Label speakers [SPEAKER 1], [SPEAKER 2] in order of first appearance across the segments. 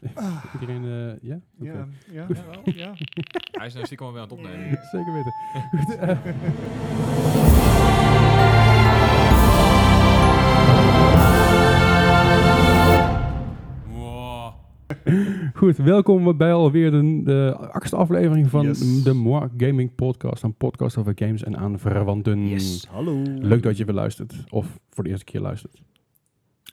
[SPEAKER 1] Heb iedereen, eh, ja? Oké.
[SPEAKER 2] Ah. Ja, ja,
[SPEAKER 1] Goed.
[SPEAKER 2] jawel, ja.
[SPEAKER 3] Hij is nou stiekem alweer aan het opnemen.
[SPEAKER 1] Zeker weten. Goed, eh,
[SPEAKER 3] Wow.
[SPEAKER 1] goed, welkom bij alweer de, de achtste aflevering van
[SPEAKER 2] Yes.
[SPEAKER 1] de Moi Gaming Podcast. Een podcast over games en aanverwanten.
[SPEAKER 2] Hallo.
[SPEAKER 1] Leuk dat je weer luistert. Of voor de eerste keer luistert.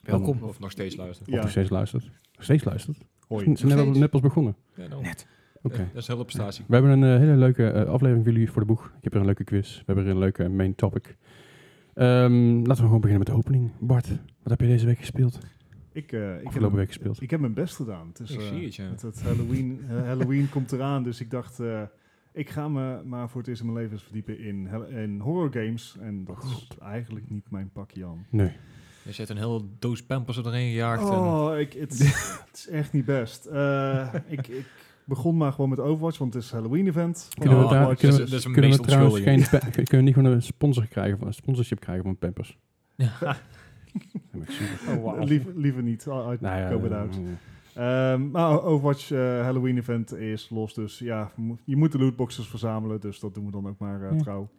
[SPEAKER 4] Welkom.
[SPEAKER 3] Of nog steeds luisteren.
[SPEAKER 1] Of
[SPEAKER 2] Ja.
[SPEAKER 1] nog steeds luistert. Nog steeds luistert.
[SPEAKER 2] Hoi.
[SPEAKER 1] Ze zijn net,
[SPEAKER 4] steeds.
[SPEAKER 1] net pas begonnen.
[SPEAKER 3] Ja, nou.
[SPEAKER 4] Net.
[SPEAKER 1] Oké.
[SPEAKER 3] Dat is een hele prestatie.
[SPEAKER 1] We hebben een eh, hele leuke eh, aflevering voor jullie voor de boeg. Ik heb er een leuke quiz. We hebben er een leuke main topic. Ehm, laten we gewoon beginnen met de opening. Bart, wat heb je deze week gespeeld?
[SPEAKER 2] Ik, eh, ik, heb,
[SPEAKER 1] Afgelopen week gespeeld.
[SPEAKER 2] ik heb mijn best gedaan. Het is,
[SPEAKER 3] Ik
[SPEAKER 2] eh,
[SPEAKER 3] zie het, ja.
[SPEAKER 2] Het, het Halloween, eh, Halloween komt eraan, dus ik dacht... eh, ik ga me maar voor het eerst in mijn leven eens verdiepen in, hel- in horror games. En dat
[SPEAKER 1] Oh
[SPEAKER 2] is eigenlijk niet mijn pakje aan.
[SPEAKER 1] Nee.
[SPEAKER 3] Je zet een hele doos pampers er doorheen gejaagd. en-
[SPEAKER 2] Oh, ik, het, het is echt niet best. Eh, ik, ik begon maar gewoon met Overwatch, want het is een Halloween-event.
[SPEAKER 1] Kunnen we,
[SPEAKER 3] Oh,
[SPEAKER 1] daar,
[SPEAKER 3] dat is-
[SPEAKER 1] kunnen
[SPEAKER 3] dat is
[SPEAKER 1] we,
[SPEAKER 3] een
[SPEAKER 1] kunnen we
[SPEAKER 3] meest
[SPEAKER 1] trouwens geen
[SPEAKER 3] onschuldige.
[SPEAKER 1] pa- kunnen we niet gewoon een sponsor krijgen van, een sponsorship krijgen van Pampers?
[SPEAKER 3] Ja.
[SPEAKER 1] Dat is super.
[SPEAKER 3] Oh,
[SPEAKER 2] Eh, lief- liever niet. I, I
[SPEAKER 1] Nou ja,
[SPEAKER 2] go without.
[SPEAKER 1] eh,
[SPEAKER 2] Ehm, maar Overwatch eh, Halloween event is los, dus ja, mo- je moet de lootboxes verzamelen, dus dat doen we dan ook maar eh,
[SPEAKER 1] Ja.
[SPEAKER 2] trouw.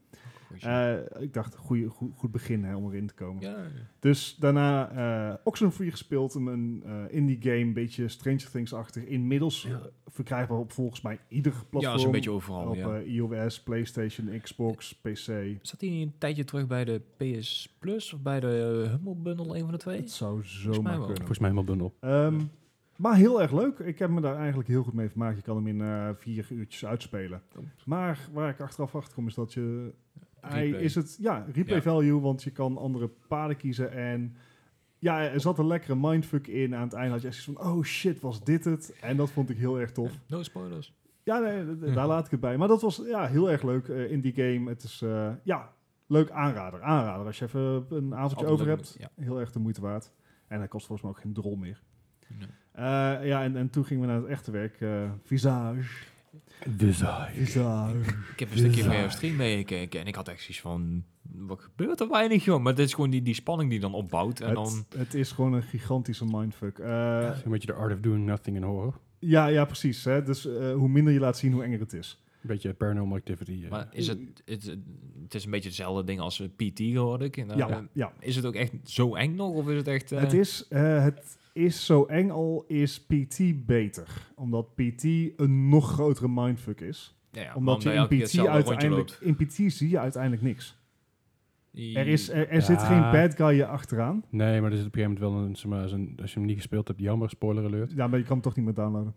[SPEAKER 3] Goeie shit.
[SPEAKER 2] Eh, ik dacht, goeie, goed, goed begin hè, om erin te komen.
[SPEAKER 3] ja.
[SPEAKER 2] Dus daarna eh Oxenfree gespeeld, een- een eh, indie game, beetje Stranger Things-achtig. Inmiddels eh, verkrijgbaar op volgens mij ieder platform.
[SPEAKER 3] ja, zo'n beetje overal.
[SPEAKER 2] Op
[SPEAKER 3] ja.
[SPEAKER 2] eh, iOS, Playstation, Xbox, PC.
[SPEAKER 3] Zat hij een tijdje terug bij de PS Plus of bij de Humble Bundle, een van de twee?
[SPEAKER 2] Het zou
[SPEAKER 3] mij
[SPEAKER 2] zomaar
[SPEAKER 3] wel.
[SPEAKER 2] kunnen.
[SPEAKER 1] volgens mij helemaal bundel.
[SPEAKER 2] Ehm, maar heel erg leuk. Ik heb me daar eigenlijk heel goed mee vermaakt. Je kan hem in eh, vier uurtjes uitspelen.
[SPEAKER 3] Oh.
[SPEAKER 2] Maar waar ik achteraf achter kom is dat je... Hij
[SPEAKER 3] Replay.
[SPEAKER 2] is het, ja, replay
[SPEAKER 3] Ja.
[SPEAKER 2] value, want je kan andere paden kiezen. En ja, er zat een lekkere mindfuck in. Aan het einde had je echt zoiets van, oh shit, was dit het? En dat vond ik heel erg tof.
[SPEAKER 3] No spoilers.
[SPEAKER 2] Ja, nee, d- d-
[SPEAKER 3] Ja.
[SPEAKER 2] daar laat ik het bij. Maar dat was ja, heel erg leuk eh, in die game. Het is, eh, ja, leuk aanrader. Aanrader, als je even een avondje
[SPEAKER 3] Altijd
[SPEAKER 2] over
[SPEAKER 3] leuk
[SPEAKER 2] hebt.
[SPEAKER 3] om-
[SPEAKER 2] Heel erg de moeite waard. En hij kost volgens mij ook geen drol meer.
[SPEAKER 3] Nee.
[SPEAKER 2] Eh, ja, en, en toen gingen we naar het echte werk. eh, visage.
[SPEAKER 1] Design.
[SPEAKER 2] Visage.
[SPEAKER 3] Ik heb een stukje van
[SPEAKER 1] Bizar.
[SPEAKER 3] jouw stream meegekeken en ik had echt zoiets van, wat gebeurt er weinig joh? Maar dit is gewoon die, die spanning die dan opbouwt en dan...
[SPEAKER 2] Het, het is gewoon een gigantische mindfuck. Eh, ja.
[SPEAKER 1] Een beetje de art of doing nothing in horror.
[SPEAKER 2] Ja, precies. Hè? Dus eh, hoe minder je laat zien, hoe enger het is.
[SPEAKER 1] Een beetje paranormal activity. eh.
[SPEAKER 3] Maar is het, het, het is een beetje hetzelfde ding als eh, PT hoorde ik. En, eh,
[SPEAKER 2] ja, ja.
[SPEAKER 3] Is het ook echt zo eng nog of is het echt... eh,
[SPEAKER 2] Het, is, eh, het is zo eng al is PT beter. Omdat PT een nog grotere mindfuck is.
[SPEAKER 3] ja, ja,
[SPEAKER 2] omdat je in
[SPEAKER 3] elke keer
[SPEAKER 2] PT,
[SPEAKER 3] hetzelfde rondje
[SPEAKER 2] uiteindelijk, in PT zie je uiteindelijk niks.
[SPEAKER 3] loopt.
[SPEAKER 2] Er, is, er, er
[SPEAKER 1] Ja.
[SPEAKER 2] zit geen bad guy je achteraan.
[SPEAKER 1] Nee, maar er zit op een gegeven moment wel een, zeg maar, zo'n- als je hem niet gespeeld hebt, jammer, spoiler alert.
[SPEAKER 2] Ja, maar je kan hem toch niet meer downloaden.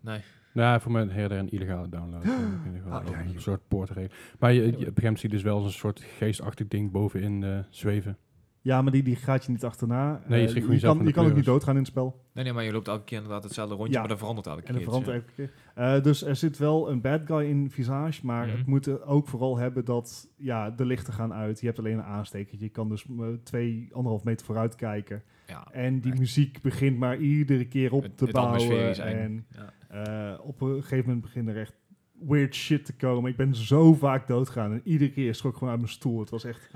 [SPEAKER 1] Nou, voor mij her en der een illegale download. In ieder geval
[SPEAKER 2] Ah, ja,
[SPEAKER 1] een
[SPEAKER 2] ja.
[SPEAKER 1] soort poortregel. Maar je, je, op een gegeven moment zie je dus wel eens een soort geestachtig ding bovenin eh, zweven.
[SPEAKER 2] Ja, maar die, die gaat je niet achterna.
[SPEAKER 1] Nee, je
[SPEAKER 2] Eh,
[SPEAKER 1] schiet gewoon
[SPEAKER 2] je
[SPEAKER 1] jezelf
[SPEAKER 2] kan,
[SPEAKER 1] in
[SPEAKER 2] je
[SPEAKER 1] de
[SPEAKER 2] kan ook
[SPEAKER 1] pleuris.
[SPEAKER 2] niet doodgaan in het spel.
[SPEAKER 3] Nee, nee, maar je loopt elke keer inderdaad hetzelfde rondje,
[SPEAKER 2] Ja.
[SPEAKER 3] maar dat verandert elke
[SPEAKER 2] En
[SPEAKER 3] keer.
[SPEAKER 2] dat verandert
[SPEAKER 3] iets,
[SPEAKER 2] elke keer. Eh, dus er zit wel een bad guy in Visage, maar
[SPEAKER 3] Mhm.
[SPEAKER 2] het moet er ook vooral hebben dat ja, de lichten gaan uit. Je hebt alleen een aansteker. Je kan dus eh, twee, anderhalf meter vooruit kijken.
[SPEAKER 3] ja. Ja.
[SPEAKER 2] En die
[SPEAKER 3] Echt.
[SPEAKER 2] muziek begint maar iedere keer op
[SPEAKER 3] Het-
[SPEAKER 2] te
[SPEAKER 3] het atmosfeer
[SPEAKER 2] bouwen.
[SPEAKER 3] is eng.
[SPEAKER 2] En
[SPEAKER 3] Ja.
[SPEAKER 2] eh, op een gegeven moment begint er echt weird shit te komen. Ik ben zo vaak doodgaan en iedere keer schrok ik gewoon uit mijn stoel. Het was echt...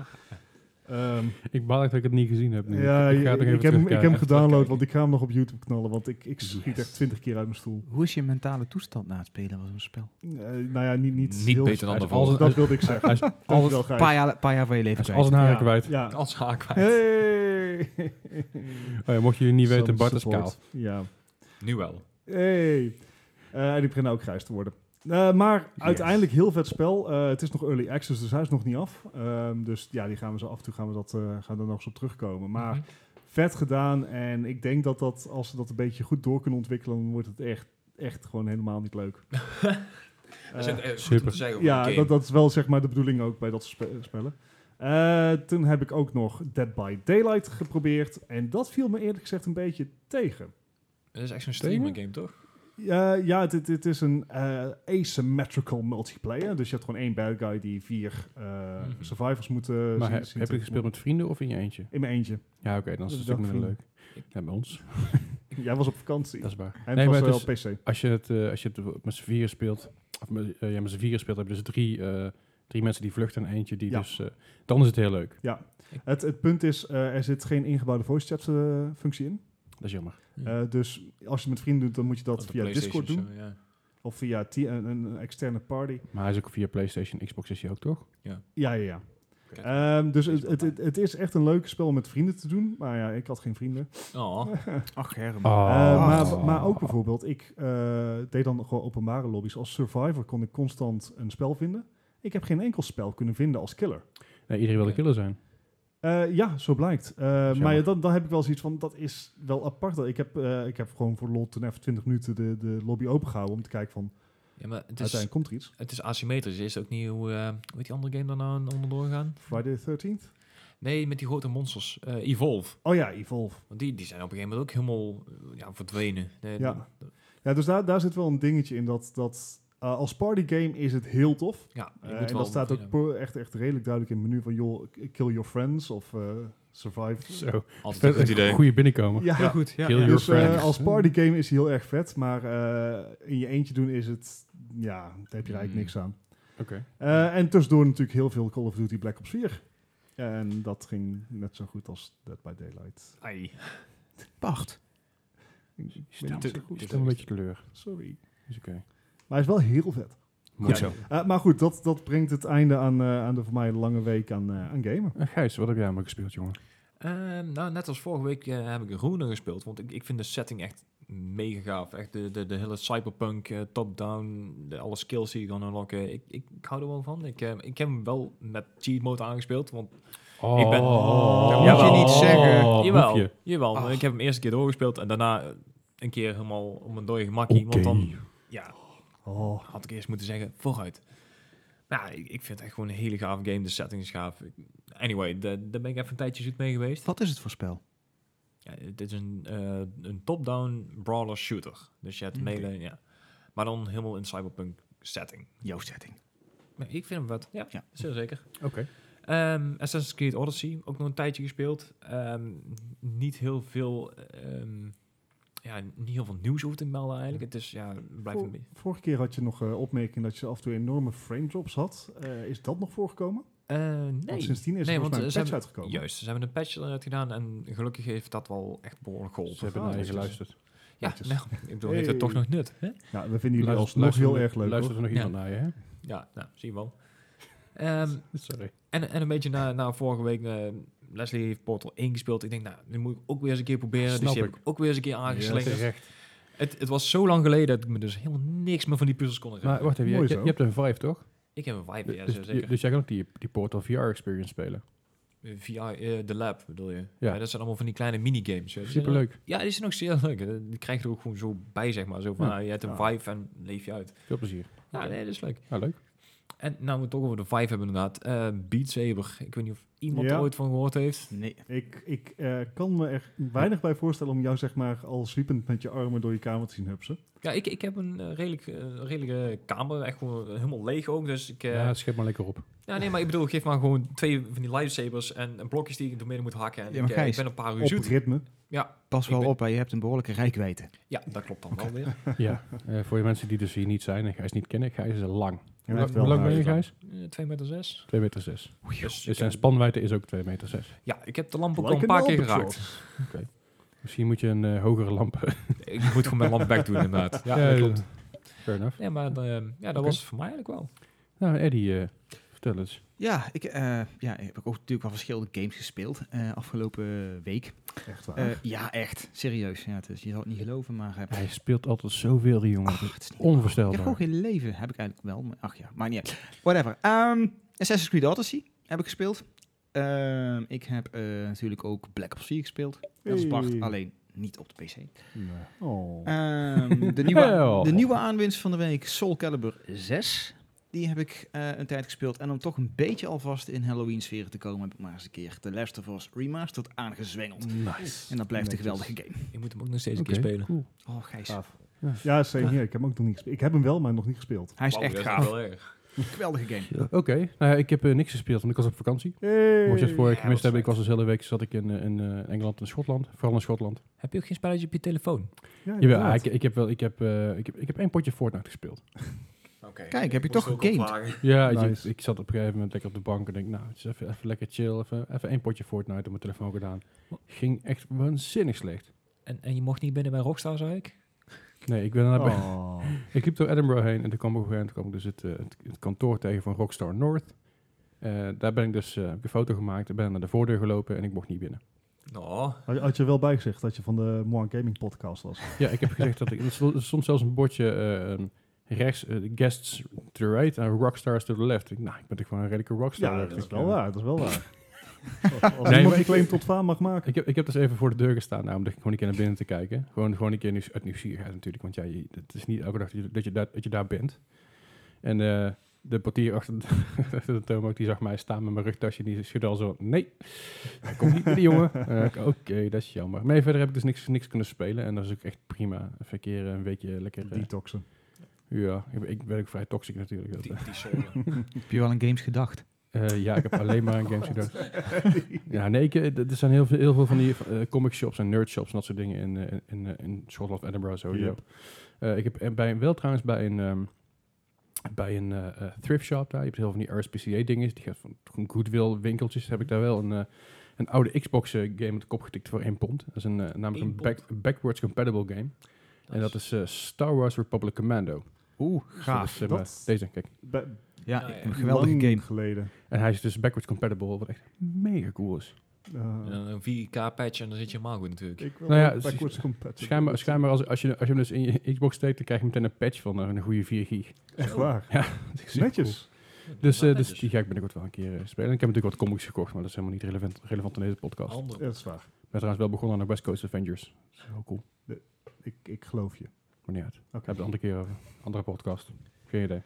[SPEAKER 2] ehm,
[SPEAKER 1] Ik baal echt dat ik het niet gezien heb. Nu.
[SPEAKER 2] ja,
[SPEAKER 1] ik,
[SPEAKER 2] ik,
[SPEAKER 1] ga het nog
[SPEAKER 2] ik
[SPEAKER 1] even
[SPEAKER 2] heb, hem- ik heb
[SPEAKER 1] terugkijken.
[SPEAKER 2] hem gedownload,
[SPEAKER 3] terugkijken.
[SPEAKER 2] want ik ga hem nog op YouTube knallen, want ik, ik schiet
[SPEAKER 4] Yes.
[SPEAKER 2] echt twintig keer uit mijn stoel.
[SPEAKER 4] Hoe is je mentale toestand na het spelen van zo'n spel?
[SPEAKER 2] Eh, nou ja, niet, niet,
[SPEAKER 3] Niet
[SPEAKER 2] heel
[SPEAKER 3] beter dan
[SPEAKER 1] Hij is altijd-
[SPEAKER 3] de volgende.
[SPEAKER 2] Dat wilde ik zeggen.
[SPEAKER 1] Hij is
[SPEAKER 2] Dankjewel,
[SPEAKER 1] alles-
[SPEAKER 2] Gijs.
[SPEAKER 4] Paar jaar, paar jaar van je leven
[SPEAKER 1] Hij is
[SPEAKER 4] kwijt.
[SPEAKER 1] als een haar
[SPEAKER 2] Ja,
[SPEAKER 1] kwijt.
[SPEAKER 2] Ja.
[SPEAKER 3] Als haak kwijt.
[SPEAKER 2] Hey!
[SPEAKER 1] Oh ja, mocht jullie niet weten,
[SPEAKER 2] Some
[SPEAKER 1] Bart is
[SPEAKER 2] support.
[SPEAKER 1] kaal.
[SPEAKER 2] Ja.
[SPEAKER 3] Nu wel.
[SPEAKER 2] Hey. Eh, en die beginnen ook grijs te worden. Eh, maar uiteindelijk heel vet spel. Eh, het is nog early access, dus hij is nog niet af. Ehm, dus ja, die gaan we zo af en toe gaan we, dat, eh, gaan we er nog eens op terugkomen. Maar
[SPEAKER 3] Mhm.
[SPEAKER 2] vet gedaan. En ik denk dat, dat als ze dat een beetje goed door kunnen ontwikkelen, dan wordt het echt, echt gewoon helemaal niet leuk.
[SPEAKER 3] Dat is echt,
[SPEAKER 2] Eh,
[SPEAKER 3] eh, goed om
[SPEAKER 1] super.
[SPEAKER 3] te zeggen over
[SPEAKER 2] Ja,
[SPEAKER 3] die
[SPEAKER 2] dat,
[SPEAKER 3] game.
[SPEAKER 2] dat is wel zeg maar de bedoeling ook bij dat soort spe- spellen. Eh, toen heb ik ook nog Dead by Daylight geprobeerd. En dat viel me eerlijk gezegd een beetje tegen.
[SPEAKER 3] Dat is echt zo'n streamer game, toch?
[SPEAKER 2] Eh, ja, het, het, het is een eh, asymmetrical multiplayer. Dus je hebt gewoon één bad guy die vier eh,
[SPEAKER 3] Mhm.
[SPEAKER 2] survivors moeten...
[SPEAKER 1] Maar
[SPEAKER 2] zien-
[SPEAKER 1] heb,
[SPEAKER 2] zien
[SPEAKER 1] heb
[SPEAKER 2] te-
[SPEAKER 1] je gespeeld met vrienden of in je eentje?
[SPEAKER 2] In mijn eentje. Dus
[SPEAKER 1] Ja, oké, dan is het
[SPEAKER 2] Dat
[SPEAKER 1] natuurlijk minder leuk.
[SPEAKER 3] ik-
[SPEAKER 1] Ja, bij ons.
[SPEAKER 2] Jij was op vakantie.
[SPEAKER 1] Dat is waar.
[SPEAKER 2] En
[SPEAKER 1] Nee,
[SPEAKER 2] het
[SPEAKER 1] maar
[SPEAKER 2] was
[SPEAKER 1] het
[SPEAKER 2] wel
[SPEAKER 1] is-
[SPEAKER 2] op PC.
[SPEAKER 1] Als je het, eh, als je het met z'n vieren speelt, of met, eh, ja, met z'n vieren speelt, heb je dus drie, eh, drie mensen die vluchten en eentje die
[SPEAKER 2] Ja.
[SPEAKER 1] dus... eh, dan is het heel leuk.
[SPEAKER 2] Het, het punt is, eh, er zit geen ingebouwde voice chat eh, functie in.
[SPEAKER 1] Dat is jammer.
[SPEAKER 2] Eh, dus als je het met vrienden doet, dan moet je dat
[SPEAKER 3] Op de
[SPEAKER 2] via Discord
[SPEAKER 3] PlayStation
[SPEAKER 2] doen.
[SPEAKER 3] of zo, ja.
[SPEAKER 2] Of via t- een, een externe party.
[SPEAKER 1] Maar hij is ook via PlayStation, Xbox is hij ook toch?
[SPEAKER 2] Ja, ja, ja.
[SPEAKER 3] Oké.
[SPEAKER 2] Ehm, dus het, het, het, het is echt een leuk spel om met vrienden te doen. Maar ja, ik had geen vrienden.
[SPEAKER 3] Oh,
[SPEAKER 4] Ach,
[SPEAKER 1] Ah,
[SPEAKER 4] Herman.
[SPEAKER 1] Oh.
[SPEAKER 2] Eh, maar, maar ook bijvoorbeeld, ik eh, deed dan gewoon openbare lobby's. Als survivor kon ik constant een spel vinden. Ik heb geen enkel spel kunnen vinden als killer.
[SPEAKER 1] Nee, iedereen wil de killer zijn.
[SPEAKER 2] Eh, ja, zo blijkt. Eh, maar
[SPEAKER 1] jammer.
[SPEAKER 2] ja, dan, dan heb ik wel zoiets van, dat is wel apart. Ik heb, eh, ik heb gewoon voor lol toen even 20 minuten de, de lobby opengehouden om te kijken van,
[SPEAKER 3] ja, maar het is,
[SPEAKER 2] uiteindelijk komt er iets.
[SPEAKER 3] het is asymmetrisch. Is het ook niet hoe, eh, hoe heet die andere game daar nou onderdoor gaan?
[SPEAKER 2] Friday the 13th?
[SPEAKER 3] Nee, met die grote monsters. eh, Evolve.
[SPEAKER 2] Oh ja, Evolve.
[SPEAKER 3] Want die, die zijn op een gegeven moment ook helemaal eh, ja, verdwenen. Nee,
[SPEAKER 2] Ja. Ja, dus daar, daar zit wel een dingetje in dat, dat eh, als partygame is het heel tof.
[SPEAKER 3] ja, je
[SPEAKER 2] Eh,
[SPEAKER 3] moet
[SPEAKER 2] en
[SPEAKER 3] wel-
[SPEAKER 2] dat staat
[SPEAKER 3] ja,
[SPEAKER 2] ook pro- echt, echt redelijk duidelijk in het menu van, joh, k- kill your friends of eh, survive.
[SPEAKER 1] Zo,
[SPEAKER 3] altijd
[SPEAKER 1] dat
[SPEAKER 3] een
[SPEAKER 1] is
[SPEAKER 3] goed idee.
[SPEAKER 1] een goede binnenkomen.
[SPEAKER 2] Ja,
[SPEAKER 4] Heel goed. Ja,
[SPEAKER 1] Kill
[SPEAKER 4] ja.
[SPEAKER 1] your
[SPEAKER 2] dus eh,
[SPEAKER 1] friends.
[SPEAKER 2] als partygame is hij heel erg vet, maar eh, in je eentje doen is het, ja, daar heb je er eigenlijk
[SPEAKER 3] Hmm.
[SPEAKER 2] niks aan.
[SPEAKER 1] Oké.
[SPEAKER 2] Eh, en tussendoor natuurlijk heel veel Call of Duty Black Ops 4. En dat ging net zo goed als Dead by Daylight.
[SPEAKER 3] Ai.
[SPEAKER 4] Pacht.
[SPEAKER 2] Ik ben
[SPEAKER 1] Stel
[SPEAKER 2] niet zo goed.
[SPEAKER 1] stel me een beetje teleur.
[SPEAKER 2] Sorry.
[SPEAKER 1] Is oké.
[SPEAKER 2] Maar hij is wel heel vet.
[SPEAKER 1] Mooi
[SPEAKER 2] Ja.
[SPEAKER 1] zo.
[SPEAKER 2] Eh, maar goed, dat, dat brengt het einde aan, eh, aan de voor mij lange week aan, eh, aan gamen.
[SPEAKER 1] Eh, Gijs, wat heb jij allemaal gespeeld, jongen?
[SPEAKER 3] Ehm, nou, net als vorige week eh, heb ik Rune gespeeld. Want ik, ik vind de setting echt mega gaaf. Echt de, de, de hele cyberpunk, eh, top-down, de- alle skills die je kan unlocken. Ik, ik, ik hou er wel van. Ik, eh, ik heb hem wel met cheat mode aangespeeld. Want Ik ben-
[SPEAKER 1] Oh.
[SPEAKER 4] Dat moet je niet zeggen.
[SPEAKER 1] Oh,
[SPEAKER 3] jawel,
[SPEAKER 1] boefje.
[SPEAKER 3] jawel.
[SPEAKER 4] Ach.
[SPEAKER 3] Ik heb hem eerst een keer doorgespeeld. En daarna eh, een keer helemaal om een dode gemakkie.
[SPEAKER 1] Oké.
[SPEAKER 3] Want dan ja,
[SPEAKER 2] Oh,
[SPEAKER 3] had ik eerst moeten zeggen, vooruit. Nou, ik, ik vind het echt gewoon een hele gave game. De setting is gaaf. Ik- Anyway, da- daar ben ik even een tijdje zoet mee geweest.
[SPEAKER 4] Wat is het voor spel?
[SPEAKER 3] Ja, het is een, eh, een top-down brawler shooter. Dus je hebt
[SPEAKER 4] Oké.
[SPEAKER 3] mailen, ja. Maar dan helemaal in cyberpunk setting.
[SPEAKER 4] Jouw setting.
[SPEAKER 3] Nee, ik vind hem wat. Ja,
[SPEAKER 4] Ja.
[SPEAKER 3] zeer zeker.
[SPEAKER 1] Oké.
[SPEAKER 3] Ehm, Assassin's Creed Odyssey, ook nog een tijdje gespeeld. Ehm, niet heel veel... ehm, ja, niet heel veel nieuws over te melden eigenlijk. Het is, ja, blijft een beetje...
[SPEAKER 2] vorige keer had je nog eh, opmerking dat je af en toe enorme frame drops had. Eh, is dat nog voorgekomen?
[SPEAKER 3] Eh,
[SPEAKER 2] Want
[SPEAKER 3] nee.
[SPEAKER 2] sindsdien is
[SPEAKER 3] Nee,
[SPEAKER 2] er volgens
[SPEAKER 3] want,
[SPEAKER 2] mij
[SPEAKER 3] eh,
[SPEAKER 2] een patch
[SPEAKER 3] ze hebben-
[SPEAKER 2] uitgekomen.
[SPEAKER 3] Juist, ze hebben een patch eruit gedaan en gelukkig heeft dat wel echt behoorlijk geholpen.
[SPEAKER 1] Ze hebben
[SPEAKER 2] Ah,
[SPEAKER 1] naar je
[SPEAKER 2] netjes.
[SPEAKER 1] geluisterd.
[SPEAKER 3] Ja,
[SPEAKER 2] netjes.
[SPEAKER 3] nou, ik bedoel, heeft het
[SPEAKER 2] Hey.
[SPEAKER 3] toch nog nut, hè?
[SPEAKER 2] Nou, we vinden jullie
[SPEAKER 1] Luister-
[SPEAKER 2] alsnog heel
[SPEAKER 1] luister-
[SPEAKER 2] erg leuk.
[SPEAKER 1] Luistert er nog iemand
[SPEAKER 3] Ja.
[SPEAKER 1] naar je, hè?
[SPEAKER 3] Ja, nou, zie je wel. Ehm,
[SPEAKER 1] Sorry.
[SPEAKER 3] En, en een beetje na, na vorige week, eh, Leslie heeft Portal 1 gespeeld. Ik denk, nou, nu moet ik ook weer eens een keer proberen.
[SPEAKER 1] Snap
[SPEAKER 3] dus die
[SPEAKER 1] ik.
[SPEAKER 3] heb ik ook weer eens een keer aangeslingerd.
[SPEAKER 1] Terecht.
[SPEAKER 3] het, het was zo lang geleden dat ik me dus helemaal niks meer van die puzzels kon herinneren.
[SPEAKER 1] Maar wacht even, je,
[SPEAKER 2] Mooi
[SPEAKER 1] je,
[SPEAKER 2] zo.
[SPEAKER 1] je hebt een Vive, toch?
[SPEAKER 3] ik heb een vibe, ja,
[SPEAKER 1] dus,
[SPEAKER 3] zo
[SPEAKER 1] je-
[SPEAKER 3] zeker.
[SPEAKER 1] dus jij kan ook die, die Portal VR experience spelen.
[SPEAKER 3] Via eh, de lab, bedoel je.
[SPEAKER 1] Ja.
[SPEAKER 3] Ja. dat zijn allemaal van die kleine minigames. weet je.
[SPEAKER 1] Superleuk.
[SPEAKER 3] Ja, die zijn ook zeer leuk. Eh, Die krijg je er ook gewoon zo bij, zeg maar. Zo van,
[SPEAKER 1] Ja.
[SPEAKER 3] ah, je hebt een
[SPEAKER 2] Ja.
[SPEAKER 3] vibe en leef je uit.
[SPEAKER 1] Veel plezier.
[SPEAKER 3] Ja, nee, dat is leuk.
[SPEAKER 1] Nou, leuk.
[SPEAKER 3] En nou, we het toch over de vibe hebben inderdaad. Eh, Beat Saber. Ik weet niet of iemand
[SPEAKER 2] Ja.
[SPEAKER 3] er ooit van gehoord heeft.
[SPEAKER 4] Nee.
[SPEAKER 2] Ik, ik eh, kan me er weinig bij voorstellen om jou zeg maar al zwiepend met je armen door je kamer te zien hupsen.
[SPEAKER 3] Ja, ik, ik heb een eh, redelijk, eh, redelijke kamer. Echt gewoon helemaal leeg ook. Dus ik... eh,
[SPEAKER 1] ja, schep maar lekker op.
[SPEAKER 3] Ja, nee, maar ik bedoel, geef maar gewoon twee van die lightsabers en, en blokjes die ik door midden moet hakken. En
[SPEAKER 4] Ja,
[SPEAKER 3] ik,
[SPEAKER 4] maar
[SPEAKER 3] eh, ik
[SPEAKER 4] Gijs,
[SPEAKER 3] ben een paar uur
[SPEAKER 2] Op
[SPEAKER 3] zoet.
[SPEAKER 2] ritme.
[SPEAKER 4] Pas
[SPEAKER 3] Ik
[SPEAKER 4] wel
[SPEAKER 3] ben-
[SPEAKER 4] op, hè, je hebt een behoorlijke rijkwijde.
[SPEAKER 3] Ja, dat klopt dan wel weer.
[SPEAKER 1] ja, eh, voor de mensen die dus hier niet zijn en Gijs niet kennen, Gijs is lang.
[SPEAKER 2] En
[SPEAKER 1] Hoe, lang-
[SPEAKER 2] hij heeft
[SPEAKER 1] hoe
[SPEAKER 2] wel
[SPEAKER 1] lang ben je,
[SPEAKER 2] haar.
[SPEAKER 1] Gijs?
[SPEAKER 3] Eh, 2 meter 6.
[SPEAKER 1] 2 meter 6.
[SPEAKER 3] Dus
[SPEAKER 1] Dus
[SPEAKER 3] ik,
[SPEAKER 1] zijn
[SPEAKER 3] heb,
[SPEAKER 1] spanwijdte is ook 2 meter 6.
[SPEAKER 3] ja, ik heb de lamp ook al
[SPEAKER 2] Like
[SPEAKER 3] een paar
[SPEAKER 2] an
[SPEAKER 3] keer
[SPEAKER 2] albatross.
[SPEAKER 3] geraakt.
[SPEAKER 1] Misschien moet je een eh, hogere lamp.
[SPEAKER 3] ik moet gewoon mijn lamp weg doen inderdaad. Ja, dat klopt.
[SPEAKER 1] Fair enough.
[SPEAKER 3] Nee, maar eh, ja, dat
[SPEAKER 1] Oké.
[SPEAKER 3] was het voor mij eigenlijk wel.
[SPEAKER 1] Nou, Eddie, eh, vertel eens.
[SPEAKER 4] Ja, ik, eh, ja, ik heb ook natuurlijk wel verschillende games gespeeld eh, afgelopen week.
[SPEAKER 2] Echt waar.
[SPEAKER 4] Eh, ja, echt. Serieus. Ja, het is, je zal het niet geloven, maar... eh,
[SPEAKER 1] Hij speelt altijd zoveel, die jongen.
[SPEAKER 4] ach, het is niet Ik heb
[SPEAKER 1] Onvoorstelbaar.
[SPEAKER 4] gewoon geen leven. Heb ik eigenlijk wel. Maar, ach ja, maar niet uit. Whatever. Ehm, Assassin's Creed Odyssey heb ik gespeeld. Ehm, ik heb eh, natuurlijk ook Black Ops 4 gespeeld. Dat is Bart,
[SPEAKER 2] Hey.
[SPEAKER 4] alleen niet op de PC.
[SPEAKER 2] Nee. Oh.
[SPEAKER 4] Ehm, de, nieuwe,
[SPEAKER 1] Wel.
[SPEAKER 4] de nieuwe aanwinst van de week, Soul Calibur 6. Die heb ik eh, een tijd gespeeld. En om toch een beetje alvast in Halloween-sfeer te komen... heb ik maar eens een keer The Last of Us Remastered aangezwengeld.
[SPEAKER 1] Nice.
[SPEAKER 4] En dat blijft een
[SPEAKER 2] Netjes.
[SPEAKER 4] geweldige game.
[SPEAKER 3] Ik moet hem ook nog steeds
[SPEAKER 1] Oké,
[SPEAKER 3] een keer spelen.
[SPEAKER 1] cool.
[SPEAKER 4] Oh, Gijs.
[SPEAKER 2] Gaaf. Ja, same hier. Ik heb hem ook nog niet gespeeld. Ik heb hem wel, maar nog niet gespeeld.
[SPEAKER 4] Hij is
[SPEAKER 3] Wauw,
[SPEAKER 4] echt
[SPEAKER 3] dat
[SPEAKER 4] gaaf.
[SPEAKER 3] wel erg.
[SPEAKER 4] Geweldige game.
[SPEAKER 1] Oké, nou ja, ik heb eh, niks gespeeld, want ik was op vakantie.
[SPEAKER 2] Hey.
[SPEAKER 1] Mocht je het vorige
[SPEAKER 3] Ja,
[SPEAKER 1] keer gemist
[SPEAKER 3] wat
[SPEAKER 1] hebben, ik was dus hele week zat ik in, eh, in eh, Engeland en Schotland. Vooral in Schotland.
[SPEAKER 3] Heb je ook geen spelletje op je telefoon?
[SPEAKER 2] Ja,
[SPEAKER 1] Jawel,
[SPEAKER 2] inderdaad.
[SPEAKER 1] ah, ik, ik, heb wel, ik, heb, eh, ik, heb, ik heb één potje Fortnite gespeeld.
[SPEAKER 4] Kijk, heb je toch gegamed?
[SPEAKER 1] Ja, ik-
[SPEAKER 2] Nice.
[SPEAKER 1] ik, zat op een gegeven moment lekker op de bank en denk, nou, het is even, even lekker chill. Even, even één potje Fortnite op mijn telefoon gedaan. Ging echt waanzinnig slecht.
[SPEAKER 3] En, en je mocht niet binnen bij Rockstar, zei ik?
[SPEAKER 1] Nee, ik, ben daarna bij-
[SPEAKER 2] Oh.
[SPEAKER 1] ik liep door Edinburgh heen en toen kwam ik, op een gegeven moment kwam ik dus het, eh, het, het kantoor tegen van Rockstar North. Eh, daar ben ik dus eh, heb ik een foto gemaakt, en ben naar de voordeur gelopen en ik mocht niet binnen.
[SPEAKER 3] Oh,
[SPEAKER 2] Had, had je wel bijgezegd dat je van de Moan Gaming podcast was?
[SPEAKER 1] Ja, ik heb gezegd dat ik... Er stond er stond zelfs een bordje eh, um, rechts, eh, guests to the right en rockstars to the left. Ik, nou, ik ben toch gewoon een redelijke rockstar.
[SPEAKER 2] Ja, dat
[SPEAKER 1] dacht
[SPEAKER 2] is
[SPEAKER 1] ik,
[SPEAKER 2] wel
[SPEAKER 1] eh.
[SPEAKER 2] waar. Dat is wel waar. Als- Als
[SPEAKER 1] maar
[SPEAKER 2] iemand die
[SPEAKER 1] ik-
[SPEAKER 2] claim tot faam mag maken.
[SPEAKER 1] Ik heb, ik heb dus even voor de deur gestaan, nou, om gewoon een keer naar binnen te kijken. Gewoon, gewoon een keer nieuws, uit nieuwsgierigheid natuurlijk, want ja, je- het is niet elke dag dat je, dat je, daar, dat je daar bent. En eh, de portier achter de, achter de toonbank, die zag mij staan met mijn rugtasje, die schudde al zo, nee, hij komt niet meer, die jongen. Eh, ik, Oké, dat is jammer. Nee, verder heb ik dus niks, niks kunnen spelen en dat is ook echt prima. Even een keer eh, een weekje lekker... eh,
[SPEAKER 2] Detoxen.
[SPEAKER 1] ja, ik, ben- ik ben ook vrij toxic natuurlijk. Dat,
[SPEAKER 3] die, die zolen.
[SPEAKER 4] Heb je wel aan games gedacht?
[SPEAKER 1] eh, ja, ik heb alleen maar aan
[SPEAKER 2] Oh,
[SPEAKER 1] games gedacht. ja, nee, ik, eh, d- er zijn heel veel, heel veel van die eh, comic shops en nerd shops en dat soort dingen in, eh, in, in, eh, in Schotland of Edinburgh sowieso.
[SPEAKER 2] Yep.
[SPEAKER 1] Eh, ik heb eh, bij, wel trouwens bij een, ehm, bij een eh, eh, thrift shop daar, je hebt heel veel van die RSPCA dingen, die gaat van gewoon Goodwill winkeltjes, heb ik daar wel een, eh, een oude Xbox eh, game op de kop getikt voor 1 pond. Dat is een, eh, namelijk
[SPEAKER 3] Eén
[SPEAKER 1] een back- backwards compatible game. en dat is eh, Star Wars Republic Commando.
[SPEAKER 4] Oeh,
[SPEAKER 1] Dus
[SPEAKER 4] gaaf.
[SPEAKER 1] dat is, eh, maar
[SPEAKER 2] dat-
[SPEAKER 1] Deze, kijk.
[SPEAKER 2] Bij-
[SPEAKER 4] Ja,
[SPEAKER 3] Nou ja.
[SPEAKER 4] een geweldige
[SPEAKER 2] lang
[SPEAKER 4] game.
[SPEAKER 2] geleden.
[SPEAKER 1] En hij is dus backwards compatible, wat echt mega cool is.
[SPEAKER 2] Eh,
[SPEAKER 3] En dan een 4K-patch en dan zit je helemaal goed natuurlijk.
[SPEAKER 2] Ik wil
[SPEAKER 1] Nou ja,
[SPEAKER 2] ook
[SPEAKER 1] het is-
[SPEAKER 2] backwards compatible.
[SPEAKER 1] Schijnbaar, schijnbaar als, als, je, als je hem dus in je Xbox steekt, dan krijg je meteen een patch van eh, een goede 4 gig.
[SPEAKER 2] Echt waar.
[SPEAKER 1] Dat is echt
[SPEAKER 2] Netjes.
[SPEAKER 1] cool. Dus, eh, dus die ga ik binnenkort wel een keer eh, spelen. Ik heb natuurlijk wat comics gekocht, maar dat is helemaal niet relevant, relevant in deze podcast. Ik
[SPEAKER 2] Ja,
[SPEAKER 3] Andere.
[SPEAKER 2] dat is waar.
[SPEAKER 1] ben trouwens wel begonnen aan de West Coast Avengers. Dat is heel cool.
[SPEAKER 2] Ik, ik geloof je.
[SPEAKER 1] Maar niet uit. Ik
[SPEAKER 2] Oké.
[SPEAKER 1] heb de andere keer over. Andere podcast. Geen idee.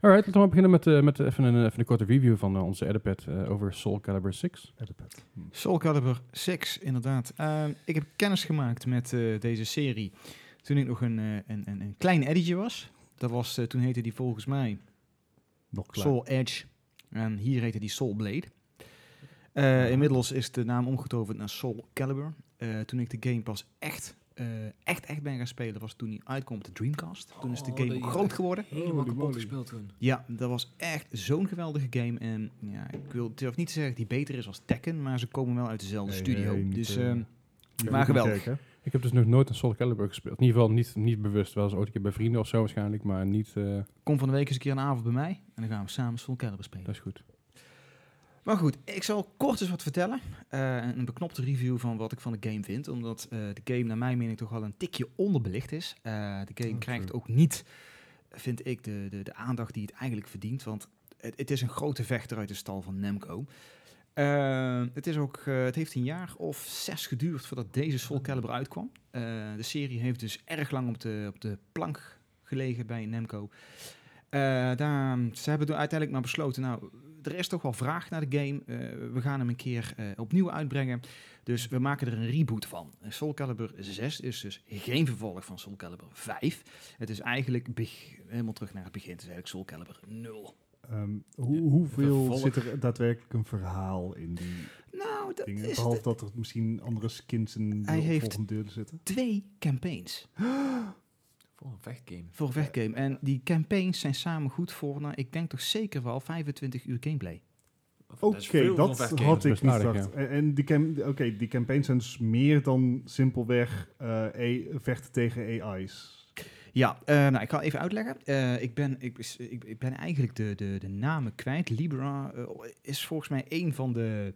[SPEAKER 1] Alright, laten we maar beginnen met, eh, met even, een, even een korte review van eh, onze Edipad eh, over Soul Calibur 6.
[SPEAKER 2] Edipad. Hm.
[SPEAKER 4] Soul Calibur 6, inderdaad. Ehm, ik heb kennis gemaakt met eh, deze serie toen ik nog een, eh, een, een, een klein editje was. Dat was, eh, toen heette die volgens mij
[SPEAKER 2] Nog klaar.
[SPEAKER 4] Soul Edge. En hier heette die Soul Blade. Eh, inmiddels is de naam omgetoverd naar Soul Calibur. Eh, toen ik de game pas echt, eh, echt, echt ben gaan spelen, was toen die uitkwam op de Dreamcast. Toen is de
[SPEAKER 3] Oh,
[SPEAKER 4] game
[SPEAKER 3] die-
[SPEAKER 4] ook groot geworden.
[SPEAKER 3] Helemaal
[SPEAKER 2] Holy
[SPEAKER 3] kapot
[SPEAKER 2] moly.
[SPEAKER 3] gespeeld toen.
[SPEAKER 4] Ja, dat was echt zo'n geweldige game. En ja, ik wil durf niet te zeggen dat die beter is als Tekken, maar ze komen wel uit dezelfde
[SPEAKER 2] Nee,
[SPEAKER 4] studio.
[SPEAKER 2] nee, niet,
[SPEAKER 4] dus
[SPEAKER 2] eh,
[SPEAKER 4] ehm,
[SPEAKER 2] Je
[SPEAKER 4] maar
[SPEAKER 2] moet hem
[SPEAKER 4] geweldig.
[SPEAKER 2] kijken, hè.
[SPEAKER 1] Ik heb dus nog nooit een Soul Calibur gespeeld. In ieder geval niet, niet bewust. Wel eens ooit een keer bij vrienden of zo waarschijnlijk, maar niet... eh,
[SPEAKER 4] kom van de week eens een keer een avond bij mij en dan gaan we samen Soul Calibur spelen.
[SPEAKER 1] dat is goed.
[SPEAKER 4] Maar goed, ik zal kort eens wat vertellen. Eh, een beknopte review van wat ik van de game vind. Omdat eh, de game naar mijn mening toch wel een tikje onderbelicht is. Eh, de game
[SPEAKER 2] Oh,
[SPEAKER 4] krijgt
[SPEAKER 2] true.
[SPEAKER 4] ook niet, vind ik, de, de, de aandacht die het eigenlijk verdient. Want het, het is een grote vechter uit de stal van Namco. Eh, het, is ook, eh, het heeft een jaar of zes geduurd voordat deze Soul Calibur uitkwam. Eh, de serie heeft dus erg lang op de, op de plank gelegen bij Namco. Eh, daar, ze hebben toen uiteindelijk maar besloten, nou, er is toch wel vraag naar de game. Eh, we gaan hem een keer eh, opnieuw uitbrengen. Dus we maken er een reboot van. Eh, Soul Calibur 6 is dus geen vervolg van Soul Calibur 5. Het is eigenlijk beg- helemaal terug naar het begin. Het is eigenlijk Soul Calibur 0.
[SPEAKER 2] Ehm, hoe, hoeveel
[SPEAKER 3] Vervolg.
[SPEAKER 2] zit er daadwerkelijk een verhaal in die
[SPEAKER 4] Nou, dat
[SPEAKER 2] dingen?
[SPEAKER 4] is
[SPEAKER 2] Behalve
[SPEAKER 4] de
[SPEAKER 2] dat er misschien andere skins in de
[SPEAKER 4] Hij heeft-
[SPEAKER 2] volgende deur zitten.
[SPEAKER 4] twee campaigns.
[SPEAKER 3] Voor een vechtgame.
[SPEAKER 4] Voor een weggame. En die campaigns zijn samen goed voor, nou, ik denk toch zeker wel 25 uur gameplay.
[SPEAKER 2] Oké, dat had
[SPEAKER 1] Dat
[SPEAKER 2] ik
[SPEAKER 1] is
[SPEAKER 2] niet
[SPEAKER 1] best aardig,
[SPEAKER 2] gedacht. En, en die, cam oké, die campaigns zijn dus meer dan simpelweg eh, A- vechten tegen AI's.
[SPEAKER 4] Ja, eh, nou, ik ga even uitleggen. Eh, ik, ben, ik, is- ik, ik ben eigenlijk de, de, de namen kwijt. Libra eh, is volgens mij één van de,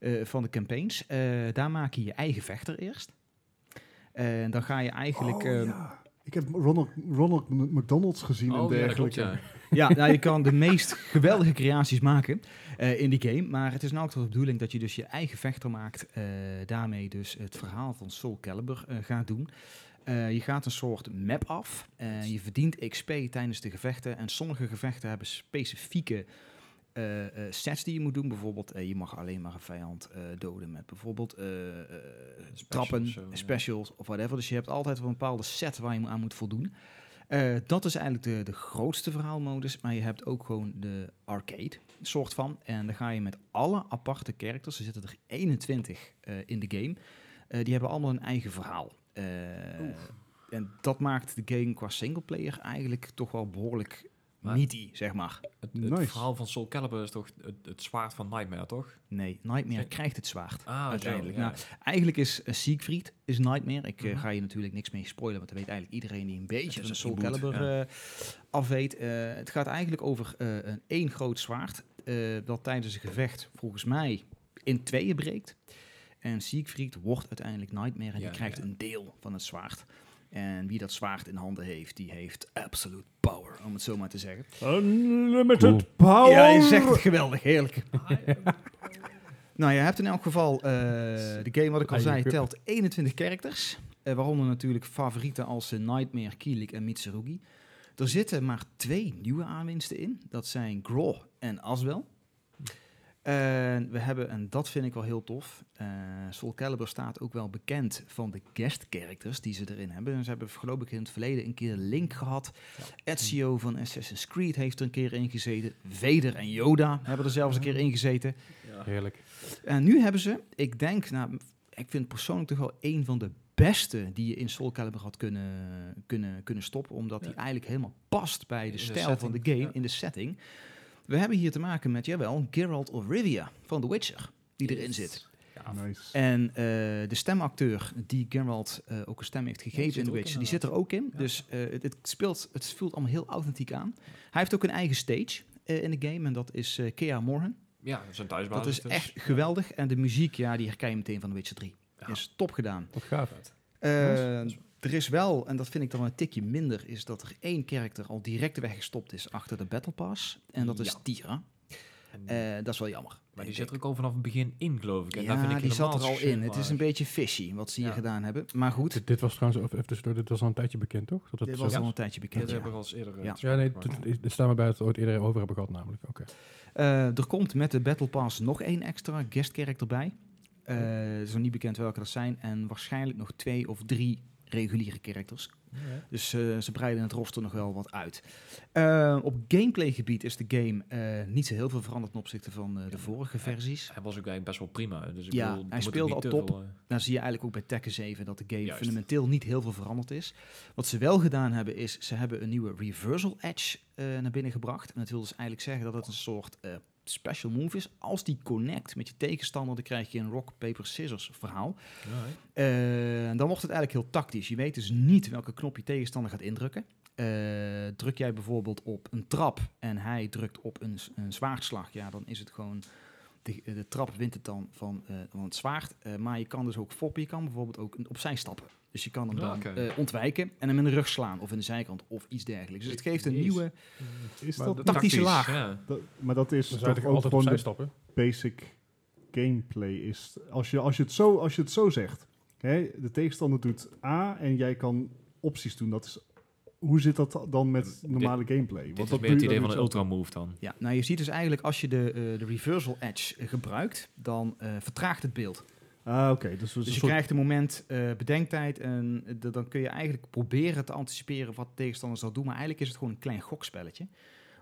[SPEAKER 4] eh, van de campaigns. Eh, daar maak je je eigen vechter eerst. En dan ga je eigenlijk...
[SPEAKER 2] Oh,
[SPEAKER 1] eh,
[SPEAKER 4] ehm,
[SPEAKER 2] ja. Ik heb Ronald, Ronald McDonald's gezien en
[SPEAKER 3] Oh, ja, dat klopt,
[SPEAKER 2] dergelijke.
[SPEAKER 3] ja.
[SPEAKER 4] Ja, nou, je kan de meest geweldige creaties maken eh, in die game. Maar het is nou ook de bedoeling dat je dus je eigen vechter maakt. eh, daarmee dus het verhaal van Soul Calibur eh, gaat doen. Eh, je gaat een soort map af. Eh, je verdient XP tijdens de gevechten. En sommige gevechten hebben specifieke eh, eh, sets die je moet doen. Bijvoorbeeld, eh, je mag alleen maar een vijand eh, doden met bijvoorbeeld eh, eh, trappen,
[SPEAKER 3] of zo, ja.
[SPEAKER 4] specials of whatever. Dus je hebt altijd wel een bepaalde set waar je aan moet voldoen. Eh, dat is eigenlijk de, de grootste verhaalmodus. Maar je hebt ook gewoon de arcade, soort van. En dan ga je met alle aparte characters, er zitten er 21 eh, in de game. eh, die hebben allemaal een eigen verhaal. Eh, en dat maakt de game qua singleplayer eigenlijk toch wel behoorlijk
[SPEAKER 3] Maar-
[SPEAKER 4] meaty, zeg maar.
[SPEAKER 3] Het, het
[SPEAKER 2] Nice.
[SPEAKER 3] verhaal van Soul Calibur is toch het, het zwaard van Nightmare, toch?
[SPEAKER 4] Nee, Nightmare
[SPEAKER 3] Zeg-
[SPEAKER 4] krijgt het zwaard.
[SPEAKER 3] Ah,
[SPEAKER 4] Uiteindelijk,
[SPEAKER 3] Zo, ja.
[SPEAKER 4] nou, Eigenlijk is eh, Siegfried is Nightmare. Ik eh,
[SPEAKER 3] Mhm.
[SPEAKER 4] ga je natuurlijk niks mee spoilen, want dat weet eigenlijk iedereen die een beetje
[SPEAKER 3] is
[SPEAKER 4] van
[SPEAKER 3] een
[SPEAKER 4] Soul
[SPEAKER 3] reboot,
[SPEAKER 4] Calibur
[SPEAKER 3] ja.
[SPEAKER 4] eh, af weet. Eh, het gaat eigenlijk over eh, een één groot zwaard eh, dat tijdens een gevecht volgens mij in tweeën breekt. En Siegfried wordt uiteindelijk Nightmare en
[SPEAKER 3] Ja,
[SPEAKER 4] die krijgt
[SPEAKER 3] ja.
[SPEAKER 4] een deel van het zwaard. En wie dat zwaard in handen heeft, die heeft absolute power, om het zo maar te zeggen.
[SPEAKER 2] Unlimited
[SPEAKER 3] Oh!
[SPEAKER 2] power!
[SPEAKER 4] Ja, je zegt het geweldig, heerlijk.
[SPEAKER 3] Ah,
[SPEAKER 4] Nou, je hebt in elk geval eh, de game, wat ik al zei,
[SPEAKER 1] Eigen cup.
[SPEAKER 4] telt 21 characters. Eh, waaronder natuurlijk favorieten als eh, Nightmare, Kilik en Mitsurugi. Er zitten maar twee nieuwe aanwinsten in. Dat zijn Graw en Aswell. En we hebben, en dat vind ik wel heel tof, eh, Soul Calibur staat ook wel bekend van de guest characters die ze erin hebben. En Ze hebben geloof ik in het verleden een keer Link gehad. Ezio van Assassin's Creed heeft er een keer in gezeten. Vader en Yoda hebben er zelfs een keer in gezeten.
[SPEAKER 1] Heerlijk.
[SPEAKER 4] En nu hebben ze, ik denk, nou, ik vind persoonlijk toch wel een van de beste die je in Soul Calibur had kunnen, kunnen, kunnen stoppen. Omdat
[SPEAKER 3] Ja.
[SPEAKER 4] die eigenlijk helemaal past bij de
[SPEAKER 3] In de
[SPEAKER 4] stijl van de
[SPEAKER 3] setting,
[SPEAKER 4] game,
[SPEAKER 3] ja.
[SPEAKER 4] in de setting. We hebben hier te maken met, jawel, Geralt of Rivia van The Witcher, die erin zit.
[SPEAKER 3] Ja,
[SPEAKER 2] Nice.
[SPEAKER 4] En eh, de stemacteur die Geralt eh, ook een stem heeft gegeven
[SPEAKER 3] zit
[SPEAKER 4] in The
[SPEAKER 3] er ook
[SPEAKER 4] Witcher,
[SPEAKER 3] in,
[SPEAKER 4] die zit er ook in.
[SPEAKER 3] Ja.
[SPEAKER 4] Dus eh, het, het speelt, het voelt allemaal heel authentiek aan. Hij heeft ook een eigen stage eh, in de game en dat is eh Kea Morhen.
[SPEAKER 3] ja, zijn thuisbasis.
[SPEAKER 4] Dat is
[SPEAKER 3] dus.
[SPEAKER 4] echt geweldig. En de muziek, ja, die herken je meteen van The Witcher 3.
[SPEAKER 3] Ja.
[SPEAKER 4] Is top gedaan.
[SPEAKER 1] Wat gaaf.
[SPEAKER 4] Eh,
[SPEAKER 3] Nice.
[SPEAKER 4] er is wel, en dat vind ik dan wel een tikje minder, is dat er één karakter al direct weggestopt is achter de Battle Pass. En dat is
[SPEAKER 3] Ja.
[SPEAKER 4] Tira.
[SPEAKER 3] En-
[SPEAKER 4] Eh, dat is wel jammer.
[SPEAKER 3] maar die
[SPEAKER 4] Ik
[SPEAKER 3] zit er
[SPEAKER 4] denk-
[SPEAKER 3] ook al vanaf het begin in, geloof ik. En daar
[SPEAKER 4] ja,
[SPEAKER 3] vind ik
[SPEAKER 4] die
[SPEAKER 3] helemaal
[SPEAKER 4] zat er al
[SPEAKER 3] zo
[SPEAKER 4] in. Het is
[SPEAKER 3] maar-
[SPEAKER 4] een beetje fishy wat ze hier
[SPEAKER 3] Ja.
[SPEAKER 4] gedaan hebben. Maar goed,
[SPEAKER 1] Dit, dit was trouwens, even tussendoor, dit was al een tijdje bekend, toch? Dat het
[SPEAKER 4] dit
[SPEAKER 1] zo-
[SPEAKER 4] was
[SPEAKER 1] ja.
[SPEAKER 4] al een tijdje bekend.
[SPEAKER 3] Dit
[SPEAKER 4] Ja.
[SPEAKER 3] hebben we al eens eerder... eh,
[SPEAKER 4] Ja.
[SPEAKER 1] Ja, nee,
[SPEAKER 3] besproken, maar-
[SPEAKER 1] het- het staat me bij dat we het ooit eerder over hebben gehad namelijk. Oké.
[SPEAKER 4] Eh, er komt met de Battle Pass nog één extra guest character bij. Eh, Het is nog niet bekend welke dat zijn. En waarschijnlijk nog twee of drie reguliere characters.
[SPEAKER 3] Ja.
[SPEAKER 4] Dus eh, ze breiden het roster nog wel wat uit. Eh, op gameplaygebied is de game eh, niet zo heel veel veranderd ten opzichte van eh, de vorige versies.
[SPEAKER 3] Hij was ook eigenlijk best wel prima. Dus ik
[SPEAKER 4] Ja,
[SPEAKER 3] bedoel,
[SPEAKER 4] hij
[SPEAKER 3] er moet
[SPEAKER 4] speelde
[SPEAKER 3] niet
[SPEAKER 4] al
[SPEAKER 3] te
[SPEAKER 4] top.
[SPEAKER 3] veel, eh,
[SPEAKER 4] Dan zie je eigenlijk ook bij Tekken 7 dat de game
[SPEAKER 3] Juist.
[SPEAKER 4] fundamenteel niet heel veel veranderd is. Wat ze wel gedaan hebben is, ze hebben een nieuwe Reversal Edge eh, naar binnen gebracht. En dat wil dus eigenlijk zeggen dat het een soort eh, special move is. Als die connect met je tegenstander, dan krijg je een rock, paper, scissors verhaal.
[SPEAKER 3] ja,
[SPEAKER 4] Eh, dan wordt het eigenlijk heel tactisch. Je weet dus niet welke knop je tegenstander gaat indrukken. Eh, druk jij bijvoorbeeld op een trap en hij drukt op een, s- een zwaardslag, ja, dan is het gewoon. De, de trap wint het dan van, eh, van het zwaard. Eh, maar je kan dus ook foppen, je kan bijvoorbeeld ook een- opzij stappen. Dus je kan hem
[SPEAKER 3] Ja,
[SPEAKER 4] dan
[SPEAKER 3] oké.
[SPEAKER 4] eh, ontwijken en hem in de rug slaan of in de zijkant of iets dergelijks. Dus het geeft een
[SPEAKER 1] Jezus.
[SPEAKER 4] nieuwe.
[SPEAKER 2] Is
[SPEAKER 1] Maar
[SPEAKER 2] dat,
[SPEAKER 1] dat-
[SPEAKER 4] Tactische
[SPEAKER 3] Tactisch,
[SPEAKER 4] laag.
[SPEAKER 3] ja.
[SPEAKER 2] dat- maar dat is
[SPEAKER 1] Dan
[SPEAKER 2] toch
[SPEAKER 1] zou Dus ik
[SPEAKER 2] ook
[SPEAKER 1] altijd
[SPEAKER 2] gewoon
[SPEAKER 1] opzij
[SPEAKER 2] de
[SPEAKER 1] stappen.
[SPEAKER 2] basic gameplay is. Als je, als je, het, zo, als je het zo zegt, hè, de tegenstander doet A en jij kan opties doen. Dat is, hoe zit dat dan met normale gameplay?
[SPEAKER 3] Dit is
[SPEAKER 2] dat
[SPEAKER 3] meer het
[SPEAKER 2] doe je
[SPEAKER 3] idee
[SPEAKER 2] dan
[SPEAKER 3] van een
[SPEAKER 2] niet zo.
[SPEAKER 3] ultra move dan.
[SPEAKER 4] Ja, nou je ziet dus eigenlijk als je de, eh, de reversal edge eh, gebruikt, dan eh, vertraagt het beeld.
[SPEAKER 2] Ah, oké. dus het is een
[SPEAKER 4] Dus je
[SPEAKER 2] soort-
[SPEAKER 4] krijgt een moment eh, bedenktijd en d- dan kun je eigenlijk proberen te anticiperen wat de tegenstander zal doen. Maar eigenlijk is het gewoon een klein gokspelletje.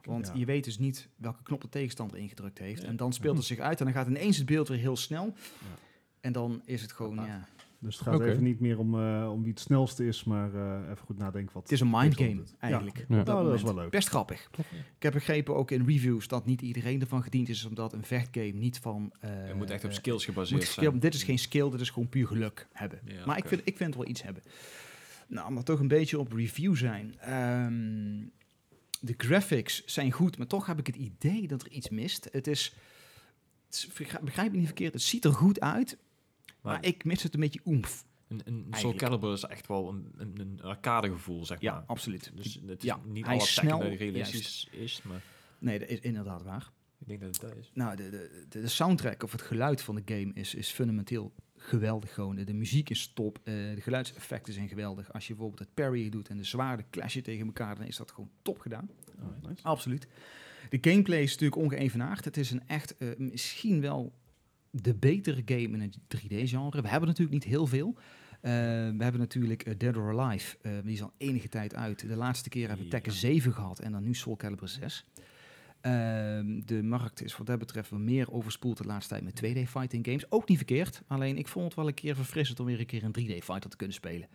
[SPEAKER 4] Want
[SPEAKER 2] Ja.
[SPEAKER 4] je weet dus niet welke knop de tegenstander ingedrukt heeft.
[SPEAKER 3] Ja.
[SPEAKER 4] En dan speelt het zich uit en dan gaat ineens het beeld weer heel snel. En dan is het gewoon, ja...
[SPEAKER 2] Dus het gaat
[SPEAKER 1] Oké.
[SPEAKER 2] even niet meer om, eh, om wie het snelste is, maar eh, even goed nadenken wat.
[SPEAKER 4] Het is een mindgame
[SPEAKER 2] Ja.
[SPEAKER 4] eigenlijk.
[SPEAKER 1] Ja.
[SPEAKER 4] op
[SPEAKER 2] Nou, dat is
[SPEAKER 4] moment.
[SPEAKER 2] wel leuk.
[SPEAKER 4] Best grappig. Ik heb begrepen ook in reviews dat niet iedereen ervan gediend is, omdat een vechtgame niet van... eh,
[SPEAKER 3] Het moet echt op
[SPEAKER 4] eh,
[SPEAKER 3] skills
[SPEAKER 4] moet
[SPEAKER 3] gebaseerd
[SPEAKER 4] skill-
[SPEAKER 3] zijn.
[SPEAKER 4] dit is geen skill, dit is gewoon puur geluk hebben.
[SPEAKER 3] Ja,
[SPEAKER 4] maar ik,
[SPEAKER 3] oké.
[SPEAKER 4] vind, ik vind het wel iets hebben. Nou, maar toch een beetje op review zijn. Ehm, de graphics zijn goed, maar toch heb ik het idee dat er iets mist. Het is, het is- verga- begrijp me niet verkeerd, het ziet er goed uit, maar,
[SPEAKER 3] Maar-
[SPEAKER 4] ik mis het een beetje oemf.
[SPEAKER 3] Een, een Soul
[SPEAKER 4] Eigenlijk.
[SPEAKER 3] Calibur is echt wel een, een, een arcade gevoel, zeg
[SPEAKER 4] Ja,
[SPEAKER 3] maar.
[SPEAKER 4] absoluut.
[SPEAKER 3] Dus het is
[SPEAKER 4] Ja,
[SPEAKER 3] niet
[SPEAKER 4] hij
[SPEAKER 3] alle
[SPEAKER 4] is
[SPEAKER 3] snel,
[SPEAKER 4] snel,
[SPEAKER 3] realistisch is, maar
[SPEAKER 4] Nee, dat is inderdaad waar.
[SPEAKER 3] ik denk dat het dat is.
[SPEAKER 4] Nou, de, de, de, de soundtrack of het geluid van de game is, is fundamenteel geweldig gewoon. De, de muziek is top, eh, de geluidseffecten zijn geweldig. Als je bijvoorbeeld het parry doet en de zwaarden clashen tegen elkaar, dan is dat gewoon top gedaan.
[SPEAKER 2] Ah, nice.
[SPEAKER 4] Absoluut. De gameplay is natuurlijk ongeëvenaard. Het is een echt, eh, misschien wel de betere game in het 3D-genre. We hebben natuurlijk niet heel veel. Eh, we hebben natuurlijk eh, Dead or Alive, eh, die is al enige tijd uit. De laatste keer hebben
[SPEAKER 3] Ja.
[SPEAKER 4] we Tekken 7 gehad en dan nu Soul Calibur 6. Ehm, de markt is wat dat betreft wel meer overspoeld de laatste tijd met 2D-fighting games. Ook niet verkeerd, alleen ik vond het wel een keer verfrissend om weer een keer een 3D-fighter te kunnen spelen.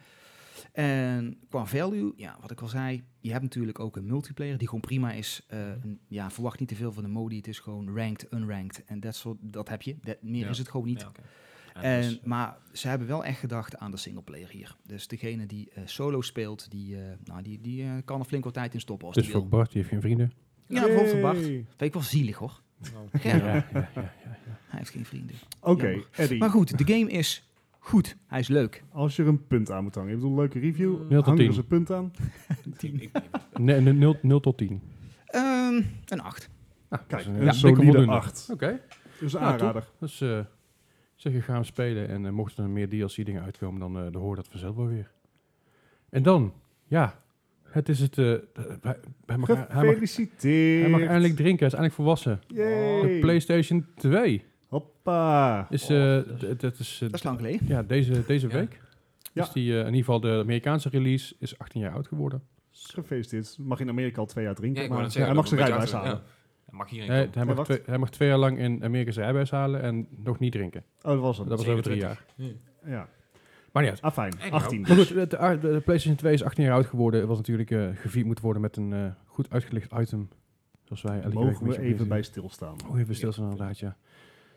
[SPEAKER 4] En qua value, ja, wat ik al zei, je hebt natuurlijk ook een multiplayer die gewoon prima is. Eh, en ja, verwacht niet te veel van de modi. Het is gewoon ranked, unranked en dat soort, dat heb je. Dat, meer
[SPEAKER 3] Ja.
[SPEAKER 4] is het gewoon niet.
[SPEAKER 3] Ja, oké.
[SPEAKER 4] En,
[SPEAKER 3] dus-
[SPEAKER 4] maar ze hebben wel echt gedacht aan de singleplayer hier. Dus degene die eh, solo speelt, die, eh, nou, die, die eh, kan er flink wat tijd in stoppen als
[SPEAKER 1] Dus
[SPEAKER 4] die
[SPEAKER 1] voor
[SPEAKER 4] wil.
[SPEAKER 1] Bart, die heeft geen vrienden.
[SPEAKER 4] Ja, bijvoorbeeld voor Bart.
[SPEAKER 2] Yay.
[SPEAKER 4] Weet ik wel zielig hoor.
[SPEAKER 3] nou,
[SPEAKER 4] Ja.
[SPEAKER 1] ja, ja, ja, ja.
[SPEAKER 4] Hij heeft geen vrienden.
[SPEAKER 2] Oké,
[SPEAKER 4] Jammer.
[SPEAKER 2] Eddie,
[SPEAKER 4] Maar goed, de game is goed. Hij is leuk.
[SPEAKER 2] als je er een punt aan moet hangen. Ik bedoel, een leuke review.
[SPEAKER 1] Nul tot
[SPEAKER 2] Hang er
[SPEAKER 1] tien.
[SPEAKER 2] eens een punt aan.
[SPEAKER 3] ik- ik-
[SPEAKER 1] Nee, 0, tot 10.
[SPEAKER 4] Ehm, een 8.
[SPEAKER 1] Nou,
[SPEAKER 2] Kijk,
[SPEAKER 1] dat is
[SPEAKER 2] een
[SPEAKER 1] dikke
[SPEAKER 2] solide
[SPEAKER 1] voldoende.
[SPEAKER 2] 8.
[SPEAKER 1] Oké,
[SPEAKER 2] Dus een
[SPEAKER 1] Ja,
[SPEAKER 2] aanrader.
[SPEAKER 1] dus eh, zeg je ga hem spelen en eh, mochten er meer DLC-dingen uitkomen, dan, eh, dan hoor dat vanzelf wel weer. En dan, ja, het is het. eh, hij, hij mag, hij, mag,
[SPEAKER 2] Gefeliciteerd.
[SPEAKER 1] hij mag eindelijk drinken, hij is eindelijk volwassen. De
[SPEAKER 2] Yay.
[SPEAKER 1] PlayStation 2
[SPEAKER 2] Hoppa.
[SPEAKER 1] is.
[SPEAKER 3] Oh,
[SPEAKER 1] eh,
[SPEAKER 3] dat is-
[SPEAKER 1] d- dat is, eh,
[SPEAKER 4] Dat is lang geleden.
[SPEAKER 1] ja, deze, deze
[SPEAKER 3] Ja.
[SPEAKER 1] week.
[SPEAKER 2] Ja.
[SPEAKER 1] Is die, eh, in ieder geval de Amerikaanse release is 18 jaar oud geworden.
[SPEAKER 2] Gefeliciteerd. Mag in Amerika al twee jaar drinken.
[SPEAKER 3] Ja, ik wou
[SPEAKER 2] maar
[SPEAKER 3] net zeggen,
[SPEAKER 2] hij mag
[SPEAKER 3] dat
[SPEAKER 2] zijn
[SPEAKER 3] we een
[SPEAKER 2] rijbewijs
[SPEAKER 3] beetje
[SPEAKER 2] halen.
[SPEAKER 3] uit- ja. Hij mag hierin
[SPEAKER 1] Nee,
[SPEAKER 3] komen.
[SPEAKER 1] hij,
[SPEAKER 2] Nee,
[SPEAKER 1] mag
[SPEAKER 2] wacht.
[SPEAKER 1] twee, hij mag twee jaar lang in Amerika zijn rijbewijs halen en nog niet drinken.
[SPEAKER 2] Oh, dat was hem.
[SPEAKER 1] Dat was over drie
[SPEAKER 3] 27.
[SPEAKER 1] jaar.
[SPEAKER 2] Ja.
[SPEAKER 1] Maar niet uit.
[SPEAKER 2] Ah, fijn.
[SPEAKER 3] Anyhow.
[SPEAKER 2] 18.
[SPEAKER 1] Maar goed, de, de- de PlayStation 2 is 18 jaar oud geworden. Het was natuurlijk eh, gevierd moet worden met een eh, goed uitgelicht item. Zoals wij elke week
[SPEAKER 2] Mogen
[SPEAKER 1] met
[SPEAKER 2] we
[SPEAKER 1] je
[SPEAKER 2] even
[SPEAKER 1] bezig
[SPEAKER 2] bij stilstaan?
[SPEAKER 1] zijn. Oh, even stilstaan inderdaad, ja.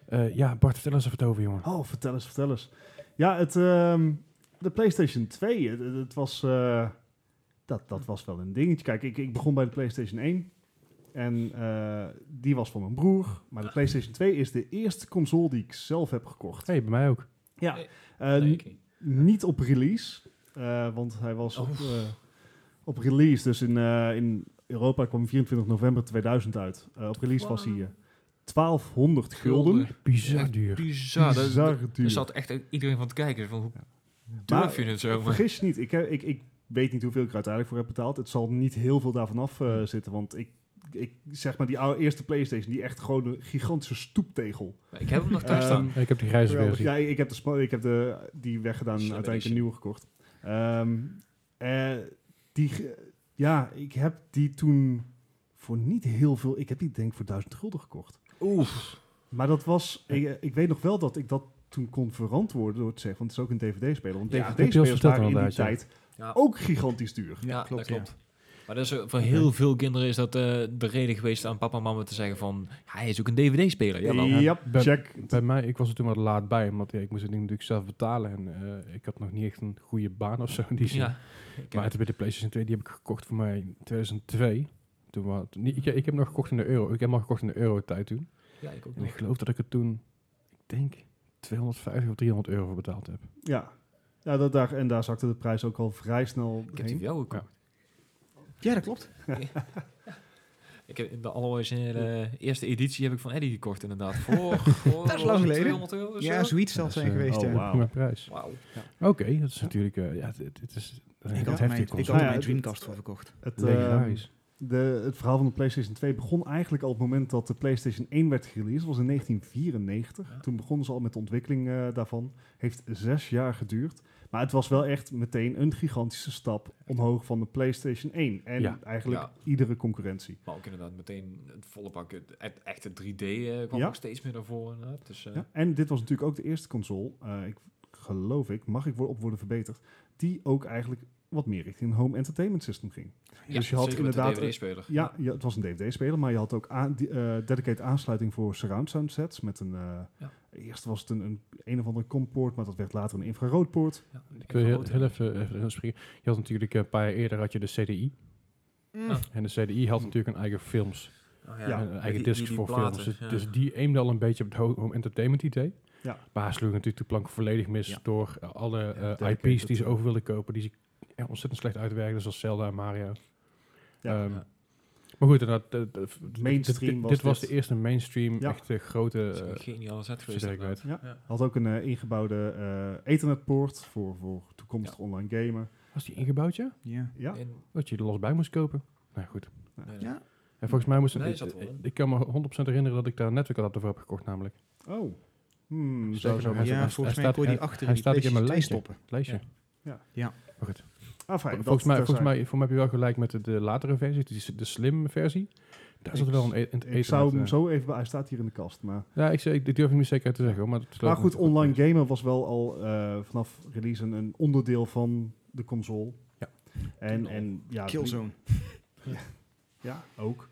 [SPEAKER 1] Eh, ja, Bart, vertel eens even het over, jongen.
[SPEAKER 2] Oh, vertel eens, vertel eens. Ja, het, ehm, de PlayStation 2, het, het- het was, eh, dat, dat was wel een dingetje. Kijk, ik, ik begon bij de PlayStation 1. En eh, die was van mijn broer. Maar de PlayStation 2 is de eerste console die ik zelf heb gekocht.
[SPEAKER 1] hey, bij mij ook.
[SPEAKER 2] Ja,
[SPEAKER 3] Nee.
[SPEAKER 2] eh,
[SPEAKER 3] Nee, ik niet.
[SPEAKER 2] niet op release. eh, want hij was op,
[SPEAKER 3] Oh.
[SPEAKER 2] eh, op release. Dus in, eh, in Europa kwam 24 november 2000 uit. Eh, op release was hij eh, 1200 gulden.
[SPEAKER 1] Bizar
[SPEAKER 3] Echt
[SPEAKER 1] duur.
[SPEAKER 3] Bizar. dat-
[SPEAKER 2] Bizar duur.
[SPEAKER 3] Er zat echt iedereen van te kijken. Van, hoe durf
[SPEAKER 2] Maar,
[SPEAKER 3] je het zo? Maar,
[SPEAKER 2] Vergis je niet, ik, heb, ik, ik weet niet hoeveel ik er uiteindelijk voor heb betaald. Het zal niet heel veel daarvan af eh, zitten, want ik, ik zeg maar die oude eerste PlayStation, die echt gewoon een gigantische stoeptegel.
[SPEAKER 3] ik heb hem nog thuis
[SPEAKER 2] Ehm,
[SPEAKER 3] staan.
[SPEAKER 1] Ja, ik heb die grijze
[SPEAKER 2] Geweldig.
[SPEAKER 1] versie.
[SPEAKER 2] Ja, ik heb, de, sma- ik heb de, die weggedaan en
[SPEAKER 3] Slim
[SPEAKER 2] uiteindelijk een
[SPEAKER 3] edition.
[SPEAKER 2] nieuwe gekocht. Ehm, eh, die, ge- ja, ik heb die toen voor niet heel veel, ik heb die denk ik voor 1000 gulden gekocht.
[SPEAKER 3] Oef.
[SPEAKER 2] Maar dat was, ik, ik weet nog wel dat ik dat toen kon verantwoorden door te zeggen, want het is ook een DVD-speler. Want
[SPEAKER 3] Ja, dat
[SPEAKER 1] heb je al
[SPEAKER 2] DVD-spelers
[SPEAKER 1] verteld
[SPEAKER 2] waren in die
[SPEAKER 1] inderdaad, ja.
[SPEAKER 2] tijd
[SPEAKER 3] Ja.
[SPEAKER 2] ook gigantisch duur.
[SPEAKER 3] Ja, dat
[SPEAKER 4] ja.
[SPEAKER 3] klopt. Maar dat is, eh, voor heel veel kinderen is dat eh, de reden geweest aan papa en mama te zeggen van... Hij is ook een dvd-speler, jawel.
[SPEAKER 1] Ja,
[SPEAKER 2] Ja,
[SPEAKER 1] ben-
[SPEAKER 2] check.
[SPEAKER 1] Bij mij, ik was er toen wat laat bij, omdat ja, ik moest het ding natuurlijk zelf betalen. En eh, ik had nog niet echt een goede baan of zo. in Die zin.
[SPEAKER 3] Ja.
[SPEAKER 1] Maar toen bij de PlayStation 2, die heb ik gekocht voor mij in 2002. Toen was, niet, ik, ik heb hem nog gekocht in de euro. Ik heb hem al gekocht in de euro-tijd toen.
[SPEAKER 3] Ja, ik ook
[SPEAKER 1] En
[SPEAKER 3] nog.
[SPEAKER 1] ik geloof dat ik er toen, ik denk, 250 of 300 euro voor betaald heb.
[SPEAKER 2] Ja. Ja, dat daar, en daar zakte de prijs ook al vrij snel
[SPEAKER 3] Ik heb die
[SPEAKER 2] heen.
[SPEAKER 3] voor jou gekocht.
[SPEAKER 4] Ja, dat klopt.
[SPEAKER 3] Ik heb de allereerste eerste editie heb ik van Eddie gekocht inderdaad. Voor, voor
[SPEAKER 4] Dat is lang geleden.
[SPEAKER 3] 200 euro of
[SPEAKER 4] Ja,
[SPEAKER 3] zo.
[SPEAKER 4] zoiets zelfs
[SPEAKER 1] Dat
[SPEAKER 4] zijn
[SPEAKER 1] is, eh,
[SPEAKER 4] geweest.
[SPEAKER 2] oh,
[SPEAKER 4] ja.
[SPEAKER 2] wauw.
[SPEAKER 1] Mijn prijs.
[SPEAKER 3] Wauw.
[SPEAKER 1] Oké, dat is natuurlijk, eh, ja, dit, dit is een
[SPEAKER 4] Ik
[SPEAKER 1] heel
[SPEAKER 4] had, mijn,
[SPEAKER 1] heftige
[SPEAKER 4] ik had
[SPEAKER 1] console.
[SPEAKER 4] er
[SPEAKER 2] Ja,
[SPEAKER 4] mijn
[SPEAKER 2] het-
[SPEAKER 4] Dreamcast voor verkocht.
[SPEAKER 2] Het, ehm,
[SPEAKER 1] Legendarisch.
[SPEAKER 2] de, het verhaal van de PlayStation 2 begon eigenlijk al op het moment dat de PlayStation 1 werd gereleased. Dat was in 1994.
[SPEAKER 3] Ja.
[SPEAKER 2] Toen begonnen ze al met de ontwikkeling eh, daarvan. Heeft zes jaar geduurd. Maar het was wel echt meteen een gigantische stap omhoog van de PlayStation 1. En
[SPEAKER 1] Ja.
[SPEAKER 2] eigenlijk
[SPEAKER 3] Ja.
[SPEAKER 2] iedere concurrentie.
[SPEAKER 3] Maar ook inderdaad meteen het volle pak. Het, het echte 3D eh, kwam
[SPEAKER 2] Ja.
[SPEAKER 3] ook steeds meer naar voren inderdaad. Dus, eh,
[SPEAKER 2] Ja, en dit was natuurlijk ook de eerste console, eh, ik geloof ik, mag ik wo- op worden verbeterd, die ook eigenlijk wat meer richting een home entertainment system ging.
[SPEAKER 3] ja,
[SPEAKER 2] dus je had
[SPEAKER 3] zeker met
[SPEAKER 2] inderdaad-
[SPEAKER 3] de DVD-speler.
[SPEAKER 2] Ja, ja, het was een DVD-speler, maar je had ook aan, die, eh, dedicated aansluiting voor surround sound sets met een... eh,
[SPEAKER 3] Ja.
[SPEAKER 2] Eerst was het een, een, een of andere compoort, maar dat werd later een infraroodpoort.
[SPEAKER 3] Ja,
[SPEAKER 1] Ik wil heel, heel even, even erin springen. Je had natuurlijk eh, een paar jaar eerder had je de CDI.
[SPEAKER 3] Mm.
[SPEAKER 1] En de CDI had natuurlijk een eigen films.
[SPEAKER 3] Oh,
[SPEAKER 2] Ja,
[SPEAKER 1] en een eigen disc voor films. Dus, dus die aimde al een beetje op het ho- home entertainment idee.
[SPEAKER 2] Ja.
[SPEAKER 1] Maar hij sloeg natuurlijk de plank volledig mis
[SPEAKER 4] Ja.
[SPEAKER 1] door eh, alle eh,
[SPEAKER 2] dat denk ik
[SPEAKER 1] IP's
[SPEAKER 2] dat,
[SPEAKER 1] die ze
[SPEAKER 2] eh,
[SPEAKER 1] over wilden kopen. Die ze echt ontzettend slecht uitwerkten, zoals Zelda en Mario.
[SPEAKER 2] Ja.
[SPEAKER 1] Ehm,
[SPEAKER 3] Ja.
[SPEAKER 1] Maar goed, inderdaad, eh, eh, dit-
[SPEAKER 2] Mainstream
[SPEAKER 1] dit,
[SPEAKER 2] was
[SPEAKER 1] dit was
[SPEAKER 2] dit.
[SPEAKER 1] de eerste mainstream,
[SPEAKER 2] Ja.
[SPEAKER 1] echte grote...
[SPEAKER 3] Dat is
[SPEAKER 1] eh,
[SPEAKER 3] een geniale set geweest.
[SPEAKER 1] zover ik
[SPEAKER 3] inderdaad.
[SPEAKER 2] weet.
[SPEAKER 3] Ja.
[SPEAKER 2] Had ook een eh, ingebouwde eh ethernetpoort voor, voor toekomstig online gamen.
[SPEAKER 1] was die ingebouwd, ja?
[SPEAKER 4] Ja.
[SPEAKER 2] Ja,
[SPEAKER 3] En-
[SPEAKER 1] Dat je er los bij moest kopen? Nou goed.
[SPEAKER 3] nee,
[SPEAKER 4] Ja.
[SPEAKER 1] En volgens mij moest...
[SPEAKER 3] Nee,
[SPEAKER 1] ik,
[SPEAKER 3] zat wel in.
[SPEAKER 1] ik kan me 100% herinneren dat ik daar een netwerkadapter voor heb gekocht, namelijk.
[SPEAKER 2] oh. Hmm,
[SPEAKER 1] Zeker
[SPEAKER 2] zou zo
[SPEAKER 1] nog
[SPEAKER 2] maar
[SPEAKER 1] eens.
[SPEAKER 2] zijn.
[SPEAKER 1] hij
[SPEAKER 4] Ja, volgens mij
[SPEAKER 1] staat-
[SPEAKER 4] kon je die
[SPEAKER 1] hij- hij
[SPEAKER 4] achter in die
[SPEAKER 1] staat ook in mijn
[SPEAKER 4] PlayStation 2
[SPEAKER 1] lijstje.
[SPEAKER 4] stoppen.
[SPEAKER 1] Het lijstje.
[SPEAKER 2] Ah, fijn,
[SPEAKER 1] Vol-
[SPEAKER 2] dat
[SPEAKER 1] volgens, mij, volgens,
[SPEAKER 2] terzijde.
[SPEAKER 1] mij, voor mij heb je wel gelijk met de, de latere versie, dus de, de slim versie. Daar zat
[SPEAKER 2] Ik-
[SPEAKER 1] wel een, e- een
[SPEAKER 2] Ik zou hem
[SPEAKER 1] ethernet, eh,
[SPEAKER 2] zo even... bij- Hij staat hier in de kast, maar...
[SPEAKER 1] Ja, ik, zeg- ik durf het niet zeker te zeggen. hoor, Maar, dat geloof
[SPEAKER 2] Maar
[SPEAKER 1] ik
[SPEAKER 2] goed,
[SPEAKER 1] niet.
[SPEAKER 2] online gamen was wel al eh, vanaf release een, een onderdeel van de console.
[SPEAKER 1] Ja.
[SPEAKER 2] En, en ja, die-
[SPEAKER 4] Killzone.
[SPEAKER 2] ja, ook.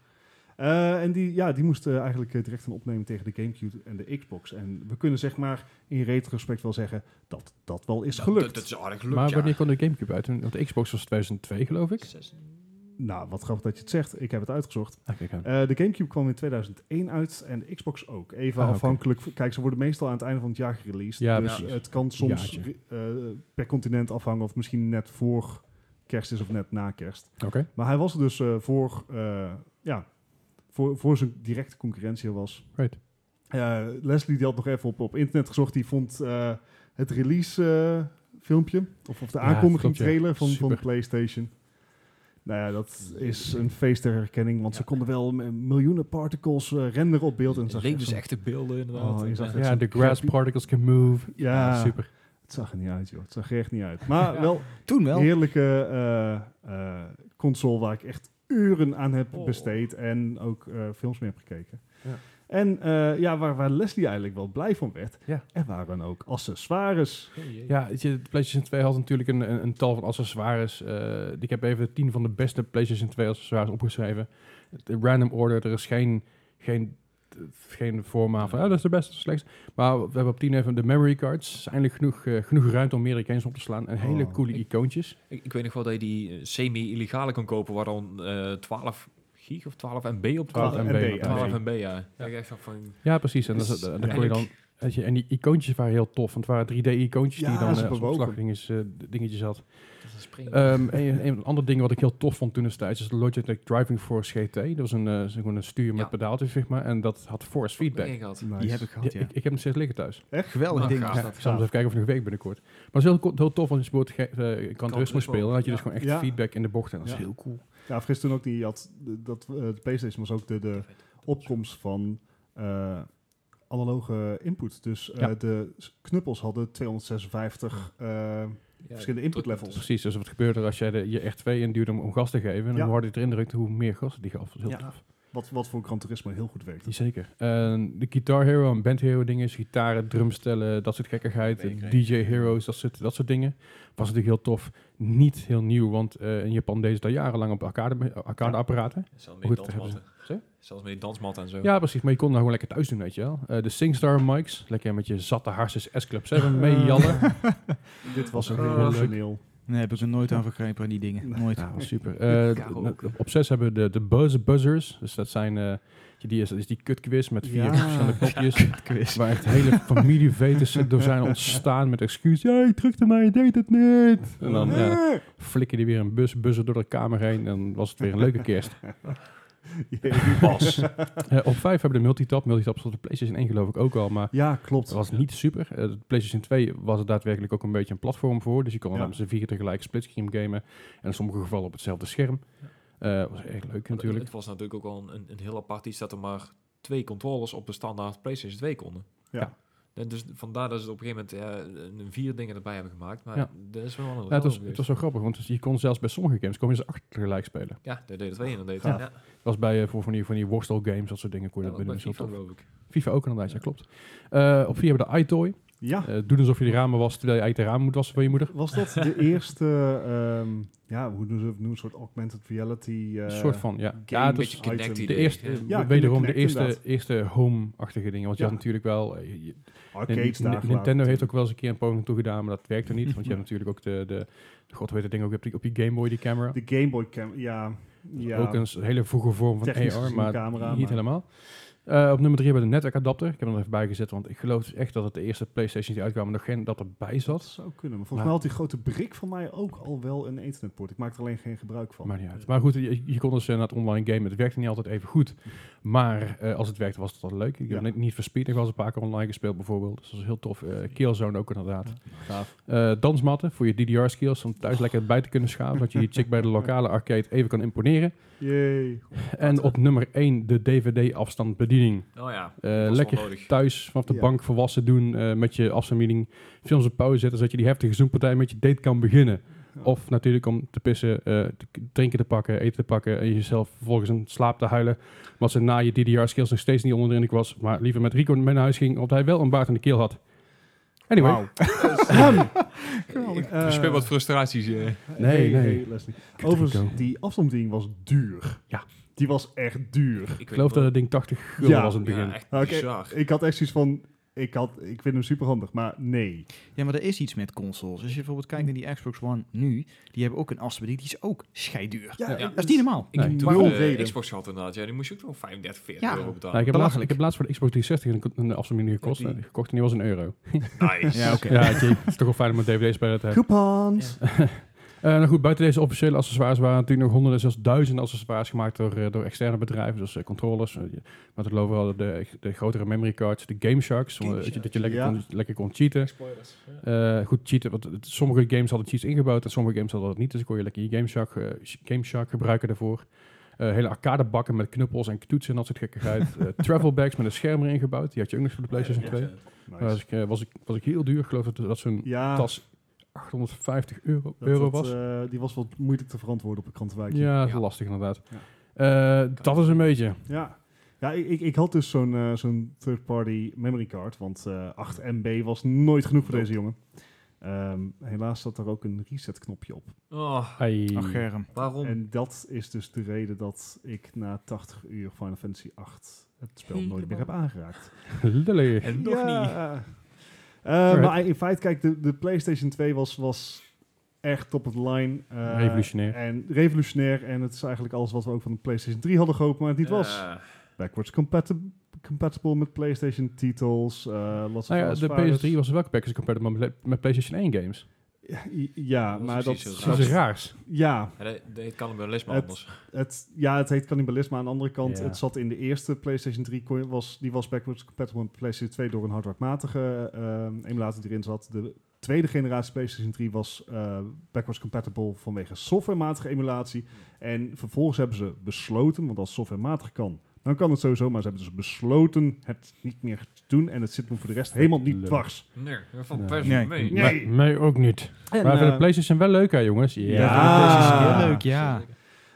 [SPEAKER 2] Eh, en die, ja, die moesten eigenlijk eh, direct een opnemen tegen de Gamecube en de Xbox. En we kunnen zeg maar in retrospect wel zeggen dat dat wel is gelukt.
[SPEAKER 3] Dat, dat is aardig gelukt,
[SPEAKER 1] Maar
[SPEAKER 3] ja.
[SPEAKER 1] wanneer kwam de Gamecube uit? Want de Xbox was 2002, geloof ik.
[SPEAKER 3] Zes-
[SPEAKER 2] Nou, wat grappig dat je het zegt. Ik heb het uitgezocht.
[SPEAKER 1] Ah, kijk aan.
[SPEAKER 2] Eh, de Gamecube kwam in 2001 uit en de Xbox ook. Even
[SPEAKER 1] Ah, oké.
[SPEAKER 2] afhankelijk. v- Kijk, ze worden meestal aan het einde van het jaar gereleased.
[SPEAKER 1] Ja,
[SPEAKER 2] dus
[SPEAKER 1] precies.
[SPEAKER 2] het kan soms
[SPEAKER 1] Jaartje.
[SPEAKER 2] eh, per continent afhangen of misschien net voor kerst is of net na kerst.
[SPEAKER 1] Oké.
[SPEAKER 2] Maar hij was er dus eh, voor, eh, ja, voor, voor zijn directe concurrentie was.
[SPEAKER 1] Right.
[SPEAKER 2] Eh, Leslie die had nog even op, op internet gezocht. Die vond eh, het release eh, filmpje of, of de
[SPEAKER 1] Ja,
[SPEAKER 2] aankondiging
[SPEAKER 1] klopt, ja.
[SPEAKER 2] trailer van, van
[SPEAKER 1] Super.
[SPEAKER 2] PlayStation. Nou ja, dat is een feest ter herkenning, want ze konden wel m- miljoenen particles eh, renderen op beeld. En het zag
[SPEAKER 3] Leek
[SPEAKER 2] echt
[SPEAKER 3] dus
[SPEAKER 2] zo-
[SPEAKER 3] echte beelden, inderdaad.
[SPEAKER 2] Oh, je zag
[SPEAKER 3] Ja.
[SPEAKER 2] het.
[SPEAKER 1] Ja,
[SPEAKER 2] zo'n
[SPEAKER 1] de grass
[SPEAKER 2] crappy-
[SPEAKER 1] particles can move.
[SPEAKER 2] Ja.
[SPEAKER 1] Ah, super.
[SPEAKER 2] Het zag er niet uit, joh. Het zag er echt niet uit. Maar
[SPEAKER 3] Ja.
[SPEAKER 2] wel
[SPEAKER 4] Toen
[SPEAKER 2] een
[SPEAKER 4] wel.
[SPEAKER 2] heerlijke eh, eh, console waar ik echt uren aan heb
[SPEAKER 3] Oh.
[SPEAKER 2] besteed en ook eh, films mee heb gekeken.
[SPEAKER 1] Ja.
[SPEAKER 2] En eh, ja, waar, waar Leslie eigenlijk wel blij van werd,
[SPEAKER 1] Ja.
[SPEAKER 2] er waren ook accessoires.
[SPEAKER 3] Oh, jee.
[SPEAKER 1] Ja, weet je, de PlayStation 2 had natuurlijk een, een, een tal van accessoires. Eh, ik heb even de tien van de beste PlayStation 2 accessoires opgeschreven. De random order, er is geen, geen, geen forma van, ah, dat is de beste, slechts. Maar we hebben op tien even de memory cards. Er is Eindelijk genoeg, eh, genoeg ruimte om meerdere games op te slaan. En hele
[SPEAKER 2] Oh.
[SPEAKER 1] coole icoontjes.
[SPEAKER 3] Ik, ik weet nog wel dat je die eh, semi-illegale kon kopen, waar dan eh 12 gig of 12 MB op
[SPEAKER 1] 12
[SPEAKER 3] 12
[SPEAKER 1] MB.
[SPEAKER 2] MB, ja.
[SPEAKER 3] 12 MB, ja. ja. Ik dacht van,
[SPEAKER 1] Ja, precies. En, dat, is-
[SPEAKER 3] Dus
[SPEAKER 1] eh, dan kon je dan, weet je, en die icoontjes waren heel tof. Want het waren 3D-icoontjes
[SPEAKER 2] Ja,
[SPEAKER 1] die dan
[SPEAKER 2] ze
[SPEAKER 1] eh, als
[SPEAKER 2] bewogen.
[SPEAKER 1] opslagdingetjes eh, dingetjes had.
[SPEAKER 3] dat is springen.
[SPEAKER 1] Ehm, en een ander ding wat ik heel tof vond toen destijds is de Logitech Driving Force GT. Dat was een, eh, zo gewoon een stuur met
[SPEAKER 3] Ja.
[SPEAKER 1] pedaaltjes, zeg maar. En dat had force feedback.
[SPEAKER 3] Nee, gehad.
[SPEAKER 2] Nice.
[SPEAKER 4] Die heb ik
[SPEAKER 1] Ja,
[SPEAKER 4] gehad, ja.
[SPEAKER 1] ik, ik heb hem steeds liggen thuis.
[SPEAKER 4] Geweldig
[SPEAKER 3] Ah,
[SPEAKER 4] ding.
[SPEAKER 3] gaaf.
[SPEAKER 1] Ja,
[SPEAKER 3] dat
[SPEAKER 1] ik zal eens even kijken of ik nog week binnenkort. Maar het is heel, ko- heel tof, want je speelt uh, kan
[SPEAKER 3] Turismo,
[SPEAKER 1] rust moet spelen. Dan had je dus
[SPEAKER 3] ja.
[SPEAKER 1] gewoon echt
[SPEAKER 2] Ja.
[SPEAKER 1] feedback in de bocht. En dat is
[SPEAKER 2] Ja.
[SPEAKER 1] heel cool.
[SPEAKER 2] Ja, vergis toen ook niet. je Had, de- dat, eh, de PlayStation was ook de,
[SPEAKER 1] Eh,
[SPEAKER 2] de opkomst van eh, analoge input. Dus eh,
[SPEAKER 1] Ja.
[SPEAKER 2] de s- knuppels hadden 256 eh, verschillende input levels.
[SPEAKER 1] Precies, dus wat gebeurt er als jij de, je R2 induwt om, om gas te geven. En
[SPEAKER 2] Ja.
[SPEAKER 1] hoe harder je erin drukt, hoe meer gas die gaf. Dat is heel
[SPEAKER 2] Ja.
[SPEAKER 1] tof.
[SPEAKER 2] Wat, wat voor Gran Turismo heel goed werkt.
[SPEAKER 1] Zeker. En Eh, de Guitar Hero en Band Hero dingen, gitaren, drumstellen, dat soort gekkigheid.
[SPEAKER 4] Zeker.
[SPEAKER 1] DJ Heroes, dat soort, dat soort dingen. Was natuurlijk heel tof. Niet heel nieuw, want eh, in Japan deden ze dat jarenlang op arcade, arcadeapparaten.
[SPEAKER 3] Zelfs
[SPEAKER 1] Hoe
[SPEAKER 3] met
[SPEAKER 1] goed
[SPEAKER 3] dansmatten.
[SPEAKER 1] Zeg?
[SPEAKER 3] Zelfs met die dansmatten en zo.
[SPEAKER 1] Ja. precies. Maar je kon dat gewoon lekker thuis doen, weet je wel. Eh, de SingStar mics, lekker met je zatte harses S-Club 7 mee jallen.
[SPEAKER 2] Dit was ook
[SPEAKER 1] Eh,
[SPEAKER 2] revolutioneel.
[SPEAKER 4] Nee, heb ik er nooit aan vergrepen aan die dingen. Nooit.
[SPEAKER 1] Ja, was super. Eh,
[SPEAKER 3] Ja,
[SPEAKER 1] d-
[SPEAKER 3] ook.
[SPEAKER 1] op 6 hebben we de, de buzzer buzzers. Dus dat zijn eh, die, is, is die kutquiz met vier
[SPEAKER 2] Ja.
[SPEAKER 1] verschillende knopjes.
[SPEAKER 4] Quiz.
[SPEAKER 1] Waar echt hele familievetes door zijn ontstaan met excuus. Ja, je drukte mij, je deed het niet. En dan ja,
[SPEAKER 2] Eh,
[SPEAKER 1] flikker die weer een bus, bussen door de kamer heen. En was het weer een leuke kerst.
[SPEAKER 2] jee.
[SPEAKER 1] Eh, op 5 hebben we de multitap. Multitap stond op PlayStation 1 geloof ik ook al. Maar
[SPEAKER 2] ja, klopt.
[SPEAKER 1] dat was niet super. Eh, de PlayStation 2 was er daadwerkelijk ook een beetje een platform voor. Dus je kon
[SPEAKER 2] Ja.
[SPEAKER 1] er met z'n vier tegelijk splitscreen gamen. En in sommige gevallen op hetzelfde scherm. Eh was erg leuk
[SPEAKER 3] Want het-
[SPEAKER 1] natuurlijk.
[SPEAKER 3] Het was natuurlijk ook wel een, een heel apart iets dat er maar twee controllers op de standaard PlayStation 2 konden.
[SPEAKER 2] Ja.
[SPEAKER 3] En dus vandaar dat ze op een gegeven moment eh, een- vier dingen erbij hebben gemaakt. Maar
[SPEAKER 1] Ja.
[SPEAKER 3] dat is wel een andere
[SPEAKER 1] Ja, het, was,
[SPEAKER 3] rol
[SPEAKER 1] het was zo grappig, want je kon zelfs bij sommige games kon je ze acht tegelijk spelen.
[SPEAKER 3] geweest. Ja, dat deed het twee en dat deed
[SPEAKER 2] Gaaf.
[SPEAKER 3] het ja.
[SPEAKER 1] Dat was bij eh, voor van die, van die worstelgames, dat soort dingen kon je
[SPEAKER 3] Ja,
[SPEAKER 1] dat
[SPEAKER 3] dat was
[SPEAKER 1] binnen.
[SPEAKER 3] bij
[SPEAKER 1] Dat was heel
[SPEAKER 3] FIFA,
[SPEAKER 1] tof.
[SPEAKER 3] geloof ik.
[SPEAKER 1] FIFA ook inderdaad, ja, klopt. Eh, op 4 hebben we de iToy.
[SPEAKER 2] Ja,
[SPEAKER 1] Eh doe alsof je de ramen was, terwijl je eigenlijk de ramen moet wassen van je moeder.
[SPEAKER 2] was dat de eerste, ehm, ja, hoe noemen ze het, een soort augmented reality? eh,
[SPEAKER 1] Een soort van, ja.
[SPEAKER 3] Ja,
[SPEAKER 1] ja,
[SPEAKER 3] een
[SPEAKER 1] het
[SPEAKER 3] beetje
[SPEAKER 1] is
[SPEAKER 2] item.
[SPEAKER 3] connect
[SPEAKER 2] De
[SPEAKER 1] de
[SPEAKER 3] idee.
[SPEAKER 1] eerste,
[SPEAKER 3] Ja.
[SPEAKER 1] eh,
[SPEAKER 2] Ja,
[SPEAKER 1] wederom de
[SPEAKER 2] Kinect,
[SPEAKER 1] eerste,
[SPEAKER 2] inderdaad.
[SPEAKER 1] eerste home-achtige dingen. Want je
[SPEAKER 2] Ja.
[SPEAKER 1] had natuurlijk wel... eh, je- je-
[SPEAKER 2] arcades daar
[SPEAKER 1] Nin- Nintendo heeft ook wel eens een keer een poging toegedaan, maar dat werkte niet. Want je hebt natuurlijk ook de, de god weet het ding, ook op die, op die Game Boy, die camera.
[SPEAKER 2] De Game Boy Cam, ja. ja.
[SPEAKER 1] Ook een s- hele vroege vorm van
[SPEAKER 2] Technisch
[SPEAKER 1] AR,
[SPEAKER 2] gezien
[SPEAKER 1] maar
[SPEAKER 2] camera,
[SPEAKER 1] niet
[SPEAKER 2] maar-
[SPEAKER 1] helemaal. Eh, op nummer 3 hebben we de netwerkadapter. Ik heb hem er even bij gezet, want ik geloof dus echt dat het de eerste PlayStation die uitkwam nog geen adapter bij
[SPEAKER 2] Dat
[SPEAKER 1] zat.
[SPEAKER 2] zou kunnen. Maar volgens
[SPEAKER 1] Maar-
[SPEAKER 2] mij had die grote brik van mij ook al wel een internetpoort. Ik maak er alleen geen gebruik van. Eh,
[SPEAKER 1] Maar, niet uit. maar goed, je, je kon dus naar het online gamen. Het werkte niet altijd even goed. Maar eh, als het werkte, was het wel leuk. Ik
[SPEAKER 2] Ja.
[SPEAKER 1] heb net niet verspeed. Ik was een paar keer online gespeeld bijvoorbeeld. Dus dat was heel tof. Eh Killzone ook inderdaad.
[SPEAKER 4] Gaaf.
[SPEAKER 1] Eh, dansmatten voor je DDR-skills. Om thuis lekker bij te kunnen schaven. Dat je die chick bij de lokale arcade even kan imponeren.
[SPEAKER 2] Jee.
[SPEAKER 1] En op nummer 1 de DVD-afstandsbediening.
[SPEAKER 3] Oh ja,
[SPEAKER 1] Eh,
[SPEAKER 3] dat was wel
[SPEAKER 1] lekker
[SPEAKER 3] nodig.
[SPEAKER 1] thuis vanaf de
[SPEAKER 2] Ja.
[SPEAKER 1] bank volwassen doen eh, met je afstandsbediening. Films op pauze zetten, zodat je die heftige zoenpartij met je date kan beginnen.
[SPEAKER 2] Ja.
[SPEAKER 1] Of natuurlijk om te pissen, eh, te k- drinken te pakken, eten te pakken en jezelf vervolgens in slaap te huilen. Wat ze na je DDR-skills nog steeds niet onder de indruk was, maar liever met Rico mee naar huis ging, omdat hij wel een baard in de keel had. Anyway,
[SPEAKER 2] Geweldig. Eh,
[SPEAKER 3] Ik verspil wat frustraties. eh.
[SPEAKER 1] Nee, nee.
[SPEAKER 2] Leslie.
[SPEAKER 1] Kutrico.
[SPEAKER 2] Overigens, die afstandsbediening was duur.
[SPEAKER 1] Ja.
[SPEAKER 2] Die was echt duur.
[SPEAKER 1] ik geloof dat het ding 80 gulden
[SPEAKER 2] Ja.
[SPEAKER 1] was in het begin.
[SPEAKER 3] Ja, echt
[SPEAKER 2] Oké.
[SPEAKER 3] bizar.
[SPEAKER 2] Ik had echt zoiets van, ik, had, ik vind hem superhandig, maar nee.
[SPEAKER 4] Ja, maar er is iets met consoles. Als je bijvoorbeeld kijkt naar die Xbox One nu, die hebben ook een afstandsbediening, die is ook scheiduur.
[SPEAKER 2] Ja,
[SPEAKER 3] Ja.
[SPEAKER 4] Dat is niet normaal.
[SPEAKER 3] Ik
[SPEAKER 1] Nee.
[SPEAKER 3] heb
[SPEAKER 2] Nul
[SPEAKER 3] toen de
[SPEAKER 2] reden.
[SPEAKER 3] Xbox gehad inderdaad. Ja, die moest je ook nog 35, 40
[SPEAKER 4] Ja.
[SPEAKER 3] euro
[SPEAKER 1] Nou,
[SPEAKER 3] betalen.
[SPEAKER 1] ik, heb laatst,
[SPEAKER 4] Belachelijk.
[SPEAKER 1] ik heb laatst voor de Xbox 360 een, een afstandsbediening gekost,
[SPEAKER 2] Die-
[SPEAKER 1] eh, gekocht en die was een euro.
[SPEAKER 3] Nice.
[SPEAKER 4] Ja, oké.
[SPEAKER 1] Ja, het is- het is toch wel fijn om een DVD-speler te hebben.
[SPEAKER 2] Coupons.
[SPEAKER 1] Eh, nou goed, buiten deze officiële accessoires waren natuurlijk nog honderden, zelfs duizenden accessoires gemaakt door, eh, door externe bedrijven, zoals eh, controllers. eh, je- maar het lopen wel de, de grotere memory cards, de Game Sharks, om, eh,
[SPEAKER 4] Game
[SPEAKER 1] dat je, dat
[SPEAKER 4] Sharks,
[SPEAKER 1] je lekker,
[SPEAKER 2] ja.
[SPEAKER 1] kon, lekker kon cheaten. Eh, goed, cheaten, want het- sommige games hadden cheats ingebouwd en sommige games hadden dat niet, dus kon je lekker je Game Shark, eh, Game Shark gebruiken daarvoor. Eh, hele arcadebakken met knuppels en toetsen en dat soort gekkigheid. Eh, travel bags met een scherm erin gebouwd, die had je ook nog voor de PlayStation 2.
[SPEAKER 2] Nice.
[SPEAKER 1] Eh, was, ik, eh, was, ik, was ik heel duur, ik geloof dat, dat zo'n
[SPEAKER 2] ja,
[SPEAKER 1] tas 850 euro,
[SPEAKER 2] dat-
[SPEAKER 1] euro
[SPEAKER 2] dat,
[SPEAKER 1] was.
[SPEAKER 2] eh, die was wat moeilijk te verantwoorden op een krantenwijkje.
[SPEAKER 1] Ja, dat is
[SPEAKER 3] Ja.
[SPEAKER 1] lastig inderdaad.
[SPEAKER 2] Ja.
[SPEAKER 1] Eh, dat is een beetje.
[SPEAKER 2] Ja, ja ik, ik, ik had dus zo'n eh, zo'n third-party memory card, want eh 8 MB was nooit genoeg voor deze jongen. Ehm, helaas zat daar ook een reset knopje op.
[SPEAKER 3] Oh,
[SPEAKER 1] Ai.
[SPEAKER 4] Ach, Germ.
[SPEAKER 3] waarom?
[SPEAKER 2] En dat is dus de reden dat ik na 80 uur Final Fantasy 8 het spel nooit meer heb aangeraakt.
[SPEAKER 1] Lully.
[SPEAKER 3] En nog niet.
[SPEAKER 2] Eh, maar in feite, kijk, de, de PlayStation 2 was, was echt op het line. eh,
[SPEAKER 1] Revolutionair.
[SPEAKER 2] En revolutionair. En het is eigenlijk alles wat we ook van de PlayStation 3 hadden gehoopt, maar het niet was.
[SPEAKER 3] Eh,
[SPEAKER 2] backwards compatib- compatible met PlayStation titels, eh lots
[SPEAKER 1] Nou ja,
[SPEAKER 2] of
[SPEAKER 1] de PS3 was wel backwards compatible met, met PlayStation 1 games.
[SPEAKER 2] Ja,
[SPEAKER 3] Dat is
[SPEAKER 2] maar dat,
[SPEAKER 3] precies heel
[SPEAKER 1] Dat is raars.
[SPEAKER 2] ja,
[SPEAKER 3] ja, dat- dat kan hem wel les maar
[SPEAKER 2] Het-
[SPEAKER 3] anders.
[SPEAKER 2] het, ja, het heet cannibalisme. Aan de andere kant,
[SPEAKER 1] Ja.
[SPEAKER 2] het zat in de eerste PlayStation 3, kon je- was, die was backwards compatible met PlayStation 2 door een hardwarematige ehm emulator die erin zat. De tweede generatie PlayStation 3 was eh, backwards compatible vanwege softwarematige emulatie. En vervolgens hebben ze besloten, want als softwarematig kan, dan kan het sowieso, maar ze hebben dus besloten het niet meer te doen. En het zit me voor de rest helemaal niet
[SPEAKER 1] Lullig.
[SPEAKER 2] dwars.
[SPEAKER 3] Nee, dat valt
[SPEAKER 1] Nee.
[SPEAKER 3] best
[SPEAKER 4] Nee.
[SPEAKER 3] mee.
[SPEAKER 2] Nee.
[SPEAKER 1] Maar- Mij ook niet.
[SPEAKER 2] En,
[SPEAKER 1] maar ik vind
[SPEAKER 2] eh,
[SPEAKER 1] de PlayStation wel leuk, hè, jongens? Ja.
[SPEAKER 2] Ja.
[SPEAKER 4] PlayStation is heel leuk, ja.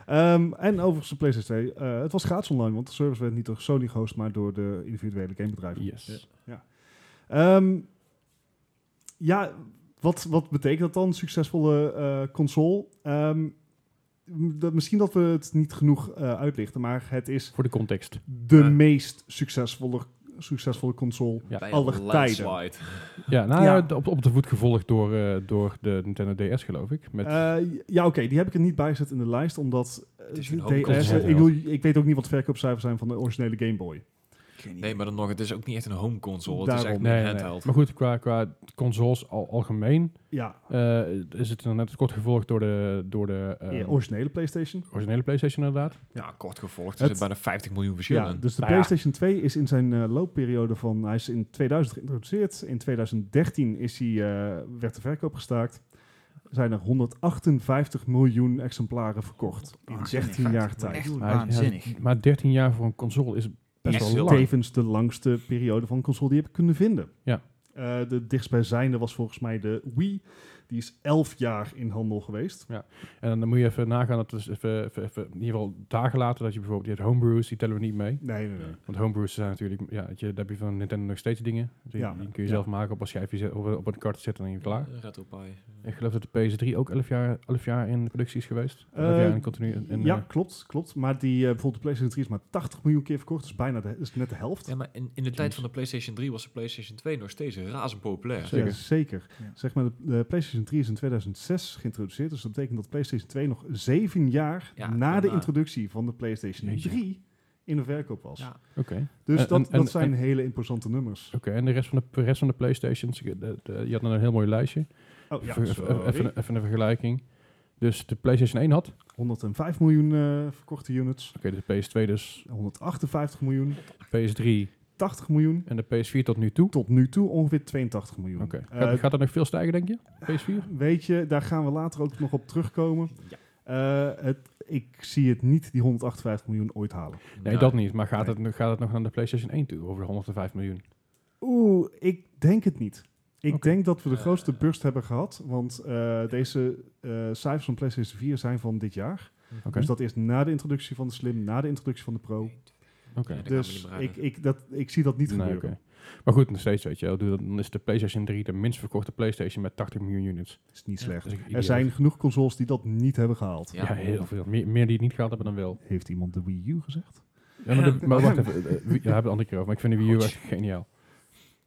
[SPEAKER 2] Ehm, en overigens de PlayStation 2. eh, het was gratis online, want de service werd niet door Sony gehost, maar door de individuele gamebedrijven.
[SPEAKER 1] Yes.
[SPEAKER 2] Ehm, ja, wat, wat betekent dat dan? Succesvolle eh, console? Ehm, m- dat, misschien dat we het niet genoeg eh, uitlichten, maar het is
[SPEAKER 1] Voor de context.
[SPEAKER 2] de
[SPEAKER 3] Ja.
[SPEAKER 2] meest succesvolle, succesvolle console.
[SPEAKER 1] Ja.
[SPEAKER 3] Bij
[SPEAKER 2] Alle
[SPEAKER 3] een
[SPEAKER 2] tijden.
[SPEAKER 3] landslide.
[SPEAKER 1] Ja, nou
[SPEAKER 2] Ja.
[SPEAKER 1] ja, d- op, op de voet gevolgd door, eh, door de Nintendo DS, geloof ik. Met,
[SPEAKER 2] Eh, ja, oké, die heb ik er niet bij gezet in de lijst, omdat eh,
[SPEAKER 3] Het is een
[SPEAKER 2] de
[SPEAKER 3] hoop
[SPEAKER 2] DS
[SPEAKER 1] console.
[SPEAKER 2] ik, bedoel, ik weet ook niet wat de verkoopcijfers zijn van de originele Game Boy.
[SPEAKER 3] Nee, maar dan nog, het is ook niet echt een home console. Het is
[SPEAKER 2] Daarom.
[SPEAKER 3] echt
[SPEAKER 1] nee,
[SPEAKER 3] een
[SPEAKER 1] nee, nee.
[SPEAKER 3] handheld.
[SPEAKER 1] Maar goed, qua, qua consoles al, algemeen
[SPEAKER 2] Ja,
[SPEAKER 1] eh, is het dan net kort gevolgd door de, door de eh,
[SPEAKER 3] Ehm.
[SPEAKER 2] eh, originele PlayStation.
[SPEAKER 1] originele PlayStation, inderdaad.
[SPEAKER 3] Ja, kort gevolgd. Er
[SPEAKER 2] Het-
[SPEAKER 3] zit bijna 50 miljoen verschillen.
[SPEAKER 2] Ja,
[SPEAKER 3] Ja,
[SPEAKER 2] dus de
[SPEAKER 1] Nou ja.
[SPEAKER 2] PlayStation 2 is in zijn eh, loopperiode van... Hij is in 2000 geïntroduceerd. In 2013 is hij, eh, werd de verkoop gestaakt. Zijn er 158 miljoen exemplaren verkoord.
[SPEAKER 1] Ah,
[SPEAKER 2] In 16 jaar tijd.
[SPEAKER 4] Echt
[SPEAKER 1] Maar-
[SPEAKER 4] waanzinnig.
[SPEAKER 1] Maar 13 jaar voor een console is best
[SPEAKER 3] Echt
[SPEAKER 1] wel
[SPEAKER 3] heel
[SPEAKER 1] lang.
[SPEAKER 2] Tevens de langste periode van console die heb ik kunnen vinden.
[SPEAKER 1] Ja.
[SPEAKER 2] Eh, de dichtstbijzijnde was volgens mij de Wii. Die is 11 jaar in handel geweest.
[SPEAKER 1] En dan moet je even nagaan, dat is even, even, even, in ieder geval dagen later, dat je bijvoorbeeld, je hebt homebrews, die tellen we niet mee.
[SPEAKER 2] Nee, nee, nee.
[SPEAKER 1] Want homebrews zijn natuurlijk, ja, dat je, daar heb je van Nintendo nog steeds dingen. Dus Die,
[SPEAKER 2] Ja.
[SPEAKER 1] die kun je
[SPEAKER 2] Ja.
[SPEAKER 1] zelf maken, op een schijfje zetten, op, een- op een kart zetten en dan ben je klaar.
[SPEAKER 3] Retro Pie.
[SPEAKER 1] Ik geloof dat de PS3 ook 11 jaar, 11 jaar in productie is geweest. 11
[SPEAKER 2] Eh,
[SPEAKER 1] jaar in continu. in- in,
[SPEAKER 2] ja,
[SPEAKER 1] eh,
[SPEAKER 2] klopt, klopt. Maar die, eh, bijvoorbeeld de PlayStation 3 is maar 80 miljoen keer verkocht. Dus bijna de, is net de helft.
[SPEAKER 3] Ja, maar in, in de tijd van de PlayStation 3 was de PlayStation 2 nog steeds razend populair.
[SPEAKER 1] Zeker.
[SPEAKER 2] Ja, zeker.
[SPEAKER 4] Ja.
[SPEAKER 2] Zeg maar, de, de PlayStation 3 is in 2006 geïntroduceerd. Dus dat betekent dat PlayStation 2 nog zeven jaar
[SPEAKER 3] Ja,
[SPEAKER 2] na de
[SPEAKER 3] daarna.
[SPEAKER 2] introductie van de PlayStation
[SPEAKER 1] Jeetje.
[SPEAKER 2] 3 in de verkoop was.
[SPEAKER 3] Ja.
[SPEAKER 1] Oké.
[SPEAKER 2] Dus
[SPEAKER 1] En-
[SPEAKER 2] dat,
[SPEAKER 1] en- en-
[SPEAKER 2] dat zijn hele imposante nummers.
[SPEAKER 1] Oké, en de rest van de, de rest van de Playstations, je- de- de- je had dan een heel mooi lijstje.
[SPEAKER 2] Oh ja,
[SPEAKER 1] Even- even, even,
[SPEAKER 2] sorry.
[SPEAKER 1] even een vergelijking. Dus de PlayStation 1 had, oké,
[SPEAKER 2] 105 miljoen eh, verkochte units.
[SPEAKER 1] de PS2 dus,
[SPEAKER 2] 158 miljoen.
[SPEAKER 1] PS3
[SPEAKER 2] 80 miljoen.
[SPEAKER 1] en de PS4 tot nu toe.
[SPEAKER 2] Tot nu toe ongeveer 82 miljoen.
[SPEAKER 1] Oké.
[SPEAKER 2] Eh,
[SPEAKER 1] Gaat, gaat dat nog veel stijgen, denk je? PS4?
[SPEAKER 2] weet je, daar gaan we later ook nog op terugkomen.
[SPEAKER 3] Ja.
[SPEAKER 2] Eh, het, ik zie het niet, die 158 miljoen ooit halen.
[SPEAKER 1] Nee,
[SPEAKER 3] Ja.
[SPEAKER 1] dat niet. Maar gaat, het het, gaat het nog naar de PlayStation 1 toe over de 105 miljoen?
[SPEAKER 2] Oeh, ik denk het niet. Ik
[SPEAKER 1] Oké.
[SPEAKER 2] denk dat we de
[SPEAKER 3] Eh.
[SPEAKER 2] grootste burst hebben gehad, want eh, deze eh, cijfers van PlayStation 4 zijn van dit jaar.
[SPEAKER 1] Oké.
[SPEAKER 2] Dus dat is na de introductie van de Slim, na de introductie van de Pro.
[SPEAKER 1] Oké.
[SPEAKER 3] Ja, dat gaan we niet
[SPEAKER 2] Dus
[SPEAKER 3] bereiden.
[SPEAKER 2] ik, ik, dat, ik zie dat niet
[SPEAKER 1] Nee,
[SPEAKER 2] gebeuren.
[SPEAKER 1] oké. Maar goed, nog steeds, weet je wel. Doe dat- Dan is de PlayStation 3 de minst verkochte PlayStation met 80 miljoen units.
[SPEAKER 2] Dat is niet
[SPEAKER 3] Ja.
[SPEAKER 2] slecht.
[SPEAKER 1] Dat is echt
[SPEAKER 2] er
[SPEAKER 1] idioot.
[SPEAKER 2] zijn genoeg consoles die dat niet hebben gehaald.
[SPEAKER 1] Ja,
[SPEAKER 3] Ja,
[SPEAKER 1] heel veel. Meer, meer die het niet gehaald hebben dan wel.
[SPEAKER 2] Heeft iemand de Wii U gezegd?
[SPEAKER 1] Ja, maar, de- maar wacht even. eh, eh, Wii- Daar hebben we het andere keer over. Maar ik vind de Wii U echt geniaal.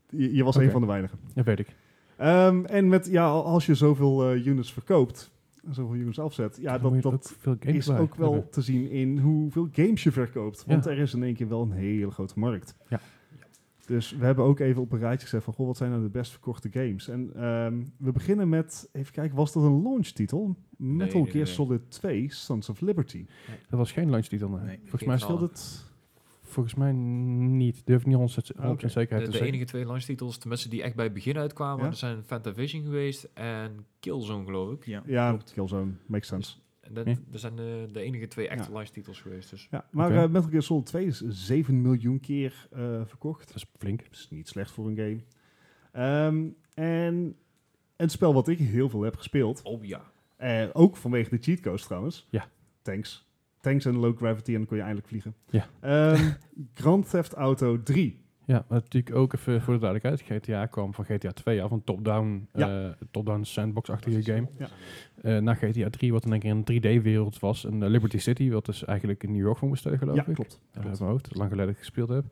[SPEAKER 2] Je, je was
[SPEAKER 1] Oké.
[SPEAKER 2] een van de weinigen.
[SPEAKER 1] Dat weet ik.
[SPEAKER 2] Ehm, en met, ja, als je zoveel eh, units verkoopt, zoveel units afzet, ja,
[SPEAKER 1] Dan moet
[SPEAKER 2] dat,
[SPEAKER 1] je
[SPEAKER 2] dat,
[SPEAKER 1] ook veel games
[SPEAKER 2] is
[SPEAKER 1] bij
[SPEAKER 2] ook wel
[SPEAKER 1] hebben.
[SPEAKER 2] te zien in hoeveel games je verkoopt. Want
[SPEAKER 1] Ja.
[SPEAKER 2] er is in één keer wel een hele grote markt.
[SPEAKER 1] Ja.
[SPEAKER 2] Dus we hebben ook even op een rijtje gezet van, goh, wat zijn nou de best verkochte games? En ehm, we beginnen met, even kijken, was dat een launchtitel? Metal
[SPEAKER 3] nee, nee,
[SPEAKER 2] Gear
[SPEAKER 3] nee.
[SPEAKER 2] Solid 2, Sons of Liberty.
[SPEAKER 1] Dat was geen launchtitel. Nee.
[SPEAKER 4] Nee.
[SPEAKER 1] eh, volgens, mij,
[SPEAKER 3] Geen
[SPEAKER 2] Stel dat...
[SPEAKER 1] volgens mij niet. Durf ik niet 100%
[SPEAKER 2] Ah, oké.
[SPEAKER 1] zekerheid
[SPEAKER 3] De,
[SPEAKER 1] te
[SPEAKER 3] de
[SPEAKER 1] zeggen.
[SPEAKER 3] enige twee launchtitels, tenminste die echt bij het begin uitkwamen,
[SPEAKER 2] Ja?
[SPEAKER 3] dat zijn Fantavision geweest en Killzone geloof ik.
[SPEAKER 4] Ja.
[SPEAKER 2] Ja, Killzone, makes sense.
[SPEAKER 3] En Dat,
[SPEAKER 1] Ja.
[SPEAKER 3] dat zijn eh, de, de enige twee echte
[SPEAKER 2] Ja.
[SPEAKER 3] launchtitels geweest. Dus
[SPEAKER 2] Ja, maar
[SPEAKER 1] Oké.
[SPEAKER 2] eh, Metal Gear Solid 2 is 7 miljoen keer eh, verkocht.
[SPEAKER 1] Dat is flink.
[SPEAKER 2] Dat is niet slecht voor een game. Ehm, en een spel wat ik heel veel heb gespeeld,
[SPEAKER 3] oh ja.
[SPEAKER 2] eh, ook vanwege de cheat codes trouwens.
[SPEAKER 1] Ja.
[SPEAKER 2] Tanks. Tanks en low gravity en dan kon je eindelijk vliegen.
[SPEAKER 1] Ja.
[SPEAKER 2] Ehm, Grand Theft Auto 3.
[SPEAKER 1] Ja, maar natuurlijk ook even voor de duidelijkheid. GTA kwam van GTA 2 af, een top-down eh, top-down sandbox-achtige game.
[SPEAKER 2] Ja.
[SPEAKER 1] Eh, na GTA 3, wat in een keer een 3D-wereld was. En eh, Liberty City, wat dus eigenlijk in New York voor moest stellen, geloof
[SPEAKER 2] Ja,
[SPEAKER 1] ik.
[SPEAKER 2] klopt.
[SPEAKER 1] Dat
[SPEAKER 2] Klopt.
[SPEAKER 1] uit mijn hoofd, lang geleden dat ik gespeeld heb.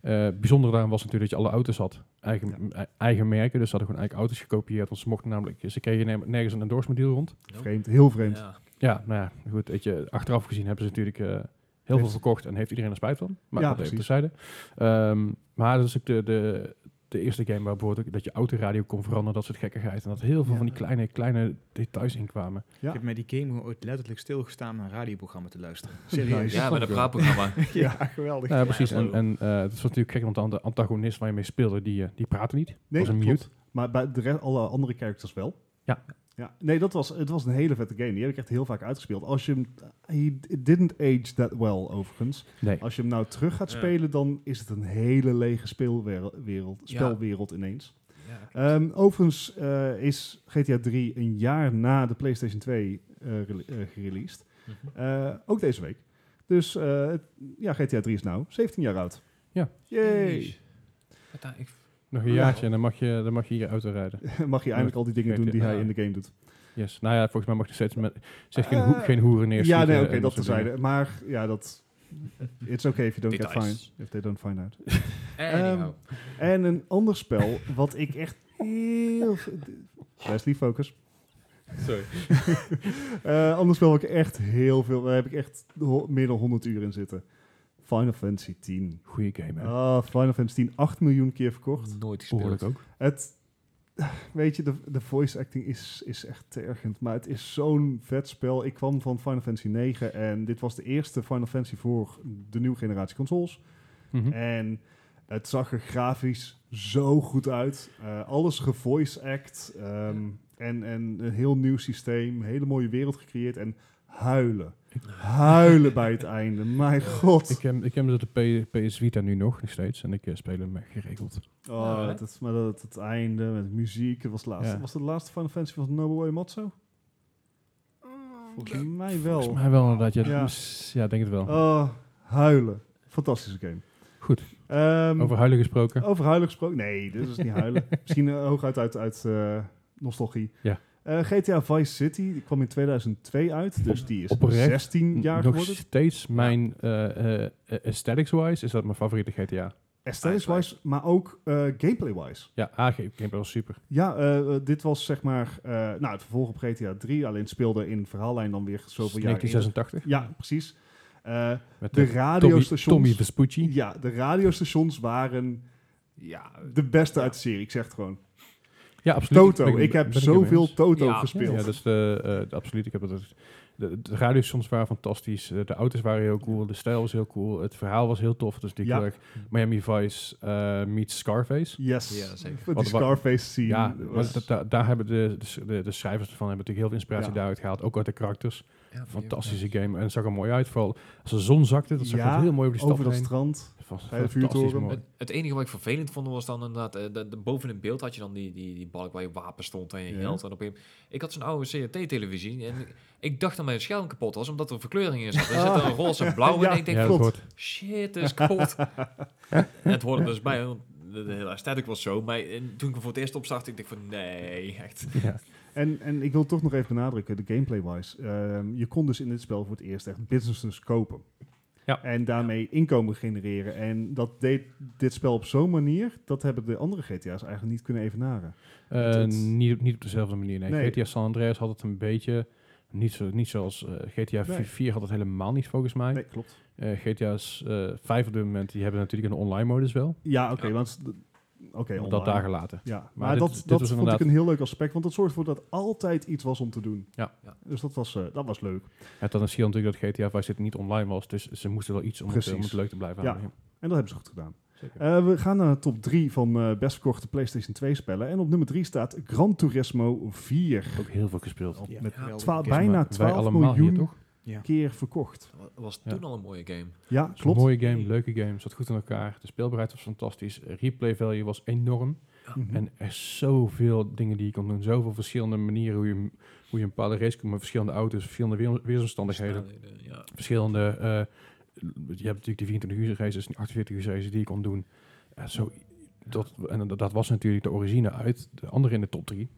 [SPEAKER 1] Eh bijzonder daaraan was natuurlijk dat je alle auto's had. Eigen, eh, eigen merken, dus ze hadden gewoon eigen auto's gekopieerd. Want ze mochten namelijk, ze kregen nem- nergens een endorsement deal rond.
[SPEAKER 2] Vreemd, heel vreemd.
[SPEAKER 3] Ja.
[SPEAKER 1] Ja, nou ja, goed, weet je, achteraf gezien hebben ze natuurlijk eh, heel veel
[SPEAKER 2] Heeft-
[SPEAKER 1] verkocht en heeft iedereen er spijt van. Maar
[SPEAKER 2] Ja,
[SPEAKER 1] dat even
[SPEAKER 2] precies.
[SPEAKER 1] terzijde. Ehm, maar dat is ook de, de, de eerste game waar bijvoorbeeld ook dat je autoradio kon veranderen, dat soort gekkigheid. En dat heel veel
[SPEAKER 2] Ja.
[SPEAKER 1] van die kleine, kleine details in kwamen.
[SPEAKER 2] Ja.
[SPEAKER 4] Ik heb met die game gewoon ooit letterlijk stilgestaan om naar een radioprogramma te luisteren. Serieus.
[SPEAKER 2] Nice.
[SPEAKER 3] Ja, met een praatprogramma.
[SPEAKER 4] ja, geweldig.
[SPEAKER 1] Nou, ja, precies.
[SPEAKER 3] zo.
[SPEAKER 1] En, en eh, het was natuurlijk gek, want de ant- antagonist waar je mee speelde, die, eh, die praatte niet.
[SPEAKER 2] Nee,
[SPEAKER 1] was een
[SPEAKER 2] klopt.
[SPEAKER 1] mute.
[SPEAKER 2] Maar bij de rest, alle andere characters wel.
[SPEAKER 1] Ja.
[SPEAKER 2] ja. Nee, dat was, het was een hele vette game. Die heb ik echt heel vaak uitgespeeld. Als je hem... He didn't age that well, overigens.
[SPEAKER 1] Nee.
[SPEAKER 2] Als je hem nou terug gaat
[SPEAKER 3] Ja.
[SPEAKER 2] spelen, dan is het een hele lege speelwereld, wereld, spelwereld ineens.
[SPEAKER 3] Ja.
[SPEAKER 2] Ehm, overigens eh, is GTA 3 een jaar na de PlayStation 2 eh, rele- eh, gereleased.
[SPEAKER 3] Mhm.
[SPEAKER 2] Eh, ook deze week. Dus eh, het- ja, GTA 3 is nou 17 jaar oud.
[SPEAKER 1] Ja.
[SPEAKER 2] Yay.
[SPEAKER 3] Jeez. Wat daar- ik-
[SPEAKER 1] Nog een
[SPEAKER 2] Ja.
[SPEAKER 1] jaartje en dan mag je, dan mag je hier auto rijden.
[SPEAKER 2] Mag je eindelijk al die dingen doen die hij in de game doet.
[SPEAKER 1] Yes. Nou ja, volgens mij mag je steeds met, steeds geen,
[SPEAKER 2] Eh,
[SPEAKER 1] hoe- geen hoeren neerschieten.
[SPEAKER 2] Ja, nee,
[SPEAKER 1] en
[SPEAKER 2] oké, dat
[SPEAKER 1] soort dingen.
[SPEAKER 2] terzijde. Maar ja, dat... It's okay if you don't get
[SPEAKER 3] Details.
[SPEAKER 2] fined. If they don't find out.
[SPEAKER 3] Anyhow.
[SPEAKER 2] En een ander spel wat ik echt heel... Leslie, focus.
[SPEAKER 3] Sorry.
[SPEAKER 2] Eh ander spel wat ik echt heel veel... Daar heb ik echt ho- meer dan 100 uur in zitten. Final Fantasy 10.
[SPEAKER 1] Goeie game, hè.
[SPEAKER 2] Ah, Final Fantasy 10, 8 miljoen keer verkocht.
[SPEAKER 3] Nooit
[SPEAKER 1] Behoorlijk
[SPEAKER 3] gespeeld.
[SPEAKER 1] ook.
[SPEAKER 2] Het... Weet je, de, de voice acting is, is echt tergend. Maar het is zo'n vet spel. Ik kwam van Final Fantasy 9 en dit was de eerste Final Fantasy voor de nieuwe generatie consoles.
[SPEAKER 1] Mhm.
[SPEAKER 2] En het zag er grafisch zo goed uit. Eh, alles gevoice act. ehm, en, en een heel nieuw systeem. Hele mooie wereld gecreëerd. En huilen. Huilen bij het einde. Mijn god.
[SPEAKER 1] Ik heb, ik heb dus de P- PS Vita nu nog, nog steeds. En ik eh, speel hem eh, geregeld.
[SPEAKER 2] Oh, dat, is- maar dat, het einde met muziek. Het was, de laatste,
[SPEAKER 1] Nou, Ja.
[SPEAKER 2] was het de laatste Final Fantasy van Nobuo Ematsu? Volgens mij wel.
[SPEAKER 1] Volgens mij wel inderdaad. Ja,
[SPEAKER 2] Ja.
[SPEAKER 1] ja. ja denk het wel.
[SPEAKER 2] Oh, huilen. Fantastische game.
[SPEAKER 1] Goed.
[SPEAKER 2] Ehm,
[SPEAKER 1] Over huilen gesproken.
[SPEAKER 2] Over huilen gesproken? Nee, dit is niet huilen. Misschien eh, hooguit uit, uit eh, nostalgie.
[SPEAKER 1] Ja.
[SPEAKER 2] Eh, GTA Vice City die kwam in 2002 uit, dus die is
[SPEAKER 1] oprecht
[SPEAKER 2] 16 jaar
[SPEAKER 1] nog
[SPEAKER 2] geworden.
[SPEAKER 1] steeds mijn eh, eh, aesthetics-wise is dat mijn favoriete GTA.
[SPEAKER 2] Aesthetics-wise, maar ook eh, gameplay-wise.
[SPEAKER 1] Ja, AG gameplay was super.
[SPEAKER 2] Ja, eh, eh, dit was zeg maar eh, nou, het vervolg op GTA 3, alleen het speelde in verhaallijn dan weer zoveel jaar. eerder.
[SPEAKER 1] 1986.
[SPEAKER 2] Ja, precies. Eh,
[SPEAKER 1] Met
[SPEAKER 2] de
[SPEAKER 1] eh, Tommy,
[SPEAKER 2] radiostations...
[SPEAKER 1] Tommy Vespucci.
[SPEAKER 2] ja, de radiostations waren
[SPEAKER 3] Ja,
[SPEAKER 2] de beste uit de serie, ik zeg het gewoon.
[SPEAKER 1] Ja, absoluut.
[SPEAKER 2] Toto,
[SPEAKER 1] Ben
[SPEAKER 2] ik,
[SPEAKER 1] ben
[SPEAKER 2] heb
[SPEAKER 1] het ermee eens.
[SPEAKER 2] zoveel Toto
[SPEAKER 3] Ja.
[SPEAKER 2] gespeeld.
[SPEAKER 1] Ja, dat is de, eh, de- absoluut. Ik heb het, de, de radiostations waren fantastisch. eh, De auto's waren heel cool. De stijl was heel cool. Het verhaal was heel tof. Dus die
[SPEAKER 2] Ja.
[SPEAKER 1] heel erg Miami Vice eh, meets Scarface.
[SPEAKER 2] Yes.
[SPEAKER 3] Ja, zeker.
[SPEAKER 2] Voor die
[SPEAKER 1] Wat- wat-
[SPEAKER 2] Scarface scene. eh,
[SPEAKER 1] Ja,
[SPEAKER 2] was-
[SPEAKER 1] maar dat- da- daar hebben de, de, de, de schrijvers van hebben natuurlijk heel veel inspiratie
[SPEAKER 2] Ja.
[SPEAKER 1] daaruit gehaald. Ook uit de karakters.
[SPEAKER 3] Ja,
[SPEAKER 1] Fantastische game. En het zag er mooi uit. Vooral als de zon zakte, dat zag
[SPEAKER 2] Ja,
[SPEAKER 1] er heel mooi over die stad
[SPEAKER 2] Over dat
[SPEAKER 1] heen.
[SPEAKER 2] strand.
[SPEAKER 1] Het was
[SPEAKER 2] bij de
[SPEAKER 1] fantastisch
[SPEAKER 2] vuurtoren.
[SPEAKER 1] mooi.
[SPEAKER 3] Het, het enige wat ik vervelend vond was dan inderdaad, eh, de, de- boven in beeld had je dan die, die, die balk waar je wapen stond en je
[SPEAKER 2] Ja.
[SPEAKER 3] geld. En op een, gegeven moment- ik had zo'n oude CRT-televisie en ik- ik dacht dat mijn scherm kapot was, omdat er verkleuring in zat. Er zit een roze en blauw in
[SPEAKER 2] Ja.
[SPEAKER 3] en ik denk,
[SPEAKER 1] Ja, dat
[SPEAKER 2] klopt.
[SPEAKER 1] hoort.
[SPEAKER 3] shit, dat is kapot. En het hoorde dus bij, want de, de hele aesthetic was zo. Maar en toen ik hem voor het eerst opstartte, ik dacht van, nee, echt.
[SPEAKER 1] Ja.
[SPEAKER 2] En, en ik wil toch nog even benadrukken, de gameplay-wise. Ehm, je kon dus in dit spel voor het eerst echt businesses kopen.
[SPEAKER 1] Ja.
[SPEAKER 2] En daarmee inkomen genereren. En dat deed dit spel op zo'n manier, dat hebben de andere GTA's eigenlijk niet kunnen evenaren.
[SPEAKER 1] Eh,
[SPEAKER 2] Dat-
[SPEAKER 1] niet, op- niet op dezelfde manier. Nee.
[SPEAKER 2] Nee.
[SPEAKER 1] GTA San Andreas had het een beetje. Niet, zo, niet zoals eh, GTA
[SPEAKER 2] Nee.
[SPEAKER 1] 4 had het helemaal niet, volgens mij.
[SPEAKER 2] Nee, klopt.
[SPEAKER 1] Eh, GTA's eh 5 op dit moment, die hebben natuurlijk een online modus wel.
[SPEAKER 2] Ja, oké,
[SPEAKER 3] Ja.
[SPEAKER 2] want... d- Oké,
[SPEAKER 1] maar
[SPEAKER 2] online.
[SPEAKER 1] dat dagen later.
[SPEAKER 2] Ja, maar,
[SPEAKER 1] dit-
[SPEAKER 2] dat,
[SPEAKER 1] dit
[SPEAKER 2] dat
[SPEAKER 1] was
[SPEAKER 2] vond
[SPEAKER 1] inderdaad-
[SPEAKER 2] ik een heel leuk aspect, want dat zorgt ervoor dat altijd iets was om te doen.
[SPEAKER 1] Ja.
[SPEAKER 3] Ja.
[SPEAKER 2] Dus dat was, eh, dat was leuk.
[SPEAKER 1] Het dan zie je natuurlijk dat GTA 5 zit niet online was, dus ze moesten wel iets om, het, eh, om
[SPEAKER 2] Precies.
[SPEAKER 1] het leuk te blijven
[SPEAKER 2] Ja.
[SPEAKER 1] houden.
[SPEAKER 2] En dat hebben ze goed gedaan.
[SPEAKER 1] Zeker.
[SPEAKER 2] Eh, we gaan naar de top 3 van eh, best verkochte PlayStation 2 spellen. En op nummer 3 staat Gran Turismo 4.
[SPEAKER 1] Ook heel veel gespeeld.
[SPEAKER 4] Ja.
[SPEAKER 2] Met
[SPEAKER 4] Ja.
[SPEAKER 2] twa-
[SPEAKER 4] Volgens
[SPEAKER 1] mij
[SPEAKER 2] bijna
[SPEAKER 1] wij
[SPEAKER 2] 12
[SPEAKER 1] allemaal hier,
[SPEAKER 2] miljoen
[SPEAKER 1] toch?
[SPEAKER 4] Ja.
[SPEAKER 2] keer verkocht.
[SPEAKER 3] Dat was
[SPEAKER 1] Ja.
[SPEAKER 3] toen al een mooie game.
[SPEAKER 2] Ja,
[SPEAKER 1] Het was
[SPEAKER 2] klopt.
[SPEAKER 1] een mooie game, leuke game, zat goed in elkaar. De speelbaarheid was fantastisch. Replay value was enorm.
[SPEAKER 2] Mhm.
[SPEAKER 1] En er zoveel dingen die je kon doen. Zoveel verschillende manieren hoe je, hem- hoe je een bepaalde race kon met verschillende auto's, verschillende weer- weersomstandigheden.
[SPEAKER 3] Snelheden, Ja.
[SPEAKER 1] Verschillende, eh, je hebt natuurlijk die 24 uur races, en 48 uur races die je kon doen. Eh, zo, dat, en dat- dat was natuurlijk de origine uit de andere in de top 3.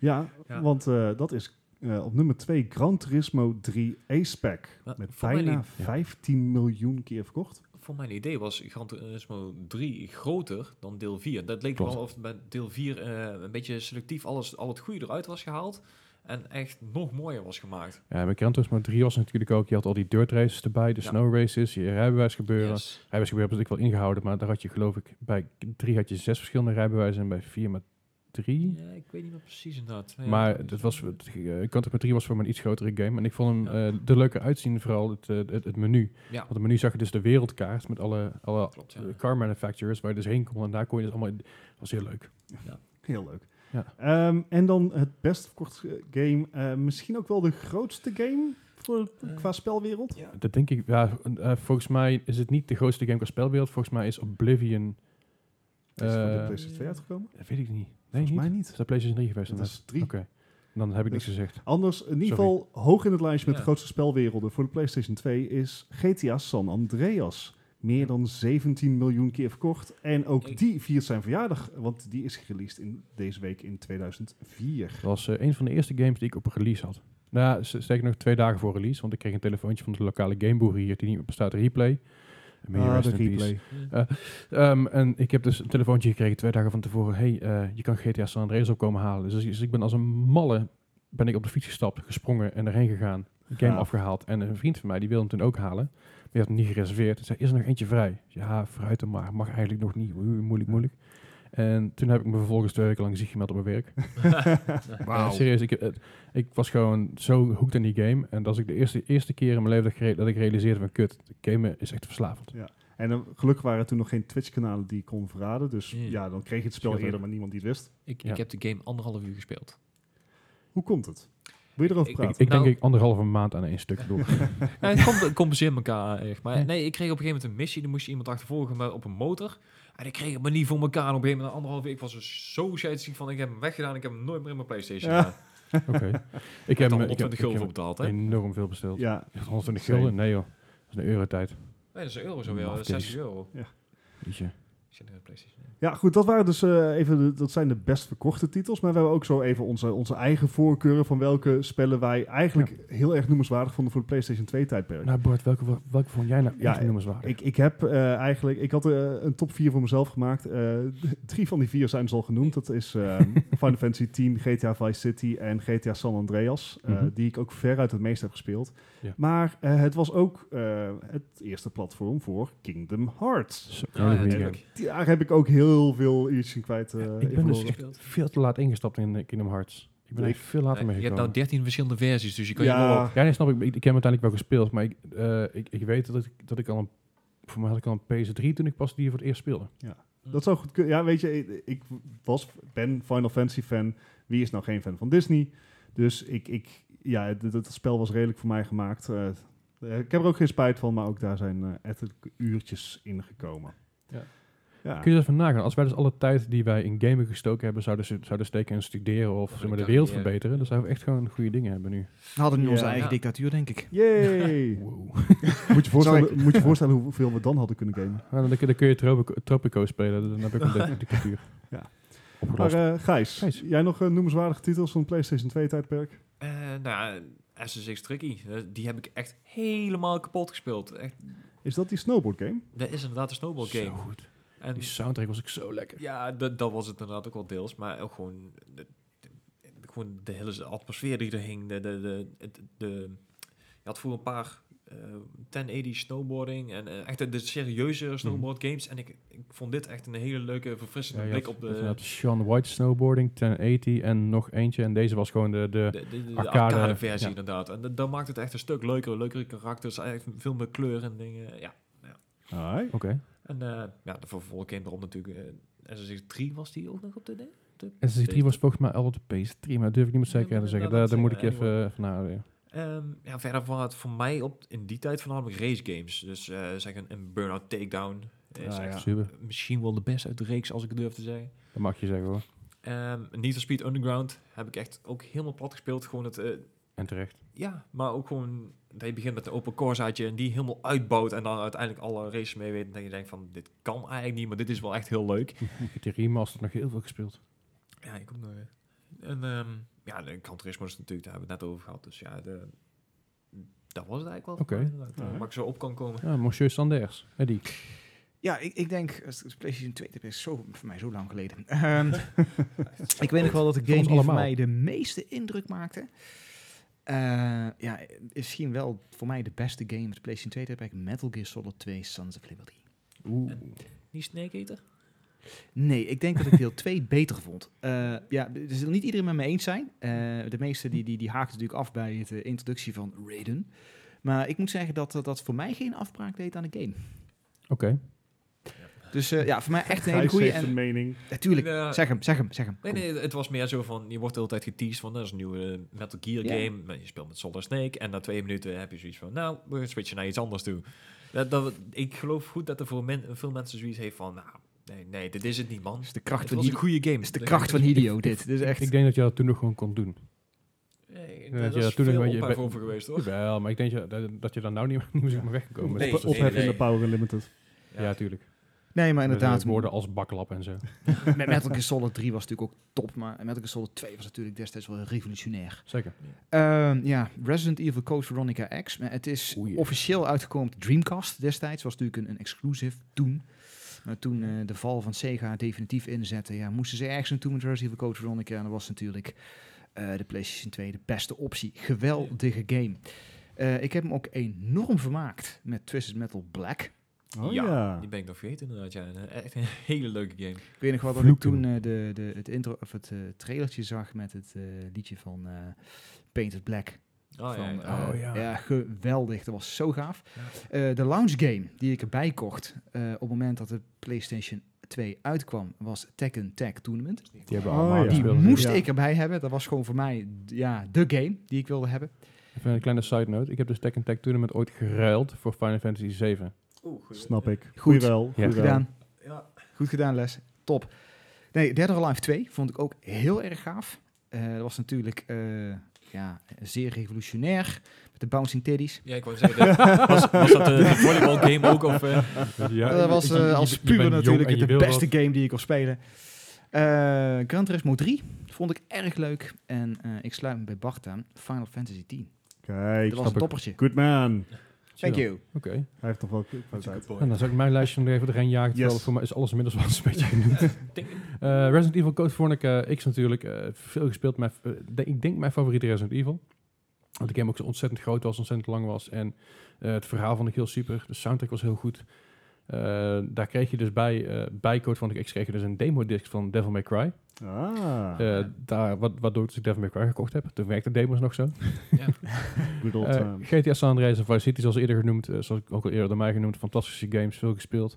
[SPEAKER 2] ja,
[SPEAKER 3] Ja.
[SPEAKER 2] want eh, dat is eh, op nummer 2 Gran Turismo 3 A-Spec.
[SPEAKER 3] Ja,
[SPEAKER 2] Met
[SPEAKER 3] voor mij
[SPEAKER 2] bijna
[SPEAKER 3] niet.
[SPEAKER 2] 15 miljoen keer verkocht.
[SPEAKER 3] Voor mijn idee was Gran Turismo 3 groter dan deel 4. Dat leek
[SPEAKER 1] Klopt.
[SPEAKER 3] wel of bij deel 4 eh, een beetje selectief alles, al het goede eruit was gehaald. En echt nog mooier was gemaakt.
[SPEAKER 1] Ja, met Gran Turismo 3 was het natuurlijk ook, je had al die dirt races erbij, de
[SPEAKER 3] Ja.
[SPEAKER 1] snow races, je rijbewijs gebeuren.
[SPEAKER 3] Yes.
[SPEAKER 1] Rijbewijsgebeuren hebben ze natuurlijk wel ingehouden, maar daar had je geloof ik, bij 3 had je zes verschillende rijbewijzen en bij 4 maar 3.
[SPEAKER 3] Ja, ik weet niet meer precies inderdaad. Ja,
[SPEAKER 1] Maar
[SPEAKER 3] dat is-
[SPEAKER 1] dat was, eh, Counter Strike 3 was voor me een iets grotere game. En ik vond hem
[SPEAKER 3] Ja.
[SPEAKER 1] eh, er leuker uitzien, vooral het, eh, het, het menu.
[SPEAKER 3] Ja.
[SPEAKER 1] Want het menu zag je dus de wereldkaart met alle, alle
[SPEAKER 3] Klopt, ja.
[SPEAKER 1] eh, car manufacturers waar je dus heen kon. En daar kon je dus allemaal... in- Dat was heel leuk.
[SPEAKER 2] Heel leuk.
[SPEAKER 1] Ja.
[SPEAKER 2] Ehm, en dan het best verkochte game. eh, misschien ook wel de grootste game voor, qua spelwereld.
[SPEAKER 1] Dat denk ik... Ja, eh, volgens mij is het niet de grootste game qua spelwereld. Volgens mij is Oblivion...
[SPEAKER 2] is het voor de
[SPEAKER 1] eh,
[SPEAKER 2] PlayStation 2 uitgekomen?
[SPEAKER 1] dat weet ik niet. Nee,
[SPEAKER 2] Volgens
[SPEAKER 1] niet.
[SPEAKER 2] mij
[SPEAKER 1] Is
[SPEAKER 2] niet.
[SPEAKER 1] dat PlayStation 3 geweest?
[SPEAKER 2] Dat
[SPEAKER 1] dan?
[SPEAKER 2] is drie.
[SPEAKER 1] Oké. Dan heb ik
[SPEAKER 2] Dus-
[SPEAKER 1] niks gezegd.
[SPEAKER 2] Anders, in ieder
[SPEAKER 1] Sorry.
[SPEAKER 2] geval hoog in het lijstje met
[SPEAKER 3] Ja.
[SPEAKER 2] de grootste spelwerelden voor de PlayStation 2 is GTA San Andreas. Meer dan 17 miljoen keer verkocht. En ook
[SPEAKER 3] Ik-
[SPEAKER 2] die viert zijn verjaardag, want die is gereleased in, deze week in 2004.
[SPEAKER 1] Dat was eh, een van de eerste games die ik op een release had. Nou, ja, s- zeker nog twee dagen voor release, want ik kreeg een telefoontje van de lokale gameboer hier, die niet meer bestaat, Replay. May he
[SPEAKER 2] Ah,
[SPEAKER 1] rest
[SPEAKER 2] de
[SPEAKER 1] in peace.
[SPEAKER 2] replay.
[SPEAKER 1] Ehm, en ik heb dus een telefoontje gekregen twee dagen van tevoren. hey, eh, je kan GTA San Andreas opkomen halen. Dus, als- dus ik ben als een malle ben ik op de fiets gestapt, gesprongen en erheen gegaan. De game
[SPEAKER 2] Gaaf.
[SPEAKER 1] afgehaald. En een vriend van mij, die wilde hem toen ook halen. Maar die had hem niet gereserveerd. Hij zei, is er nog eentje vrij? Ja, vooruit dan maar. Mag eigenlijk nog niet. Oeh, Moeilijk, moeilijk. En toen heb ik me vervolgens twee weken lang ziek gemeld op mijn werk. Ja, serieus, ik, eh, ik was gewoon zo hooked in die game. En dat is ik de eerste, eerste keer in mijn leven dat ik, gere- dat ik realiseerde van... Kut, gamen is echt verslavend.
[SPEAKER 2] En eh, gelukkig waren er toen nog geen Twitch-kanalen die ik kon verraden. Dus
[SPEAKER 3] Hmm.
[SPEAKER 2] ja, dan kreeg je het spel
[SPEAKER 1] Scheelt
[SPEAKER 2] eerder,
[SPEAKER 1] ook.
[SPEAKER 2] maar niemand die het wist.
[SPEAKER 3] ik,
[SPEAKER 1] Ja.
[SPEAKER 3] ik heb de game anderhalf uur gespeeld.
[SPEAKER 2] Hoe komt het? Wil je erover
[SPEAKER 3] Ik-
[SPEAKER 1] Ik,
[SPEAKER 2] praten?
[SPEAKER 1] ik
[SPEAKER 3] Nou-
[SPEAKER 1] denk ik anderhalve maand aan één stuk door.
[SPEAKER 3] Ja, het comp- compenseert elkaar echt. Maar
[SPEAKER 1] Ja.
[SPEAKER 3] nee, ik kreeg op een gegeven moment een missie. Dan moest je iemand achtervolgen maar op een motor. En ik kreeg het maar niet voor elkaar. En op een gegeven moment, na anderhalf uur, ik was dus zo scheidsziek van... Ik heb hem weggedaan. Ik heb hem nooit meer in mijn Playstation
[SPEAKER 2] Ja.
[SPEAKER 3] gedaan.
[SPEAKER 1] Oké. Ik
[SPEAKER 3] Ik
[SPEAKER 1] heb, eh, ik
[SPEAKER 3] heb dan
[SPEAKER 1] heb,
[SPEAKER 3] 120
[SPEAKER 1] ik
[SPEAKER 3] gulden
[SPEAKER 1] heb
[SPEAKER 3] voor betaald, hè? Nee,
[SPEAKER 1] enorm veel besteld.
[SPEAKER 2] ja,
[SPEAKER 1] 120
[SPEAKER 2] Same.
[SPEAKER 1] gulden? Nee joh. Dat is een eurotijd.
[SPEAKER 3] dat is een euro zo weer.
[SPEAKER 1] Mafkees.
[SPEAKER 3] 60 euro.
[SPEAKER 1] Jeetje.
[SPEAKER 3] Ik zit nog in de PlayStation.
[SPEAKER 2] Ja, goed, dat waren dus eh, even de, dat zijn de best verkochte titels. Maar we hebben ook zo even onze, onze eigen voorkeuren van welke spellen wij eigenlijk heel erg noemenswaardig vonden voor de PlayStation 2 tijdperk.
[SPEAKER 1] Nou Bart, welke, welke vond jij nou
[SPEAKER 2] Ja,
[SPEAKER 1] echt noemenswaardig?
[SPEAKER 2] ik, ik heb eh, eigenlijk, ik had eh, een top 4 voor mezelf gemaakt. Eh, d- drie van die vier zijn dus al genoemd. Dat is eh, Final Fantasy 10, GTA Vice City en GTA San Andreas. eh,
[SPEAKER 1] Mhm.
[SPEAKER 2] Die ik ook veruit het meest heb gespeeld.
[SPEAKER 1] Ja.
[SPEAKER 2] Maar eh, het was ook eh, het eerste platform voor Kingdom Hearts.
[SPEAKER 1] Zo,
[SPEAKER 3] Ja,
[SPEAKER 1] dat
[SPEAKER 3] ja,
[SPEAKER 1] weet ik
[SPEAKER 3] tuurlijk.
[SPEAKER 2] Daar heb ik ook heel veel uurtjes in kwijt. eh,
[SPEAKER 1] ook.
[SPEAKER 2] in
[SPEAKER 1] Ik ben dus
[SPEAKER 2] verloren.
[SPEAKER 1] echt veel te laat ingestapt in eh, Kingdom Hearts. Ik ben
[SPEAKER 2] Nee.
[SPEAKER 1] echt veel later
[SPEAKER 3] Nee,
[SPEAKER 1] mee
[SPEAKER 3] je hebt
[SPEAKER 1] gekomen.
[SPEAKER 3] nou 13 verschillende versies, dus je kan je wel
[SPEAKER 2] ja,
[SPEAKER 3] op.
[SPEAKER 1] Ja, nee, snap ik. Ik, ik heb uiteindelijk wel gespeeld, maar ik, eh, ik, ik weet dat ik, dat ik al een... Voor mij had ik al een PS3 toen ik pas die voor het eerst speelde.
[SPEAKER 2] Dat zou goed kunnen. Ja, weet je, ik- ik was, ben Final Fantasy fan. Wie is nou geen fan van Disney? Dus ik, ik, ja, d- d- dat spel was redelijk voor mij gemaakt. Eh, eh, ik heb er ook geen spijt van, maar ook daar zijn eh ettelijke uurtjes in gekomen.
[SPEAKER 1] Ja.
[SPEAKER 2] Ja.
[SPEAKER 1] Kun je dat van nagaan? Als wij dus alle tijd die wij in gamen gestoken hebben, zouden, ze- zouden steken in studeren of zeg maar, de wereld
[SPEAKER 3] carrière.
[SPEAKER 1] verbeteren, dan zouden we echt gewoon goede dingen hebben nu.
[SPEAKER 4] We hadden nu onze
[SPEAKER 2] Ja.
[SPEAKER 4] eigen
[SPEAKER 3] Ja.
[SPEAKER 4] dictatuur, denk ik.
[SPEAKER 2] Yay! moet, je voorstellen, moet je voorstellen hoeveel we dan hadden kunnen gamen.
[SPEAKER 1] Ja, Nou, dan, kun- dan kun je Tropico, Tropico spelen, dan heb ik een dictatuur.
[SPEAKER 2] Ja. Maar
[SPEAKER 1] Opgelost.
[SPEAKER 2] eh, Gijs,
[SPEAKER 1] Gijs.
[SPEAKER 2] jij nog eh, noemenswaardige titels van het PlayStation 2-tijdperk?
[SPEAKER 3] Eh, nou ja, SSX Tricky, eh, die heb ik echt helemaal kapot gespeeld. Echt,
[SPEAKER 2] Is dat die snowboard game?
[SPEAKER 3] dat is inderdaad een snowball
[SPEAKER 1] Zo
[SPEAKER 3] game.
[SPEAKER 1] goed.
[SPEAKER 3] En
[SPEAKER 1] Die soundtrack was ook zo lekker.
[SPEAKER 3] ja, dat, dat was het inderdaad ook wel deels, maar ook gewoon de, de- gewoon de hele atmosfeer die er hing. De, de, de, het- de- je had voor een paar eh 1080 snowboarding en eh, echt de, de
[SPEAKER 1] Mhm.
[SPEAKER 3] serieuze snowboard games. En ik, ik vond dit echt een hele leuke, verfrissende
[SPEAKER 1] Ja, je
[SPEAKER 3] blik
[SPEAKER 1] had-
[SPEAKER 3] op de,
[SPEAKER 1] je had Sean White snowboarding, 1080 en nog eentje. En deze was gewoon de, de,
[SPEAKER 3] De, de, de
[SPEAKER 1] eh, Arcade,
[SPEAKER 3] arcade, versie
[SPEAKER 1] ja.
[SPEAKER 3] inderdaad. En dat, dat maakt het echt een stuk leuker. Leukere karakters, eigenlijk veel meer kleur en dingen. Ja.
[SPEAKER 2] Alright.
[SPEAKER 1] Oké.
[SPEAKER 3] En eh, ja, de vervolg game erop natuurlijk. eh SSX 3 was die ook nog op de E ding?
[SPEAKER 1] SSX3 was volgens mij al op de PS3, maar dat durf ik niet meer zeker
[SPEAKER 3] Ja,
[SPEAKER 1] te
[SPEAKER 3] maar
[SPEAKER 1] zeggen.
[SPEAKER 3] dat-
[SPEAKER 1] Daar,
[SPEAKER 3] dat
[SPEAKER 1] daar moet ik
[SPEAKER 3] zeggen we
[SPEAKER 1] even eh, van nou, nadenken.
[SPEAKER 3] Ehm, ja, verder was het voor mij op, in die tijd voornamelijk race games. Dus eh, zeg een, een Burnout Takedown. Is
[SPEAKER 2] Ah,
[SPEAKER 3] echt
[SPEAKER 2] ja.
[SPEAKER 1] Super.
[SPEAKER 3] Misschien wel de beste uit de reeks, als ik het durf te zeggen.
[SPEAKER 1] Dat mag je zeggen hoor.
[SPEAKER 3] Ehm Need for Speed Underground heb ik echt ook helemaal plat gespeeld. Gewoon het, eh,
[SPEAKER 1] En terecht.
[SPEAKER 3] Ja, maar ook gewoon dat je begint met de open course uit je en die helemaal uitbouwt en dan uiteindelijk alle races mee weet. En dat je denkt van, dit kan eigenlijk niet, maar dit is wel echt heel leuk.
[SPEAKER 1] Ik heb die remaster nog heel veel gespeeld.
[SPEAKER 3] Ja, ik ook nog. eh. En ehm, ja, de Gran Turismo is natuurlijk, daar hebben we het net over gehad. Dus ja, de, dat was het eigenlijk wel.
[SPEAKER 1] Oké.
[SPEAKER 3] Okay.
[SPEAKER 2] Ja.
[SPEAKER 3] Waar ik zo op kan komen.
[SPEAKER 1] Ja, Ah, Monsieur Sanders. Hè, die.
[SPEAKER 4] Ja, ik, ik denk, als het PlayStation 2 tijdperk is zo, voor mij zo lang geleden. Ehm, ik weet nog wel dat de game
[SPEAKER 1] ons
[SPEAKER 4] die voor
[SPEAKER 1] allemaal.
[SPEAKER 4] mij de meeste indruk maakte, eh, ja, is misschien wel voor mij de beste game op de PlayStation 2 tijdperk, Metal Gear Solid 2 Sons of Liberty.
[SPEAKER 1] Oeh.
[SPEAKER 3] Die Snake Eater?
[SPEAKER 4] Nee, ik denk dat ik deel 2 beter vond. Eh, ja, er zullen niet iedereen met me eens zijn. Eh, de meesten die, die, die haakten natuurlijk af bij de introductie van Raiden. Maar ik moet zeggen dat eh, dat voor mij geen afbraak deed aan de game.
[SPEAKER 1] Oké.
[SPEAKER 4] Dus eh, ja, voor mij echt een hele
[SPEAKER 2] Gijs
[SPEAKER 4] goede.
[SPEAKER 2] heeft een
[SPEAKER 4] En
[SPEAKER 2] mening.
[SPEAKER 4] natuurlijk,
[SPEAKER 3] Ja.
[SPEAKER 4] zeg hem, zeg hem, zeg hem.
[SPEAKER 3] Nee, nee, het was meer zo van, je wordt de hele tijd geteased van, dat is een nieuwe Metal Gear
[SPEAKER 4] Ja.
[SPEAKER 3] game. maar Je speelt met Solid Snake en na twee minuten heb je zoiets van, nou, we switchen naar iets anders toe. Dat, dat, ik geloof goed dat er voor men- veel mensen zoiets heeft van, nou, nee, nee, dit is het niet, man.
[SPEAKER 4] Dat is de kracht
[SPEAKER 3] Het
[SPEAKER 4] van
[SPEAKER 3] was een
[SPEAKER 4] Hideo.
[SPEAKER 3] goede game.
[SPEAKER 4] Dat is de kracht van Hideo, dit. Dit is
[SPEAKER 1] Ik
[SPEAKER 4] echt...
[SPEAKER 1] denk dat je dat toen nog gewoon kon doen.
[SPEAKER 3] Nee,
[SPEAKER 1] Ja,
[SPEAKER 3] dat
[SPEAKER 1] ja,
[SPEAKER 3] is
[SPEAKER 1] toen
[SPEAKER 3] veel
[SPEAKER 1] een beetje-
[SPEAKER 3] ophef
[SPEAKER 1] be-
[SPEAKER 3] over geweest, hoor.
[SPEAKER 1] Wel, maar ik denk dat- dat, dat je dan nou niet, niet meer zo maar weg kan komen.
[SPEAKER 3] Nee,
[SPEAKER 2] Op-
[SPEAKER 1] Met-
[SPEAKER 3] precies.
[SPEAKER 2] Opheffen in
[SPEAKER 3] nee.
[SPEAKER 2] de Power Unlimited.
[SPEAKER 1] Ja, tuurlijk.
[SPEAKER 4] Nee, maar
[SPEAKER 1] Met, eh,
[SPEAKER 4] inderdaad,
[SPEAKER 1] woorden als baklap en zo.
[SPEAKER 4] met Metal Gear Solid 3 was natuurlijk ook top. Maar Metal Gear Solid 2 was natuurlijk destijds wel revolutionair.
[SPEAKER 1] Zeker.
[SPEAKER 4] Ehm, ja, Resident Evil Code Veronica X. Maar het is
[SPEAKER 1] Oei.
[SPEAKER 4] officieel uitgekomen op de Dreamcast destijds. was natuurlijk een, een exclusive toen. Maar toen eh, de val van Sega definitief inzette, ja, moesten ze ergens naartoe met Resident Evil Code Veronica. En dat was natuurlijk eh, de PlayStation 2 de beste optie. Geweldige game. Eh, ik heb hem ook enorm vermaakt met Twisted Metal Black.
[SPEAKER 2] Oh
[SPEAKER 3] Ja.
[SPEAKER 2] ja.
[SPEAKER 3] Die ben ik nog vergeten inderdaad, ja. Een- Echt een hele leuke game.
[SPEAKER 4] Ik weet nog wel dat ik
[SPEAKER 1] Vloeken.
[SPEAKER 4] toen eh, de, de, het, intro, of het eh, trailertje zag met het eh, liedje van eh, Painted Black.
[SPEAKER 3] Oh,
[SPEAKER 4] van,
[SPEAKER 3] ja, ja.
[SPEAKER 4] eh,
[SPEAKER 1] Oh, ja.
[SPEAKER 4] geweldig. Dat was zo gaaf. Eh, de launch game die ik erbij kocht eh, op het moment dat de PlayStation 2 uitkwam, was Tekken Tag Tournament.
[SPEAKER 1] Die hebben
[SPEAKER 2] Oh,
[SPEAKER 1] allemaal
[SPEAKER 2] ja.
[SPEAKER 4] Die
[SPEAKER 1] gespeeld.
[SPEAKER 4] moest
[SPEAKER 2] Ja.
[SPEAKER 4] ik erbij hebben. Dat was gewoon voor mij d- ja, de game die ik wilde hebben.
[SPEAKER 1] Even een kleine side note. Ik heb dus Tekken Tag Tournament ooit geruild voor Final Fantasy 7.
[SPEAKER 3] Oeh, goed.
[SPEAKER 2] Snap ik.
[SPEAKER 4] Goed.
[SPEAKER 2] Goed wel.
[SPEAKER 1] Ja.
[SPEAKER 2] Goed wel.
[SPEAKER 4] Gedaan.
[SPEAKER 3] Ja.
[SPEAKER 4] Goed gedaan, Les. Top. Nee, Dead or Alive 2 vond ik ook heel erg gaaf. Eh, dat was natuurlijk eh, ja, zeer revolutionair. Met de bouncing titties.
[SPEAKER 3] ja, ik wou zeggen, dit- was, was dat de, de volleyball game ook? Of, eh,
[SPEAKER 1] Ja,
[SPEAKER 4] dat was eh, als puber natuurlijk de beste game die ik kon spelen. Eh Gran Turismo 3 vond ik erg leuk. En eh, ik sluit me bij Bart aan. Final Fantasy 10.
[SPEAKER 2] Kijk.
[SPEAKER 4] Dat was een
[SPEAKER 1] ik.
[SPEAKER 4] toppertje.
[SPEAKER 2] Good man.
[SPEAKER 4] Thank you.
[SPEAKER 1] Oké.
[SPEAKER 2] Hij heeft toch wel kwaliteit.
[SPEAKER 1] En dan zou ik mijn lijstje nog even doorheen jagen. terwijl
[SPEAKER 2] Yes.
[SPEAKER 1] Voor mij is alles inmiddels wel eens een beetje genoemd. Eh, Resident Evil Code Veronica X natuurlijk. eh, veel gespeeld. Mijn, eh, de- ik denk mijn favoriete Resident Evil. Want de game ook zo ontzettend groot was, ontzettend lang was. En eh, het verhaal vond ik heel super. De soundtrack was heel goed. Eh, daar kreeg je dus bij, eh bij Code Veronica X kreeg je dus een demo-disc van Devil May Cry.
[SPEAKER 2] Ah.
[SPEAKER 1] Eh, daar, wa- waardoor ik dus Devil May Cry gekocht heb. Toen werkte demos nog zo.
[SPEAKER 2] Good old
[SPEAKER 1] Eh,
[SPEAKER 2] time.
[SPEAKER 1] GTA San Andreas en Vice City, zoals eerder genoemd, eh, zoals ik ook al eerder door mij genoemd, fantastische games, veel gespeeld.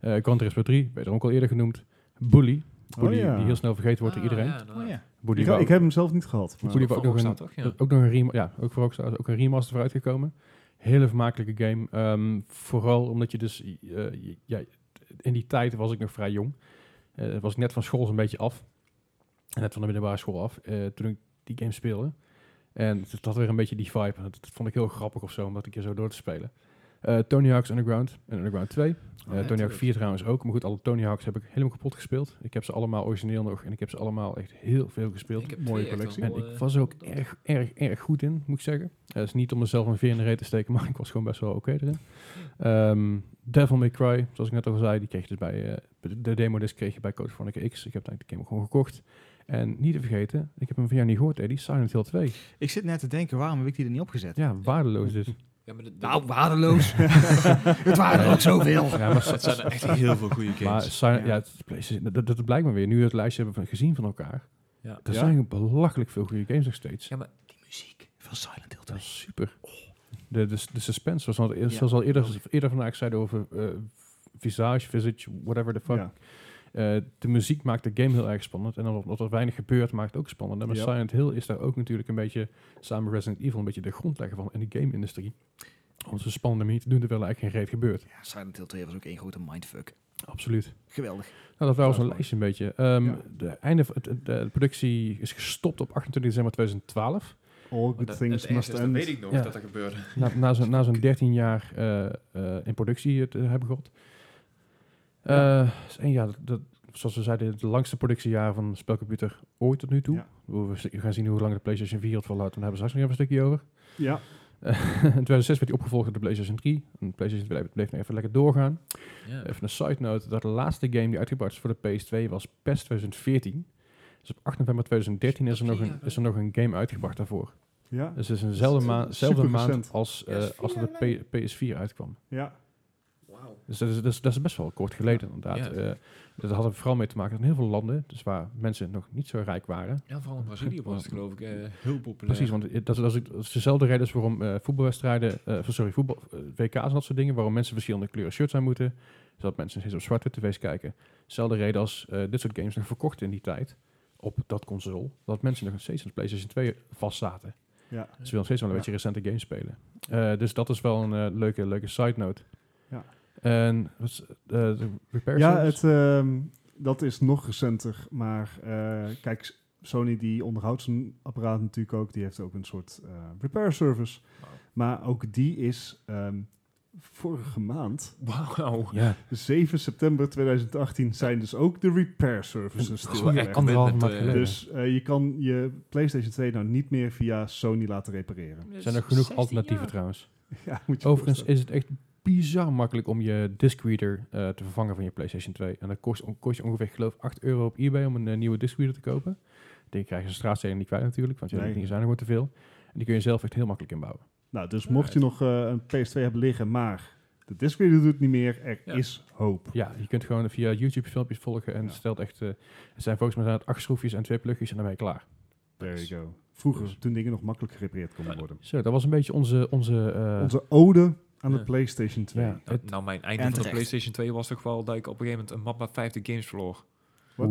[SPEAKER 1] Eh Gran Turismo 3, wederom ook al eerder genoemd. Bully, Bully
[SPEAKER 2] Oh ja.
[SPEAKER 3] Ah,
[SPEAKER 1] die heel snel vergeten wordt door iedereen.
[SPEAKER 4] Oh ja.
[SPEAKER 2] Ik,
[SPEAKER 1] Boedie
[SPEAKER 2] ik heb hem zelf niet gehad. maar-
[SPEAKER 1] Goeie-
[SPEAKER 3] Voor
[SPEAKER 1] ook nog
[SPEAKER 3] Rockstar,
[SPEAKER 1] een-
[SPEAKER 3] toch?
[SPEAKER 1] Ja.
[SPEAKER 3] Ja.
[SPEAKER 1] Ook nog een remaster, ja, ook voor Rockstar is ook een remaster uitgekomen. Hele vermakelijke game. Ehm, vooral omdat je dus, eh, je- ja, in die tijd was ik nog vrij jong. Eh, was ik net van school zo'n beetje af. Net van de middelbare school af, eh, toen ik die game speelde. En het had weer een beetje die vibe. En dat, dat vond ik heel grappig of zo, om dat een keer zo door te spelen. Eh, Tony Hawk's Underground en Underground 2.
[SPEAKER 3] Oh,
[SPEAKER 1] Eh, Tony Hawk 4 trouwens ook. Maar goed, alle Tony Hawk's heb ik helemaal kapot gespeeld. Ik heb ze allemaal origineel nog en ik heb ze allemaal echt heel veel gespeeld.
[SPEAKER 3] Ik heb
[SPEAKER 2] Mooie
[SPEAKER 3] twee echt
[SPEAKER 2] collectie.
[SPEAKER 3] wel,
[SPEAKER 1] En ik
[SPEAKER 3] eh,
[SPEAKER 1] was er ook
[SPEAKER 3] dat-
[SPEAKER 1] erg, erg, erg goed in, moet ik zeggen. Het is niet om mezelf een veer in de reet te steken, maar ik was gewoon best wel oké erin. Ehm, Devil May Cry, zoals ik net al zei, die kreeg je dus bij eh, de demo disc kreeg je bij Code Veronica X. Ik heb eigenlijk de game ook gewoon gekocht. En niet te vergeten, ik heb hem van jou niet gehoord, Eddie, Silent Hill 2.
[SPEAKER 4] Ik zit net te denken, waarom heb ik die er niet opgezet?
[SPEAKER 1] Ja, waardeloos dit.
[SPEAKER 3] Ja, maar de- de-
[SPEAKER 4] Nou, waardeloos. het waren er ook zoveel.
[SPEAKER 1] Ja, maar,
[SPEAKER 3] Het zijn echt heel veel goede
[SPEAKER 1] maar
[SPEAKER 3] games.
[SPEAKER 1] Silent, ja, het, PlayStation- dat, dat blijkt maar weer, nu we het lijstje hebben van, gezien van elkaar.
[SPEAKER 3] Ja.
[SPEAKER 1] Er
[SPEAKER 2] Ja.
[SPEAKER 1] zijn belachelijk veel goede games nog steeds.
[SPEAKER 3] Ja, maar
[SPEAKER 4] Muziek van Silent Hill
[SPEAKER 1] Dat
[SPEAKER 4] 2.
[SPEAKER 1] is super. De, de, de suspense was, al,
[SPEAKER 4] Ja.
[SPEAKER 1] zoals al eerder, eerder vandaag zeiden over eh, visage, visage, whatever the fuck.
[SPEAKER 2] Ja.
[SPEAKER 1] Eh, de muziek maakt de game heel erg spannend. En dan omdat er weinig gebeurt, maakt het ook spannend. En Maar
[SPEAKER 2] Ja.
[SPEAKER 1] Silent Hill is daar ook natuurlijk een beetje, samen met Resident Evil, een beetje de grondlegger van in de game-industrie. Om het zo spannende manier te doen, terwijl er eigenlijk geen reet gebeurt.
[SPEAKER 4] Ja, Silent Hill 2 was ook één grote mindfuck.
[SPEAKER 1] Absoluut.
[SPEAKER 4] Geweldig.
[SPEAKER 1] Nou, dat was
[SPEAKER 2] Ja,
[SPEAKER 1] een
[SPEAKER 2] dat
[SPEAKER 1] lijstje een beetje. Ehm,
[SPEAKER 2] Ja.
[SPEAKER 1] de, einde, van- de, de productie is gestopt op 28 december 2012.
[SPEAKER 2] All good
[SPEAKER 3] dat-
[SPEAKER 2] things
[SPEAKER 3] het ergste,
[SPEAKER 2] must
[SPEAKER 3] dat
[SPEAKER 2] end.
[SPEAKER 3] weet ik nog
[SPEAKER 1] Ja.
[SPEAKER 3] dat er gebeurde.
[SPEAKER 1] Na, na zo'n na zo'n 13 jaar eh, eh, in productie eh, te hebben gehad. Eh, is één jaar, dat, dat- zoals we zeiden, het langste productiejaar van een spelcomputer ooit tot nu toe.
[SPEAKER 2] Ja.
[SPEAKER 1] We z- gaan zien hoe lang de PlayStation 4 het volhoudt. En daar hebben we straks nog even een stukje over.
[SPEAKER 2] Ja,
[SPEAKER 1] Eh, in 2006 werd die opgevolgd door de PlayStation 3. En de PlayStation 2 bleef nog even lekker doorgaan.
[SPEAKER 3] Ja.
[SPEAKER 1] Even een side note, dat de laatste game die uitgebracht is voor de PS2 was E PES 2014. Dus op 8 november 2013 is er nog een, is er nog een game uitgebracht daarvoor.
[SPEAKER 2] ja,
[SPEAKER 1] Dus het is eenzelfde
[SPEAKER 2] Dat is
[SPEAKER 1] ma
[SPEAKER 2] super
[SPEAKER 1] zelfde maand
[SPEAKER 2] recent.
[SPEAKER 1] als, eh,
[SPEAKER 3] Ja, is
[SPEAKER 1] als
[SPEAKER 3] vier
[SPEAKER 1] dat de
[SPEAKER 3] jaar
[SPEAKER 1] P- PS4 uitkwam.
[SPEAKER 2] ja.
[SPEAKER 3] Wauw.
[SPEAKER 1] Dus dat is, dat, is, dat is best wel kort geleden
[SPEAKER 3] Ja.
[SPEAKER 1] inderdaad. Eh dat had er vooral mee te maken dat in heel veel landen, dus waar mensen nog niet zo rijk waren.
[SPEAKER 3] Ja, vooral in Brazilië was het geloof ik eh, heel populair.
[SPEAKER 1] Precies, want dat, is- dat, is, dat is dezelfde reden is waarom eh, voetbalwedstrijden, eh, sorry, voetbal, eh, WK's en dat soort dingen, waarom mensen verschillende kleuren shirts aan moeten, zodat mensen steeds op zwarte tv's kijken. Dezelfde reden als eh, dit soort games nog verkocht in die tijd, op dat console, dat mensen nog steeds aan de PlayStation 2 vastzaten. Dus
[SPEAKER 2] ja.
[SPEAKER 1] Ze wil nog steeds wel een
[SPEAKER 2] Ja.
[SPEAKER 1] beetje recente games spelen. Eh, dus dat is wel een eh, leuke, leuke side note.
[SPEAKER 2] Ja.
[SPEAKER 1] En wat is, eh, de repair
[SPEAKER 2] Ja,
[SPEAKER 1] service?
[SPEAKER 2] het, ehm, dat is nog recenter. Maar eh, kijk, Sony die onderhoudt zijn apparaat natuurlijk ook. Die heeft ook een soort eh, repair service.
[SPEAKER 3] Wauw.
[SPEAKER 2] Maar ook die is ehm, vorige maand,
[SPEAKER 3] Wauw.
[SPEAKER 1] ja,
[SPEAKER 2] 7 september 2018, zijn dus ook de repair services
[SPEAKER 3] Goed,
[SPEAKER 2] stilgelegd.
[SPEAKER 3] echt
[SPEAKER 1] kan wel
[SPEAKER 3] met,
[SPEAKER 1] maar
[SPEAKER 3] eh,
[SPEAKER 1] geleden.
[SPEAKER 2] Dus eh, je kan je PlayStation 2 nou niet meer via Sony laten repareren.
[SPEAKER 1] zijn er genoeg alternatieven trouwens.
[SPEAKER 2] Ja, moet je
[SPEAKER 1] Overigens
[SPEAKER 2] voorstellen.
[SPEAKER 1] is het echt bizar makkelijk om je disc reader eh, te vervangen van je PlayStation 2. En dat kost, kost je ongeveer, geloof ik, 8 euro op eBay om een eh, nieuwe disc reader te kopen. Die krijg je een straatsteden niet kwijt natuurlijk, want ja, die
[SPEAKER 2] Nee.
[SPEAKER 1] dingen zijn er gewoon te veel. En die kun je zelf echt heel makkelijk inbouwen.
[SPEAKER 2] Nou, dus mocht je nog eh, een PS2 hebben liggen, maar de disc reader doet het niet meer, er
[SPEAKER 3] Ja.
[SPEAKER 2] is hoop.
[SPEAKER 1] Ja, je kunt gewoon via YouTube filmpjes volgen en
[SPEAKER 2] Ja.
[SPEAKER 1] het stelt echt... eh, het zijn volgens mij zijn het acht schroefjes en twee plugjes en dan ben je klaar.
[SPEAKER 2] There you go. Vroeger,
[SPEAKER 1] Dus-
[SPEAKER 2] toen dingen nog makkelijk gerepareerd konden
[SPEAKER 3] Ja.
[SPEAKER 2] worden.
[SPEAKER 1] Zo, dat was een beetje onze... onze, eh,
[SPEAKER 2] Onze ode aan de
[SPEAKER 3] Ja.
[SPEAKER 2] PlayStation 2.
[SPEAKER 1] Ja,
[SPEAKER 3] Nou,
[SPEAKER 1] het-
[SPEAKER 3] nou, mijn einde
[SPEAKER 4] En
[SPEAKER 3] van de
[SPEAKER 4] terecht.
[SPEAKER 3] PlayStation 2 was toch wel dat ik op een gegeven moment een map met 50 games verloor.
[SPEAKER 2] Wat?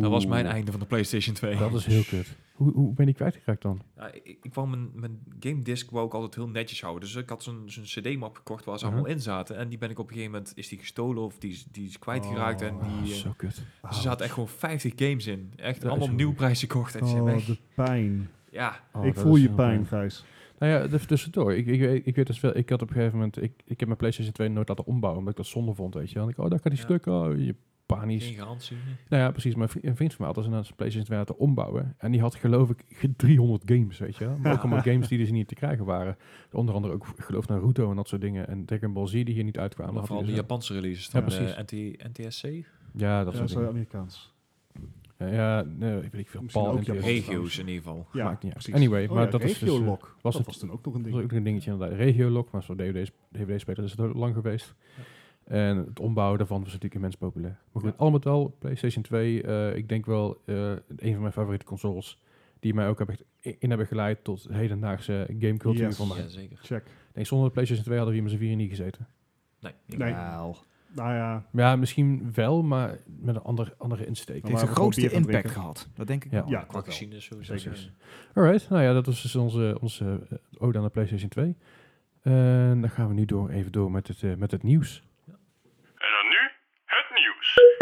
[SPEAKER 1] Nou,
[SPEAKER 3] Dat was
[SPEAKER 2] Oeh.
[SPEAKER 3] mijn einde van de PlayStation 2.
[SPEAKER 1] dat is heel kut. Hoe, hoe ben ik kwijtgeraakt dan?
[SPEAKER 3] Ja, ik, ik wou mijn, mijn game disc wou ik altijd heel netjes houden. Dus ik had zo'n zo'n cd-map gekocht waar ze
[SPEAKER 1] Mhm.
[SPEAKER 3] allemaal in zaten. En die ben ik op een gegeven moment, is die gestolen of die, is- die is kwijtgeraakt. en
[SPEAKER 2] Oh,
[SPEAKER 3] die, eh,
[SPEAKER 1] zo kut.
[SPEAKER 2] Ah,
[SPEAKER 3] ze zaten echt gewoon 50 games in. Echt
[SPEAKER 1] is
[SPEAKER 3] allemaal
[SPEAKER 1] wel-
[SPEAKER 3] opnieuw prijs gekocht. En die zijn
[SPEAKER 2] Oh,
[SPEAKER 3] weg.
[SPEAKER 2] de pijn.
[SPEAKER 3] Ja,
[SPEAKER 1] Oh,
[SPEAKER 2] ik
[SPEAKER 1] dat
[SPEAKER 2] voel
[SPEAKER 1] is
[SPEAKER 2] je
[SPEAKER 1] heel
[SPEAKER 2] pijn, Gijs.
[SPEAKER 1] Nou ja, dus- tussendoor. Ik, ik, weet- ik weet dus wel, ik had op een gegeven moment, ik, ik heb mijn PlayStation 2 nooit laten ombouwen, omdat ik dat zonde vond, weet je. Dan dacht ik, oh, daar kan die
[SPEAKER 3] Ja.
[SPEAKER 1] stuk, oh, je panisch.
[SPEAKER 3] geen garantie.
[SPEAKER 1] Nou ja, precies. Mijn vri- een vriend van mij had dus een PlayStation 2 laten ombouwen. En die had geloof ik ge- 300 games, weet je wel. Maar ook allemaal games die dus niet te krijgen waren. Onder andere ook, geloof naar Naruto en dat soort dingen. En Dragon Ball Z die hier niet uitkwamen.
[SPEAKER 3] Maar
[SPEAKER 1] had hij
[SPEAKER 3] vooral de
[SPEAKER 1] dus wel.
[SPEAKER 3] Japanse releases.
[SPEAKER 1] Ja,
[SPEAKER 3] Dan, eh, NT, NTSC.
[SPEAKER 1] ja, dat
[SPEAKER 2] Dat
[SPEAKER 1] soort
[SPEAKER 2] is wel
[SPEAKER 1] dingen.
[SPEAKER 2] Amerikaans.
[SPEAKER 1] Ja, ja, nee, ik weet niet veel.
[SPEAKER 2] Misschien
[SPEAKER 1] Paul
[SPEAKER 2] ook
[SPEAKER 1] en
[SPEAKER 2] Japan.
[SPEAKER 1] PS.
[SPEAKER 3] Regio's in ieder geval.
[SPEAKER 2] Ja,
[SPEAKER 1] Maakt niet uit.
[SPEAKER 2] precies.
[SPEAKER 1] Anyway,
[SPEAKER 2] Oh
[SPEAKER 1] maar
[SPEAKER 2] ja,
[SPEAKER 1] dat is dus, eh,
[SPEAKER 2] Regiolok.
[SPEAKER 1] was
[SPEAKER 2] dat
[SPEAKER 1] het-
[SPEAKER 2] was toen ook nog een
[SPEAKER 1] Dat is
[SPEAKER 2] ding.
[SPEAKER 1] ook een dingetje inderdaad. Regiolok, maar zo'n DVD's, DVD-speler is het heel lang geweest. En het ombouwen daarvan was natuurlijk immens populair. Maar goed,
[SPEAKER 2] Ja.
[SPEAKER 1] al met al, PlayStation 2, eh, ik denk wel eh, een van mijn favoriete consoles. Die mij ook heb echt i- in hebben geleid tot hedendaagse gamecultuur
[SPEAKER 2] Yes.
[SPEAKER 1] van mij.
[SPEAKER 3] Ja, zeker.
[SPEAKER 2] Check.
[SPEAKER 1] Ik denk, zonder de PlayStation 2 hadden we hier met z'n vieren niet gezeten.
[SPEAKER 3] Nee, ik-
[SPEAKER 2] Nee.
[SPEAKER 4] Wauw.
[SPEAKER 2] Nou ja,
[SPEAKER 1] Ja, misschien wel, maar met een ander, andere insteek.
[SPEAKER 4] Het
[SPEAKER 2] Maar
[SPEAKER 4] heeft de
[SPEAKER 2] we gewoon bier
[SPEAKER 4] grootste
[SPEAKER 2] gaan
[SPEAKER 4] impact
[SPEAKER 2] drinken.
[SPEAKER 4] gehad. Dat denk ik
[SPEAKER 1] Ja.
[SPEAKER 4] wel.
[SPEAKER 2] ja,
[SPEAKER 3] Qua
[SPEAKER 2] dat wel.
[SPEAKER 3] geschiedenis sowieso.
[SPEAKER 2] Zeker.
[SPEAKER 1] Alright, nou ja, dat was dus onze, onze eh, ode aan de PlayStation 2. En dan gaan we nu door, even door met het, eh, met het nieuws.
[SPEAKER 5] En dan nu het nieuws.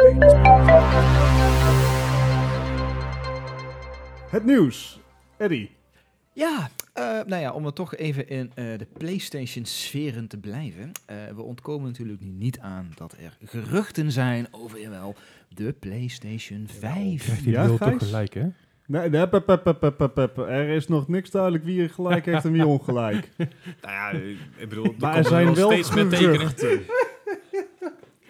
[SPEAKER 2] Het nieuws. Eddie.
[SPEAKER 4] Ja, eh, nou ja, om dan toch even in eh, de PlayStation-sferen te blijven. Eh, we ontkomen natuurlijk nu niet aan dat er geruchten zijn over, jawel, de PlayStation 5.
[SPEAKER 1] Krijgt hij
[SPEAKER 2] Ja,
[SPEAKER 1] ja, toch
[SPEAKER 2] Gijs?
[SPEAKER 1] gelijk, hè?
[SPEAKER 2] Nee, nee, pep, pep, pep, pep, pep, pep. Er is nog niks duidelijk wie er gelijk heeft en wie ongelijk.
[SPEAKER 3] Nou ja, ik bedoel, er
[SPEAKER 2] Maar er
[SPEAKER 3] komt
[SPEAKER 2] zijn wel
[SPEAKER 3] steeds meer tekenen.
[SPEAKER 2] geruchten.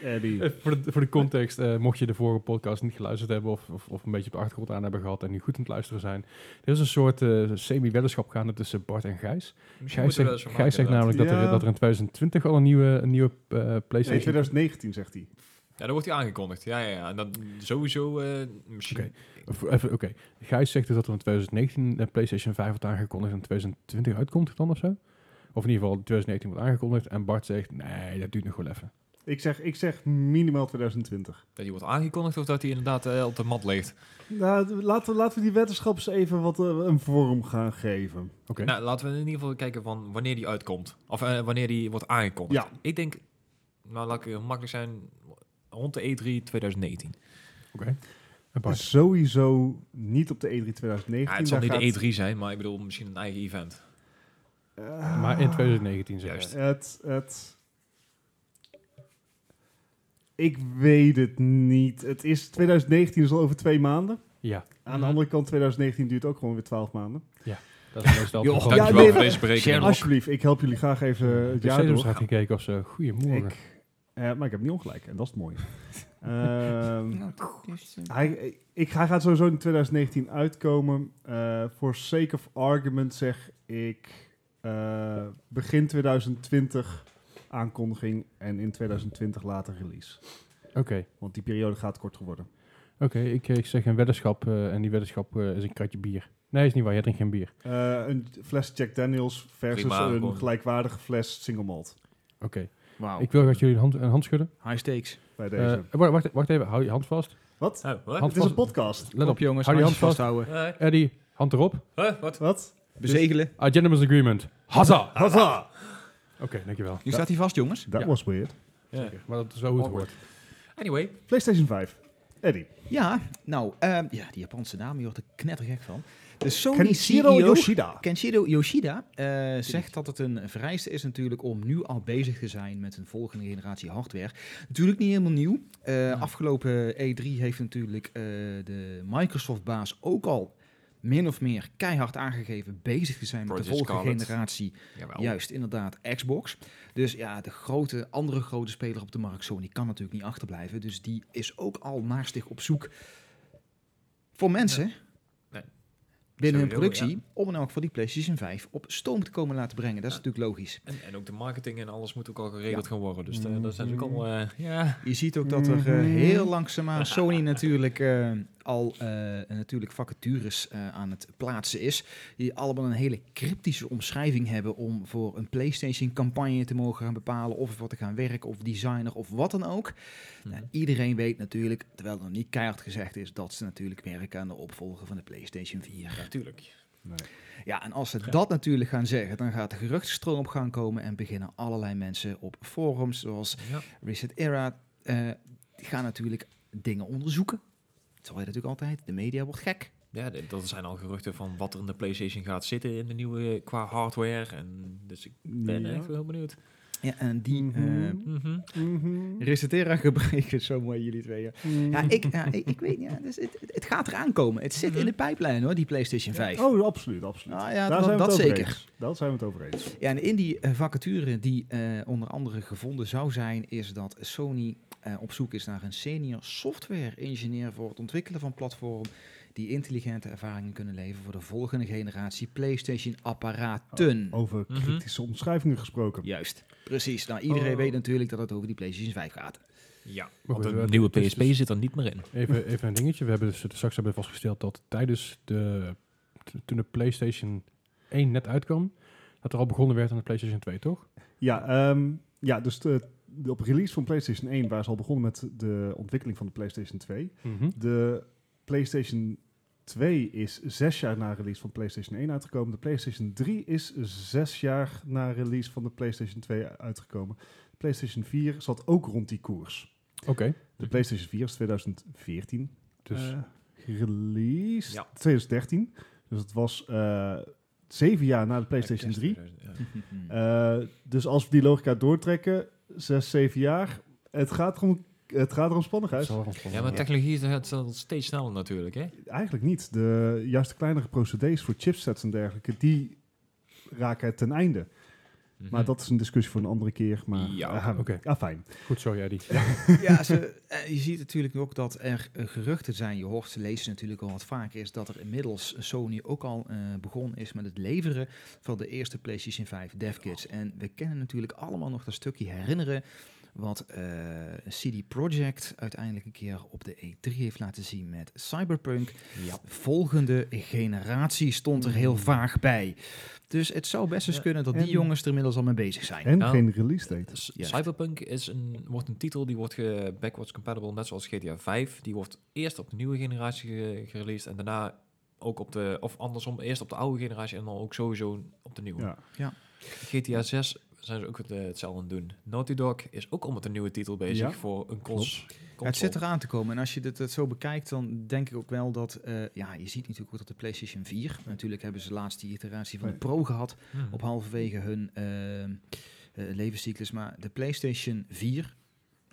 [SPEAKER 2] Eddie.
[SPEAKER 1] Eh, voor, de, voor de context, eh, mocht je de vorige podcast niet geluisterd hebben of, of, of een beetje op de achtergrond aan hebben gehad en nu goed aan het luisteren zijn. Er is een soort eh, semi-weddenschap gaande tussen Bart en Gijs. Gijs
[SPEAKER 3] Misschien moeten we
[SPEAKER 1] zegt,
[SPEAKER 3] dat eens
[SPEAKER 1] Gijs
[SPEAKER 3] gaan maken,
[SPEAKER 1] zegt
[SPEAKER 3] inderdaad.
[SPEAKER 1] namelijk dat, er,
[SPEAKER 2] Ja.
[SPEAKER 1] dat er in 2020 al een nieuwe, een nieuwe eh,
[SPEAKER 2] Nee,
[SPEAKER 1] PlayStation...
[SPEAKER 2] 2019 zegt hij.
[SPEAKER 3] Ja, dat wordt hij aangekondigd. Ja, ja, ja. En dat sowieso eh, misschien...
[SPEAKER 1] Oké. Of even- Oké, Gijs zegt dus dat er in 2019 de PlayStation 5 wordt aangekondigd en in 2020 uitkomt dan of zo? Of in ieder geval 2019 wordt aangekondigd en Bart zegt, nee, dat duurt nog wel even.
[SPEAKER 2] Ik zeg, ik zeg minimaal 2020.
[SPEAKER 3] Dat hij wordt aangekondigd of dat hij inderdaad eh, op de mat ligt.
[SPEAKER 2] Nou, d- laten, we- laten we die wetenschap eens even wat eh, een vorm gaan geven.
[SPEAKER 1] Oké,
[SPEAKER 3] Nou, laten we in ieder geval kijken van wanneer die uitkomt. Of eh, wanneer die wordt aangekondigd.
[SPEAKER 2] Ja.
[SPEAKER 3] Ik denk, nou laat ik heel makkelijk zijn, rond de E E3 2019.
[SPEAKER 1] oké. En Bart,
[SPEAKER 2] Sowieso niet op de E E3 2019.
[SPEAKER 3] Ja, het zal
[SPEAKER 2] Daar
[SPEAKER 3] niet
[SPEAKER 2] gaat-
[SPEAKER 3] de E E3 zijn, maar ik bedoel misschien een eigen event.
[SPEAKER 2] Eh,
[SPEAKER 1] maar in 2019 zeg
[SPEAKER 3] Juist.
[SPEAKER 1] je.
[SPEAKER 2] Het, het... Ik weet het niet. Het is 2019 is al over twee maanden.
[SPEAKER 1] Ja,
[SPEAKER 2] Aan de andere kant, 2019 duurt ook gewoon weer twaalf maanden.
[SPEAKER 1] dat is meestal
[SPEAKER 4] Joh,
[SPEAKER 1] het geval.
[SPEAKER 2] Ja,
[SPEAKER 3] Dankjewel
[SPEAKER 2] nee,
[SPEAKER 3] voor
[SPEAKER 2] maar-
[SPEAKER 3] deze berekening.
[SPEAKER 2] Alsjeblieft, ik help jullie graag even eh, het
[SPEAKER 1] Ik
[SPEAKER 2] jaar
[SPEAKER 1] heb
[SPEAKER 2] door.
[SPEAKER 1] had gekeken of ze. Goedemorgen.
[SPEAKER 2] Ik, eh, maar ik heb niet ongelijk en dat is het mooie. Ehm,
[SPEAKER 4] Nou, dus, eh,
[SPEAKER 2] hij, ik, hij gaat sowieso in 2019 uitkomen. Eh, For sake of argument zeg ik eh, begin 2020 aankondiging en in 2020 later release.
[SPEAKER 1] Oké,
[SPEAKER 2] Want die periode gaat korter worden.
[SPEAKER 1] oké. ik, ik zeg een weddenschap eh, en die weddenschap eh, is een kratje bier. Nee, is niet waar. Je drinkt geen bier.
[SPEAKER 2] Eh, een fles Jack Daniels versus
[SPEAKER 3] Prima,
[SPEAKER 2] een
[SPEAKER 3] gewoon.
[SPEAKER 2] gelijkwaardige fles single malt.
[SPEAKER 1] Oké.
[SPEAKER 4] Wauw,
[SPEAKER 1] Ik wil dat jullie een hand, een hand schudden.
[SPEAKER 4] high stakes.
[SPEAKER 2] Bij
[SPEAKER 1] Eh,
[SPEAKER 2] Nou. deze.
[SPEAKER 1] wacht, wacht, wacht even. Hou je hand vast.
[SPEAKER 2] Wat?
[SPEAKER 3] Oh, wat?
[SPEAKER 1] hand
[SPEAKER 2] Het is
[SPEAKER 1] vast.
[SPEAKER 2] een podcast.
[SPEAKER 1] Let op.
[SPEAKER 4] jongens,
[SPEAKER 1] Hou die hand
[SPEAKER 4] handjes
[SPEAKER 1] vast.
[SPEAKER 4] vasthouden.
[SPEAKER 3] Eh,
[SPEAKER 1] Eddie, hand erop.
[SPEAKER 3] huh, wat?
[SPEAKER 2] Wat?
[SPEAKER 4] Bezegelen.
[SPEAKER 1] Ah, gentleman's agreement. Hazza.
[SPEAKER 2] Haza!
[SPEAKER 1] Oké, dankjewel.
[SPEAKER 4] Nu staat hij vast, jongens.
[SPEAKER 2] That
[SPEAKER 1] Ja.
[SPEAKER 2] was weird.
[SPEAKER 3] Ja.
[SPEAKER 1] Zeker. Maar dat is wel hoe het hoort.
[SPEAKER 3] Anyway,
[SPEAKER 2] PlayStation 5. Eddie.
[SPEAKER 4] Ja, nou, ehm, ja, die Japanse naam, je wordt er knettergek van. De Sony E
[SPEAKER 2] Kenshiro
[SPEAKER 4] CEO...
[SPEAKER 2] Yoshida.
[SPEAKER 4] Kenshiro Yoshida eh, zegt dat het een vereiste is natuurlijk om nu al bezig te zijn met een volgende generatie hardware. Natuurlijk niet helemaal nieuw. Eh, Afgelopen E3 heeft natuurlijk eh, de Microsoft-baas ook al min of meer keihard aangegeven bezig te zijn met
[SPEAKER 3] Project
[SPEAKER 4] de volgende
[SPEAKER 3] Scarlet.
[SPEAKER 4] generatie.
[SPEAKER 3] jawel.
[SPEAKER 4] Juist, inderdaad, Xbox. Dus ja, de grote, andere grote speler op de markt, Sony, kan natuurlijk niet achterblijven. Dus die is ook al naastig op zoek voor mensen
[SPEAKER 3] Nee.
[SPEAKER 4] binnen hun
[SPEAKER 3] Sowieso,
[SPEAKER 4] productie om in elk geval die PlayStation 5 op stoom te komen laten brengen. Dat is natuurlijk logisch.
[SPEAKER 3] En, en ook de marketing en alles moet ook al geregeld
[SPEAKER 4] Ja.
[SPEAKER 3] gaan worden. Dus eh, dat is
[SPEAKER 2] Mm.
[SPEAKER 3] natuurlijk al... eh, ja.
[SPEAKER 4] Je ziet ook dat er eh,
[SPEAKER 2] Mhm.
[SPEAKER 4] heel langzaamaan Sony natuurlijk eh, al eh, natuurlijk vacatures eh, aan het plaatsen is. Die allemaal een hele cryptische omschrijving hebben om voor een PlayStation campagne te mogen gaan bepalen of voor te gaan werken of designer of wat dan ook. Nou, iedereen weet natuurlijk, terwijl het nog niet keihard gezegd is, dat ze natuurlijk werken aan de opvolger van de PlayStation 4.
[SPEAKER 3] Natuurlijk.
[SPEAKER 4] Ja, en als ze dat natuurlijk gaan zeggen, dan gaat de geruchtenstroom op gang komen en beginnen allerlei mensen op forums zoals
[SPEAKER 3] Ja.
[SPEAKER 4] Reset Era, eh, die gaan natuurlijk dingen onderzoeken. Dat zal je natuurlijk altijd, de media wordt gek.
[SPEAKER 3] Ja, d- dat zijn al geruchten van wat er in de PlayStation gaat zitten in de nieuwe eh, qua hardware. En dus ik ben
[SPEAKER 2] Ja.
[SPEAKER 3] echt wel heel benieuwd.
[SPEAKER 4] Ja, en die eh
[SPEAKER 2] Mhm.
[SPEAKER 3] Mhm.
[SPEAKER 2] Mhm.
[SPEAKER 4] Reset Era gebruiken, zo mooi jullie tweeën. Ja, ik, ja, ik, ik weet niet, ja, dus het, het- het gaat eraan komen. Het zit in de pijplijn hoor, die PlayStation 5.
[SPEAKER 2] Oh, absoluut, absoluut.
[SPEAKER 3] Ah,
[SPEAKER 4] Nou ja,
[SPEAKER 2] Daar
[SPEAKER 4] dat,
[SPEAKER 2] zijn we
[SPEAKER 4] dat
[SPEAKER 2] het over
[SPEAKER 4] zeker.
[SPEAKER 2] eens. Dat zijn we het over eens.
[SPEAKER 4] Ja, en in die eh, vacature die eh, onder andere gevonden zou zijn, is dat Sony eh, op zoek is naar een senior software engineer voor het ontwikkelen van platform die intelligente ervaringen kunnen leveren voor de volgende generatie PlayStation apparaten.
[SPEAKER 2] Over
[SPEAKER 3] Mhm.
[SPEAKER 2] kritische omschrijvingen gesproken.
[SPEAKER 4] Juist, precies. Nou, iedereen
[SPEAKER 3] Oh.
[SPEAKER 4] weet natuurlijk dat het over die PlayStation 5 gaat.
[SPEAKER 3] Ja,
[SPEAKER 1] Maar
[SPEAKER 3] want
[SPEAKER 1] goed,
[SPEAKER 3] een
[SPEAKER 1] eh,
[SPEAKER 3] nieuwe
[SPEAKER 1] het is
[SPEAKER 3] PSP
[SPEAKER 1] dus-
[SPEAKER 3] zit er niet meer in.
[SPEAKER 1] Even, even een dingetje. We hebben dus, straks hebben we vastgesteld dat tijdens de... t- Toen de PlayStation 1 net uitkwam, dat er al begonnen werd aan de PlayStation 2, toch?
[SPEAKER 2] Ja, ehm, Ja, dus de, de- op release van PlayStation 1 waren ze al begonnen met de ontwikkeling van de PlayStation 2.
[SPEAKER 1] Mhm.
[SPEAKER 2] De PlayStation 2 is zes jaar na release van PlayStation 1 uitgekomen. De PlayStation 3 is zes jaar na release van de PlayStation 2 uitgekomen. De PlayStation 4 zat ook rond die koers.
[SPEAKER 1] Oké,
[SPEAKER 2] De PlayStation 4 is 2014
[SPEAKER 1] dus
[SPEAKER 2] eh, gereleased.
[SPEAKER 3] Ja.
[SPEAKER 2] 2013. Dus het was eh, zeven jaar na de PlayStation 3. Eh, dus als we die logica doortrekken, zes, zeven jaar. Het gaat er om, het gaat er om
[SPEAKER 1] het
[SPEAKER 2] spannigheid.
[SPEAKER 1] zal wel ontspannen
[SPEAKER 3] Ja, maar
[SPEAKER 1] worden.
[SPEAKER 3] technologie is- het zal steeds sneller natuurlijk, hè?
[SPEAKER 2] Eigenlijk niet. De, juist de kleinere procedés voor chipsets en dergelijke, die raken het ten einde.
[SPEAKER 3] Mhm.
[SPEAKER 2] Maar dat is een discussie voor een andere keer. Maar,
[SPEAKER 3] Ja,
[SPEAKER 2] ah,
[SPEAKER 1] oké.
[SPEAKER 2] ah, fijn.
[SPEAKER 1] Goed zo, Jaddy.
[SPEAKER 4] Ja, ze, eh, je ziet natuurlijk ook dat er eh, geruchten zijn. Je hoort, ze lezen natuurlijk al wat vaker is dat er inmiddels Sony ook al eh, begonnen is met het leveren van de eerste PlayStation 5 devkits. En we kennen natuurlijk allemaal nog dat stukje herinneren wat eh, CD Projekt uiteindelijk een keer op de E3 heeft laten zien met Cyberpunk.
[SPEAKER 3] Ja.
[SPEAKER 4] Volgende generatie stond er heel vaag bij. Dus het zou best eens
[SPEAKER 3] Hmm. Ja,
[SPEAKER 4] kunnen dat
[SPEAKER 2] en-
[SPEAKER 4] die jongens er inmiddels al mee bezig zijn.
[SPEAKER 2] En
[SPEAKER 3] Nou,
[SPEAKER 2] geen release date.
[SPEAKER 3] S-
[SPEAKER 4] Juist.
[SPEAKER 3] Cyberpunk is een, wordt een titel die wordt ge- backwards compatible, net zoals GTA 5. Die wordt eerst op de nieuwe generatie ge- gereleased en daarna ook op de, of andersom, eerst op de oude generatie en dan ook sowieso op de nieuwe.
[SPEAKER 2] Ja.
[SPEAKER 3] GTA 6 zijn ze ook het, eh, hetzelfde aan het doen. Naughty Dog is ook al met een nieuwe titel bezig
[SPEAKER 2] Ja,
[SPEAKER 3] voor een cons.
[SPEAKER 4] Ja, het zit eraan te komen. En als je dit, het zo bekijkt, dan denk ik ook wel dat... eh, ja, je ziet natuurlijk ook dat de PlayStation 4... Natuurlijk hebben ze laatst die iteratie van de
[SPEAKER 2] Nee.
[SPEAKER 4] Pro gehad.
[SPEAKER 3] Hmm.
[SPEAKER 4] Op halverwege hun eh, eh, levenscyclus. Maar de PlayStation 4...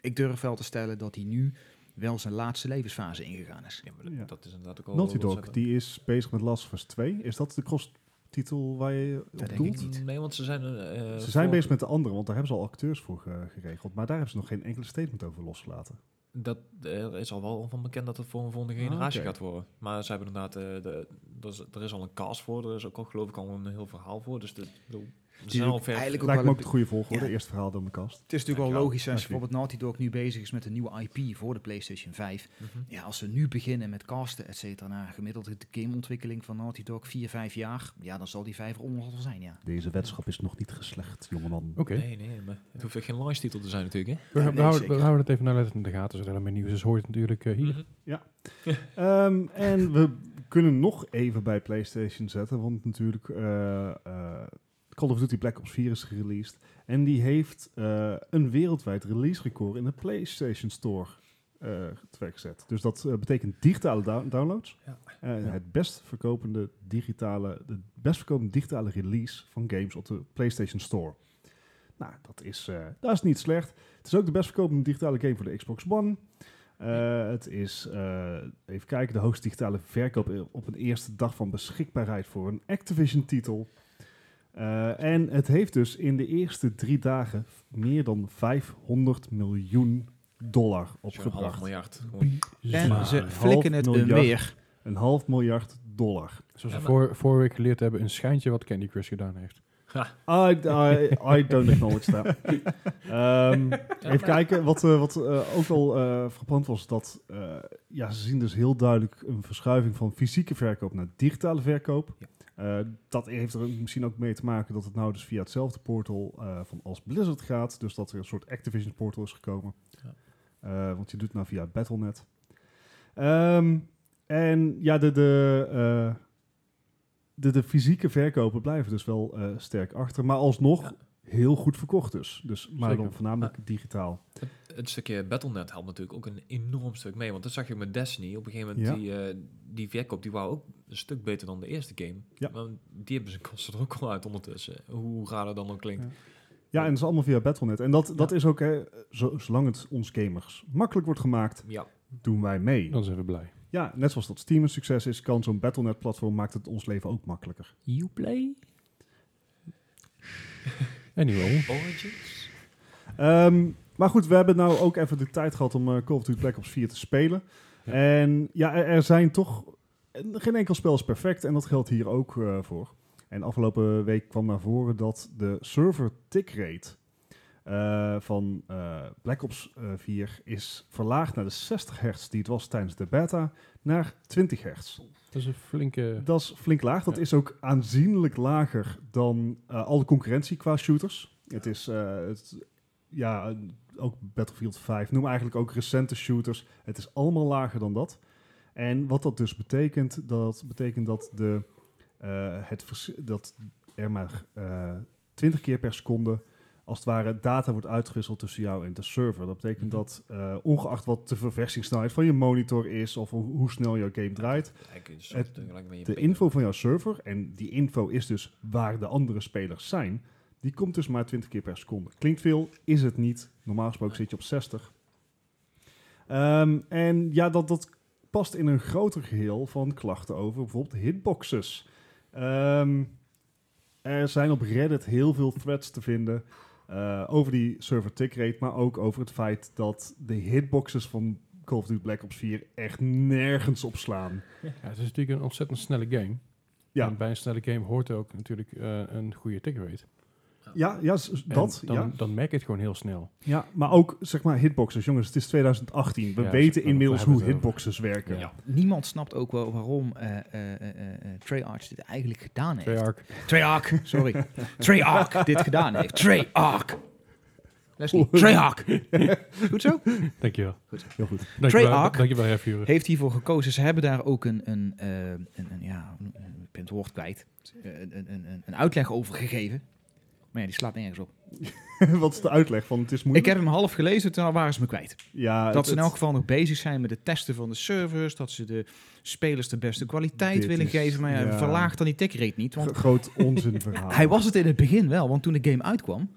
[SPEAKER 4] Ik durf wel te stellen dat die nu wel zijn laatste levensfase ingegaan is.
[SPEAKER 3] Ja, maar dat-
[SPEAKER 2] Ja.
[SPEAKER 3] dat is inderdaad ook al...
[SPEAKER 2] Naughty
[SPEAKER 3] wat
[SPEAKER 2] Dog,
[SPEAKER 3] ze-
[SPEAKER 2] die is bezig met Last of Us 2. Is dat de cross-titel waar je op
[SPEAKER 4] denk ik
[SPEAKER 2] doelt?
[SPEAKER 4] niet.
[SPEAKER 3] Nee, want ze zijn... eh, eh,
[SPEAKER 2] Ze zijn
[SPEAKER 3] voor-
[SPEAKER 2] bezig met de andere, want daar hebben ze al acteurs voor ge- geregeld. Maar daar hebben ze nog geen enkele statement over losgelaten.
[SPEAKER 3] Dat eh, er is al wel van bekend dat het voor een volgende generatie
[SPEAKER 2] oké.
[SPEAKER 3] gaat worden. Maar ze hebben inderdaad, eh, de, er, is, er is al een cast voor, er is ook al geloof ik al een heel verhaal voor. Dus de, ik bedoel, ze zijn al
[SPEAKER 4] ook
[SPEAKER 3] ver.
[SPEAKER 4] eigenlijk ook
[SPEAKER 2] Lijkt me
[SPEAKER 4] wel
[SPEAKER 2] ook de goede volgorde. Eerst verhaal dan de kast.
[SPEAKER 4] Het is natuurlijk wel
[SPEAKER 3] Dankjewel.
[SPEAKER 4] logisch als
[SPEAKER 2] Dankjewel.
[SPEAKER 4] bijvoorbeeld Naughty Dog nu bezig is met een nieuwe IP voor de PlayStation 5.
[SPEAKER 3] Mhm.
[SPEAKER 4] Ja, als we nu beginnen met casten, et cetera, naar gemiddelde gameontwikkeling van Naughty Dog 4, 5 jaar, ja, dan zal die 5 onderhand wel zijn, ja.
[SPEAKER 2] Deze wedschap is nog niet geslecht, jongeman.
[SPEAKER 1] Oké,
[SPEAKER 3] Nee, nee, maar het hoeft echt geen launch titel te zijn natuurlijk, hè?
[SPEAKER 1] we,
[SPEAKER 4] nee,
[SPEAKER 1] we houden, we
[SPEAKER 4] zeker.
[SPEAKER 1] houden het even nauwlettend in de gaten, zodat er meer nieuws is. Hoort het natuurlijk eh,
[SPEAKER 3] Mhm.
[SPEAKER 1] hier.
[SPEAKER 2] Ehm, en we kunnen nog even bij PlayStation zetten, want natuurlijk eh, eh, Call of Duty Black Ops 4 is gereleased. En die heeft eh, een wereldwijd release record in de PlayStation Store eh teweeggezet. Dus dat eh, betekent digitale down- downloads.
[SPEAKER 3] Ja.
[SPEAKER 2] Eh, Het best verkopende digitale, de best verkopende digitale release van games op de PlayStation Store. Nou, dat is, eh, dat is niet slecht. Het is ook de best verkopende digitale game voor de Xbox One. Eh, het is, eh, even kijken, de hoogste digitale verkoop op een eerste dag van beschikbaarheid voor een Activision-titel. Eh, en het heeft dus in de eerste drie dagen meer dan 500 miljoen dollar
[SPEAKER 3] Zo'n half
[SPEAKER 2] opgebracht.
[SPEAKER 3] miljard. gewoon.
[SPEAKER 1] Dus, eh,
[SPEAKER 4] En ze
[SPEAKER 2] een
[SPEAKER 4] flikken
[SPEAKER 2] half
[SPEAKER 4] het eh, een
[SPEAKER 2] miljard.
[SPEAKER 4] weer.
[SPEAKER 2] Een half miljard dollar.
[SPEAKER 1] Zoals
[SPEAKER 3] Ja,
[SPEAKER 1] we
[SPEAKER 3] maar-
[SPEAKER 1] voor, vorige week geleerd hebben, een schijntje wat Candy Crush gedaan heeft.
[SPEAKER 2] I, I, I don't acknowledge that. Ehm,
[SPEAKER 3] Ja,
[SPEAKER 2] even kijken, wat, eh, wat eh, ook al eh frappant was, dat eh, ja, ze zien dus heel duidelijk een verschuiving van fysieke verkoop naar digitale verkoop.
[SPEAKER 3] Ja.
[SPEAKER 2] Eh, dat heeft er misschien ook mee te maken dat het nou dus via hetzelfde portal eh, van als Blizzard gaat. Dus dat er een soort Activision portal is gekomen.
[SPEAKER 3] Ja.
[SPEAKER 2] Eh, want je doet het nou via Battle.net. Ehm, en ja, de, de, eh, de, de fysieke verkopen blijven dus wel eh, sterk achter. Maar alsnog
[SPEAKER 3] Ja.
[SPEAKER 2] heel goed verkocht dus. dus maar
[SPEAKER 1] Zeker.
[SPEAKER 2] dan voornamelijk digitaal.
[SPEAKER 3] Het- Het stukje Battle.net helpt natuurlijk ook een enorm stuk mee. Want dat zag je met Destiny. Op een gegeven moment,
[SPEAKER 2] Ja.
[SPEAKER 3] die, eh, die verkoop, die waren ook een stuk beter dan de eerste game.
[SPEAKER 2] Ja.
[SPEAKER 3] Maar die hebben ze kosten er ook al uit ondertussen. Hoe raar dat dan ook klinkt.
[SPEAKER 2] Ja. Ja, en dat is allemaal via Battle.net. En dat, dat is ook, hè, zo, zolang het ons gamers makkelijk wordt gemaakt,
[SPEAKER 3] Ja,
[SPEAKER 2] doen wij mee.
[SPEAKER 1] Dan zijn we blij.
[SPEAKER 2] Ja, net zoals dat Steam een succes is, kan zo'n Battle.net-platform maakt het ons leven ook makkelijker.
[SPEAKER 3] Uplay?
[SPEAKER 1] Anyway,
[SPEAKER 3] Origins?
[SPEAKER 2] Ehm, maar goed, we hebben nou ook even de tijd gehad om eh, Call of Duty Black Ops 4 te spelen.
[SPEAKER 1] Ja.
[SPEAKER 2] En ja, er, er zijn toch... eh, Geen enkel spel is perfect en dat geldt hier ook eh, voor. En afgelopen week kwam naar voren dat de server tick rate eh, van eh, Black Ops eh, 4 is verlaagd naar de 60 hertz die het was tijdens de beta naar 20 hertz.
[SPEAKER 1] dat is een flinke...
[SPEAKER 2] Dat is flink laag. Dat
[SPEAKER 1] eh, Ja.
[SPEAKER 2] is ook aanzienlijk lager dan eh, alle concurrentie qua shooters. Het is eh, het ja, en ook Battlefield 5, noem eigenlijk ook recente shooters. Het is allemaal lager dan dat. En wat dat dus betekent, dat betekent dat, de, eh, het vers- dat er maar eh 20 keer per seconde als het ware data wordt uitgewisseld tussen jou en de server. Dat betekent dat eh, ongeacht wat de verversingssnelheid van je monitor is of hoe- hoe snel jouw game draait,
[SPEAKER 3] Eigenlijk een
[SPEAKER 2] Het-
[SPEAKER 3] soort tegelijk met je
[SPEAKER 2] de
[SPEAKER 3] ping.
[SPEAKER 2] info van jouw server, en die info is dus waar de andere spelers zijn, die komt dus maar 20 keer per seconde. Klinkt veel, is het niet. Normaal gesproken zit je op 60. Ehm, en ja, dat, dat past in een groter geheel van klachten over bijvoorbeeld hitboxes. Ehm, er zijn op Reddit heel veel threads te vinden eh, over die server tick rate, maar ook over het feit dat de hitboxes van Call of Duty Black Ops 4 echt nergens op slaan.
[SPEAKER 1] Ja, het is natuurlijk een ontzettend snelle game.
[SPEAKER 2] Ja.
[SPEAKER 1] En bij een snelle game hoort ook natuurlijk eh, een goede tick rate.
[SPEAKER 2] Ja, ja s-
[SPEAKER 1] En
[SPEAKER 2] dat.
[SPEAKER 1] dan,
[SPEAKER 2] ja.
[SPEAKER 1] dan merk je het gewoon heel snel.
[SPEAKER 2] ja, maar ook zeg maar hitboxes. Jongens, het is 2018. We
[SPEAKER 1] Ja,
[SPEAKER 2] weten
[SPEAKER 1] we
[SPEAKER 2] inmiddels
[SPEAKER 1] hebben
[SPEAKER 2] hoe
[SPEAKER 1] het over.
[SPEAKER 2] hitboxes werken.
[SPEAKER 3] Ja.
[SPEAKER 4] Niemand snapt ook wel waarom eh, eh, eh, eh, Treyarch dit eigenlijk gedaan heeft.
[SPEAKER 1] Treyarch.
[SPEAKER 4] Treyarch, sorry. Treyarch dit gedaan heeft. Treyarch.
[SPEAKER 2] Oh.
[SPEAKER 4] Leslie, Treyarch. Goed zo?
[SPEAKER 1] Dankjewel.
[SPEAKER 2] Heel goed.
[SPEAKER 1] Dankjewel,
[SPEAKER 4] Treyarch.
[SPEAKER 1] dankjewel Herfuren.
[SPEAKER 4] Heeft hiervoor gekozen. Ze hebben daar ook een, een, eh, een, een- ja, hoe noem- ik ben het woord kwijt. Eh, Een, een, een, een uitleg over gegeven. Maar ja, die slaat nergens op.
[SPEAKER 2] Wat is de uitleg van het is
[SPEAKER 4] Ik
[SPEAKER 2] moeilijk?
[SPEAKER 4] heb hem half gelezen, toen waren ze me kwijt.
[SPEAKER 2] ja, het-
[SPEAKER 4] Dat ze in elk
[SPEAKER 2] het-
[SPEAKER 4] geval nog bezig zijn met het testen van de servers. Dat ze de spelers de beste kwaliteit
[SPEAKER 2] Dit
[SPEAKER 4] willen
[SPEAKER 2] is-
[SPEAKER 4] geven. Maar ja,
[SPEAKER 2] ja.
[SPEAKER 4] verlaag dan die tick rate niet. Want
[SPEAKER 2] gro- groot onzinverhaal.
[SPEAKER 4] Hij was het in het begin wel, want toen de game uitkwam,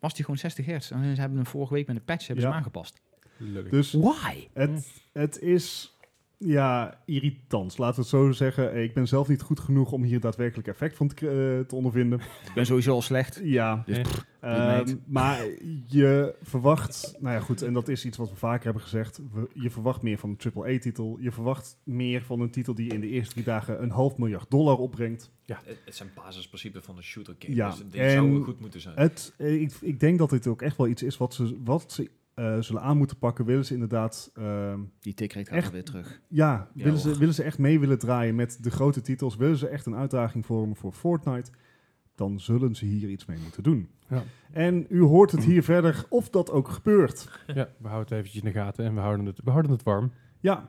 [SPEAKER 4] was hij gewoon 60 hertz. En ze hebben hem vorige week met een patch hebben ze
[SPEAKER 2] Ja.
[SPEAKER 4] hem aangepast.
[SPEAKER 1] Leuk.
[SPEAKER 2] Dus
[SPEAKER 4] Why?
[SPEAKER 2] het, het is ja, irritant. Laten we het zo zeggen. Ik ben zelf niet goed genoeg om hier daadwerkelijk effect van te, k- eh, te ondervinden.
[SPEAKER 4] Ik ben sowieso al slecht.
[SPEAKER 2] Ja.
[SPEAKER 1] Dus,
[SPEAKER 2] Ehm,
[SPEAKER 4] meid.
[SPEAKER 2] maar je verwacht, nou ja goed, en dat is iets wat we vaker hebben gezegd. We- je verwacht meer van een AAA-titel. Je verwacht meer van een titel die in de eerste drie dagen een half miljard dollar opbrengt.
[SPEAKER 3] Het, het zijn basisprincipes van een shooter game.
[SPEAKER 2] Ja,
[SPEAKER 3] dus die
[SPEAKER 2] en-
[SPEAKER 3] zouden goed moeten zijn.
[SPEAKER 2] Het, eh, ik, ik denk dat dit ook echt wel iets is wat ze, wat ze eh, zullen aan moeten pakken. Willen ze inderdaad, ehm,
[SPEAKER 4] Die tick rate
[SPEAKER 2] Echt?
[SPEAKER 4] gaat weer terug.
[SPEAKER 2] ja,
[SPEAKER 3] Ja,
[SPEAKER 2] willen, ze,
[SPEAKER 3] hoor.
[SPEAKER 2] willen ze echt mee willen draaien met de grote titels? Willen ze echt een uitdaging vormen voor Fortnite? Dan zullen ze hier iets mee moeten doen.
[SPEAKER 1] Ja.
[SPEAKER 2] En u hoort het hier verder of dat ook gebeurt.
[SPEAKER 1] Ja, we houden het eventjes in de gaten en we houden het, we houden het warm.
[SPEAKER 2] Ja.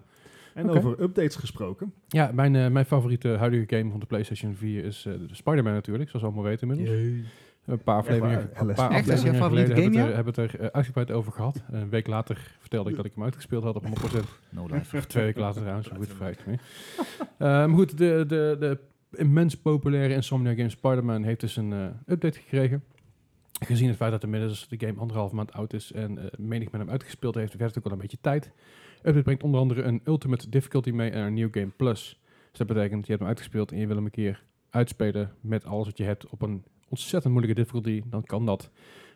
[SPEAKER 2] En
[SPEAKER 1] Oké.
[SPEAKER 2] over updates gesproken.
[SPEAKER 1] Ja, mijn, eh, mijn favoriete huidige game van de PlayStation 4 is eh, de Spider-Man natuurlijk, zoals we allemaal weten inmiddels. Een paar afleveringen,
[SPEAKER 2] waar,
[SPEAKER 1] een
[SPEAKER 2] LS.
[SPEAKER 1] paar
[SPEAKER 4] Echt, dat is jouw
[SPEAKER 1] afleveringen
[SPEAKER 4] favoriete
[SPEAKER 1] geleden hebben we
[SPEAKER 4] game,
[SPEAKER 1] het er, hebben we het er eh, uitgebreid over gehad. Een week later vertelde ik dat ik hem uitgespeeld had op 100%.
[SPEAKER 4] No life.
[SPEAKER 1] Of twee weken later trouwens, goed verwijt me. Eh, maar goed, de, de, de immens populaire Insomnia Game Spider-Man heeft dus een eh, update gekregen. Gezien het feit dat inmiddels de game anderhalf maand oud is en eh, menig men hem uitgespeeld heeft, werd het ook al een beetje tijd. Update brengt onder andere een Ultimate Difficulty mee en een New Game Plus. Dus dat betekent, je hebt hem uitgespeeld en je wil hem een keer uitspelen met alles wat je hebt op een ontzettend moeilijke difficulty, dan kan dat.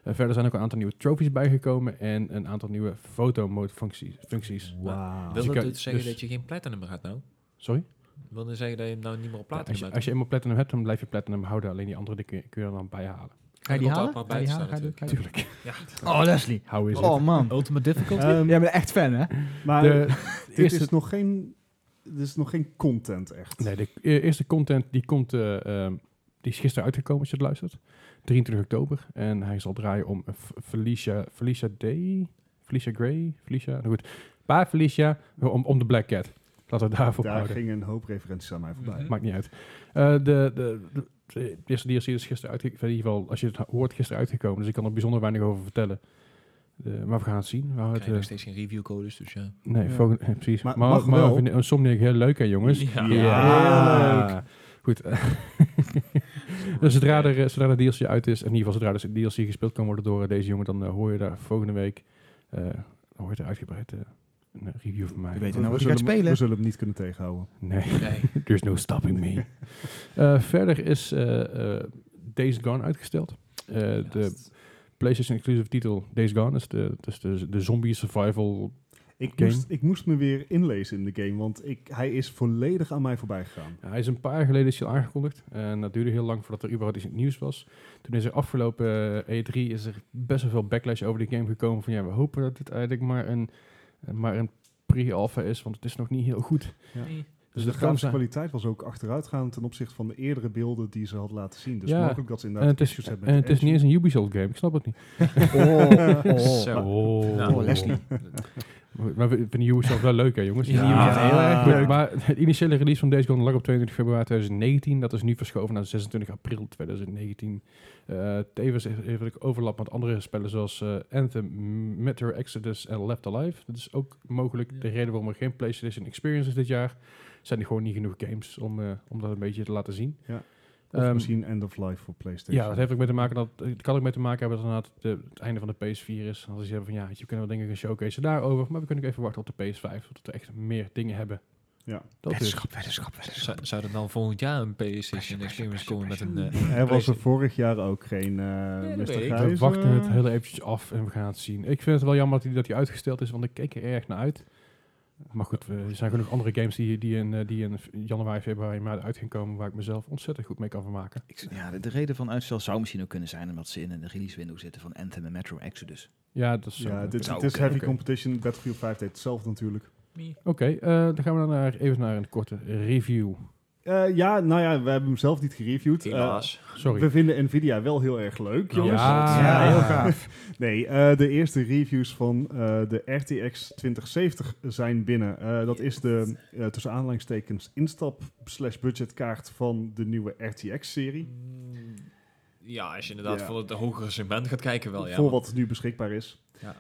[SPEAKER 1] Eh, verder zijn ook een aantal nieuwe trophies bijgekomen en een aantal nieuwe fotomode functies. functies.
[SPEAKER 2] Wauw.
[SPEAKER 3] Wil
[SPEAKER 1] je
[SPEAKER 3] dat
[SPEAKER 1] kan-
[SPEAKER 3] dus zeggen
[SPEAKER 1] dus-
[SPEAKER 3] dat je geen platinum gaat nou?
[SPEAKER 1] Sorry?
[SPEAKER 3] Wil dat zeggen dat je hem nou niet meer op
[SPEAKER 1] Ja,
[SPEAKER 3] platinum
[SPEAKER 1] als, je,
[SPEAKER 3] bent?
[SPEAKER 1] als je eenmaal platinum hebt, dan blijf je platinum houden. Alleen die andere die kun, je, kun je er dan bij halen.
[SPEAKER 4] Ga je die
[SPEAKER 3] Komt er
[SPEAKER 4] halen?
[SPEAKER 3] ook maar
[SPEAKER 4] Ga je
[SPEAKER 3] bij te
[SPEAKER 4] die
[SPEAKER 3] staan
[SPEAKER 4] halen? Ga je die-
[SPEAKER 3] natuurlijk.
[SPEAKER 4] ga je die-
[SPEAKER 1] Tuurlijk.
[SPEAKER 4] Oh, Leslie.
[SPEAKER 1] Hou eens
[SPEAKER 4] Oh, man.
[SPEAKER 6] Ultimate difficulty?
[SPEAKER 2] Ehm,
[SPEAKER 4] Jij bent echt fan, hè?
[SPEAKER 2] maar
[SPEAKER 1] De,
[SPEAKER 2] dit
[SPEAKER 1] eerste-
[SPEAKER 2] is nog geen, dit is nog geen content echt.
[SPEAKER 1] nee, de e- eerste content die, komt, eh, ehm, die is gisteren uitgekomen als je het luistert. 23 oktober. En hij zal draaien om F- Felicia, Felicia Day, Felicia Gray, Felicia... Nou goed, pa Felicia om, om de Black Cat. Laten we daarvoor
[SPEAKER 2] Daar
[SPEAKER 1] houden.
[SPEAKER 2] gingen een hoop referenties aan mij voorbij.
[SPEAKER 3] Mhm.
[SPEAKER 1] Maakt niet uit. Eh, de, de, de, de eerste DLC is gisteren uitgekomen. In ieder geval, als je het hoort, gisteren uitgekomen. Dus ik kan er bijzonder weinig over vertellen. Eh, maar we gaan het zien. We houden
[SPEAKER 3] Krijg je
[SPEAKER 1] het,
[SPEAKER 3] nog
[SPEAKER 1] eh,
[SPEAKER 3] steeds geen reviewcodes, dus ja.
[SPEAKER 1] Nee,
[SPEAKER 2] Ja.
[SPEAKER 1] volgende- eh, precies.
[SPEAKER 2] Maar
[SPEAKER 1] Maar,
[SPEAKER 2] mag
[SPEAKER 1] maar,
[SPEAKER 2] wel.
[SPEAKER 1] we vinden Insomniac heel leuk, hè, jongens?
[SPEAKER 3] Ja.
[SPEAKER 2] Ja. Heel
[SPEAKER 1] Goed. dus zodra, er, eh, zodra de DLC uit is, en in ieder geval zodra dus de DLC gespeeld kan worden door eh, deze jongen, dan eh, hoor je daar volgende week, eh, hoor je daar uitgebreid eh, een review van mij.
[SPEAKER 4] Je weet
[SPEAKER 2] We-
[SPEAKER 4] nou
[SPEAKER 2] we,
[SPEAKER 4] wat je
[SPEAKER 2] zullen hem,
[SPEAKER 4] gaat spelen.
[SPEAKER 2] we zullen hem niet kunnen tegenhouden.
[SPEAKER 1] Nee.
[SPEAKER 3] Nee.
[SPEAKER 1] There's no stopping me. Eh, verder is eh, eh, Days Gone uitgesteld. Eh, de PlayStation exclusive titel Days Gone is de, dus de, de zombie survival.
[SPEAKER 2] Ik
[SPEAKER 1] Game.
[SPEAKER 2] moest, ik moest me weer inlezen in de game, want ik, hij is volledig aan mij voorbij gegaan.
[SPEAKER 1] Ja, hij is een paar jaar geleden is hij al aangekondigd Eh, en dat duurde heel lang voordat er überhaupt iets in het nieuws was. Toen is er afgelopen eh, E3 is er best wel veel backlash over die game gekomen van ja we hopen eh, dat dit eigenlijk maar een, maar een pre-alpha is, want het is nog niet heel goed.
[SPEAKER 2] Ja.
[SPEAKER 3] Nee.
[SPEAKER 2] Dus
[SPEAKER 1] dat
[SPEAKER 2] de
[SPEAKER 1] kan
[SPEAKER 2] grafische
[SPEAKER 1] zijn.
[SPEAKER 2] kwaliteit was ook achteruitgaand ten opzichte van de eerdere beelden die ze had laten zien. Dus
[SPEAKER 1] Ja.
[SPEAKER 2] mogelijk dat ze
[SPEAKER 1] En
[SPEAKER 2] inderdaad
[SPEAKER 1] het is,
[SPEAKER 2] issues hebben
[SPEAKER 1] en
[SPEAKER 2] met
[SPEAKER 1] het
[SPEAKER 2] de
[SPEAKER 1] is niet eens
[SPEAKER 2] engine.
[SPEAKER 1] een Ubisoft game, ik snap het niet.
[SPEAKER 4] Oh,
[SPEAKER 3] Zo.
[SPEAKER 1] Oh,
[SPEAKER 3] Nou,
[SPEAKER 4] Leslie.
[SPEAKER 1] Maar we vinden Ubisoft wel leuk hè jongens?
[SPEAKER 3] Ja,
[SPEAKER 4] heel erg
[SPEAKER 1] Goed,
[SPEAKER 2] leuk.
[SPEAKER 1] Maar het initiële release van deze game lag op 22 februari 2019. Dat is nu verschoven naar 26 april 2019. Eh, tevens heeft het overlap met andere spellen zoals eh, Anthem, M- Metro Exodus en Left Alive. Dat is ook mogelijk
[SPEAKER 3] Ja.
[SPEAKER 1] de reden waarom er geen PlayStation Experience is dit jaar. Zijn er gewoon niet genoeg games om, eh, om dat een beetje te laten zien.
[SPEAKER 2] Ja. Of
[SPEAKER 1] Ehm,
[SPEAKER 2] misschien end of life voor PlayStation.
[SPEAKER 1] ja, dat heeft ook mee te maken dat het kan ook mee te maken hebben dat inderdaad de, het einde van de PS4 is. Dan ze hebben van ja, je kunnen wel dingen gaan showcase daarover, maar we kunnen ook even wachten op de PS5 tot we echt meer dingen hebben.
[SPEAKER 2] Ja.
[SPEAKER 1] dat is.
[SPEAKER 4] Weddenschap, weddenschap, weddenschap.
[SPEAKER 3] Zou, zou er dan volgend jaar een PlayStation Experience komen met een... eh,
[SPEAKER 2] Er was er
[SPEAKER 3] PlayStation?
[SPEAKER 2] vorig jaar ook geen eh
[SPEAKER 3] dat
[SPEAKER 2] Mr.
[SPEAKER 3] weet ik.
[SPEAKER 1] We
[SPEAKER 2] Grijze.
[SPEAKER 1] wachten het heel eventjes af en we gaan het zien. Ik vind het wel jammer dat hij, dat hij uitgesteld is, want ik keek er erg naar uit. Maar goed, we- er zijn genoeg andere games die, die, in, eh, die in januari, februari, maart uit gaan komen waar ik mezelf ontzettend goed mee kan vermaken.
[SPEAKER 4] Ik- Ja, de, de reden van uitstel zou misschien ook kunnen zijn omdat ze in een release window zitten van Anthem en Metro Exodus.
[SPEAKER 1] Ja, dat is zo.
[SPEAKER 2] Ja, dit,
[SPEAKER 4] Nou,
[SPEAKER 2] het is
[SPEAKER 4] oké,
[SPEAKER 2] heavy
[SPEAKER 4] oké.
[SPEAKER 2] competition. Battlefield 5 deed hetzelfde natuurlijk.
[SPEAKER 1] Oké, eh, dan gaan we dan naar, even naar een korte review.
[SPEAKER 2] Eh, ja, nou ja, we hebben hem zelf niet gereviewd. Eh,
[SPEAKER 3] Helaas.
[SPEAKER 1] Sorry.
[SPEAKER 2] we vinden Nvidia wel heel erg leuk, jongens.
[SPEAKER 1] Ja. Ja, heel
[SPEAKER 4] gaaf.
[SPEAKER 2] Nee, eh, de eerste reviews van eh, de RTX 2070 zijn binnen. Eh, dat is de, eh, tussen aanhalingstekens, instap-slash-budgetkaart van de nieuwe RTX-serie.
[SPEAKER 3] Mm, Ja, als je inderdaad
[SPEAKER 2] Ja.
[SPEAKER 3] voor het hogere segment gaat kijken wel, ja.
[SPEAKER 2] voor
[SPEAKER 3] want-
[SPEAKER 2] wat nu beschikbaar is.
[SPEAKER 3] Ja.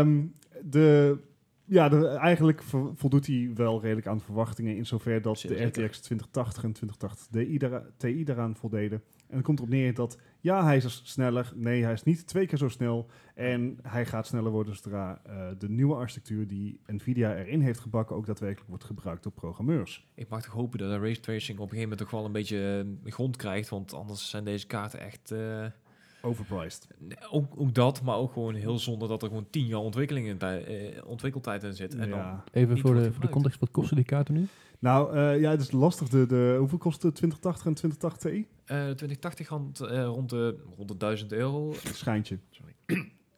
[SPEAKER 2] Ehm, de, ja, de, eigenlijk vo- voldoet hij wel redelijk aan verwachtingen. In zover dat
[SPEAKER 3] Zeker.
[SPEAKER 2] de RTX 2080 en 2080 Ti, daara- Ti daaraan voldeden. En het komt erop neer dat ja, hij is sneller. Nee, hij is niet twee keer zo snel. En hij gaat sneller worden zodra eh, de nieuwe architectuur die Nvidia erin heeft gebakken ook daadwerkelijk wordt gebruikt door programmeurs.
[SPEAKER 3] Ik mag toch hopen dat de ray tracing op een gegeven moment toch wel een beetje eh, grond krijgt, want anders zijn deze kaarten echt... eh,
[SPEAKER 2] Overpriced.
[SPEAKER 3] Nee, Ook, ook dat, maar ook gewoon heel zonde dat er gewoon tien jaar ontwikkeling in tij- eh, ontwikkeltijd in zit. En dan,
[SPEAKER 2] Ja.
[SPEAKER 1] Even
[SPEAKER 3] Niet
[SPEAKER 1] voor
[SPEAKER 3] wordt
[SPEAKER 1] de, voor de
[SPEAKER 3] gebruikt.
[SPEAKER 1] context, wat kosten die kaarten nu?
[SPEAKER 2] Nou, eh, ja, het is lastig. De, de, hoeveel kost de 2080 en 2080 Ti?
[SPEAKER 3] eh 2080 rond, eh, rond, de, rond de 1000 euro.
[SPEAKER 2] Schijntje.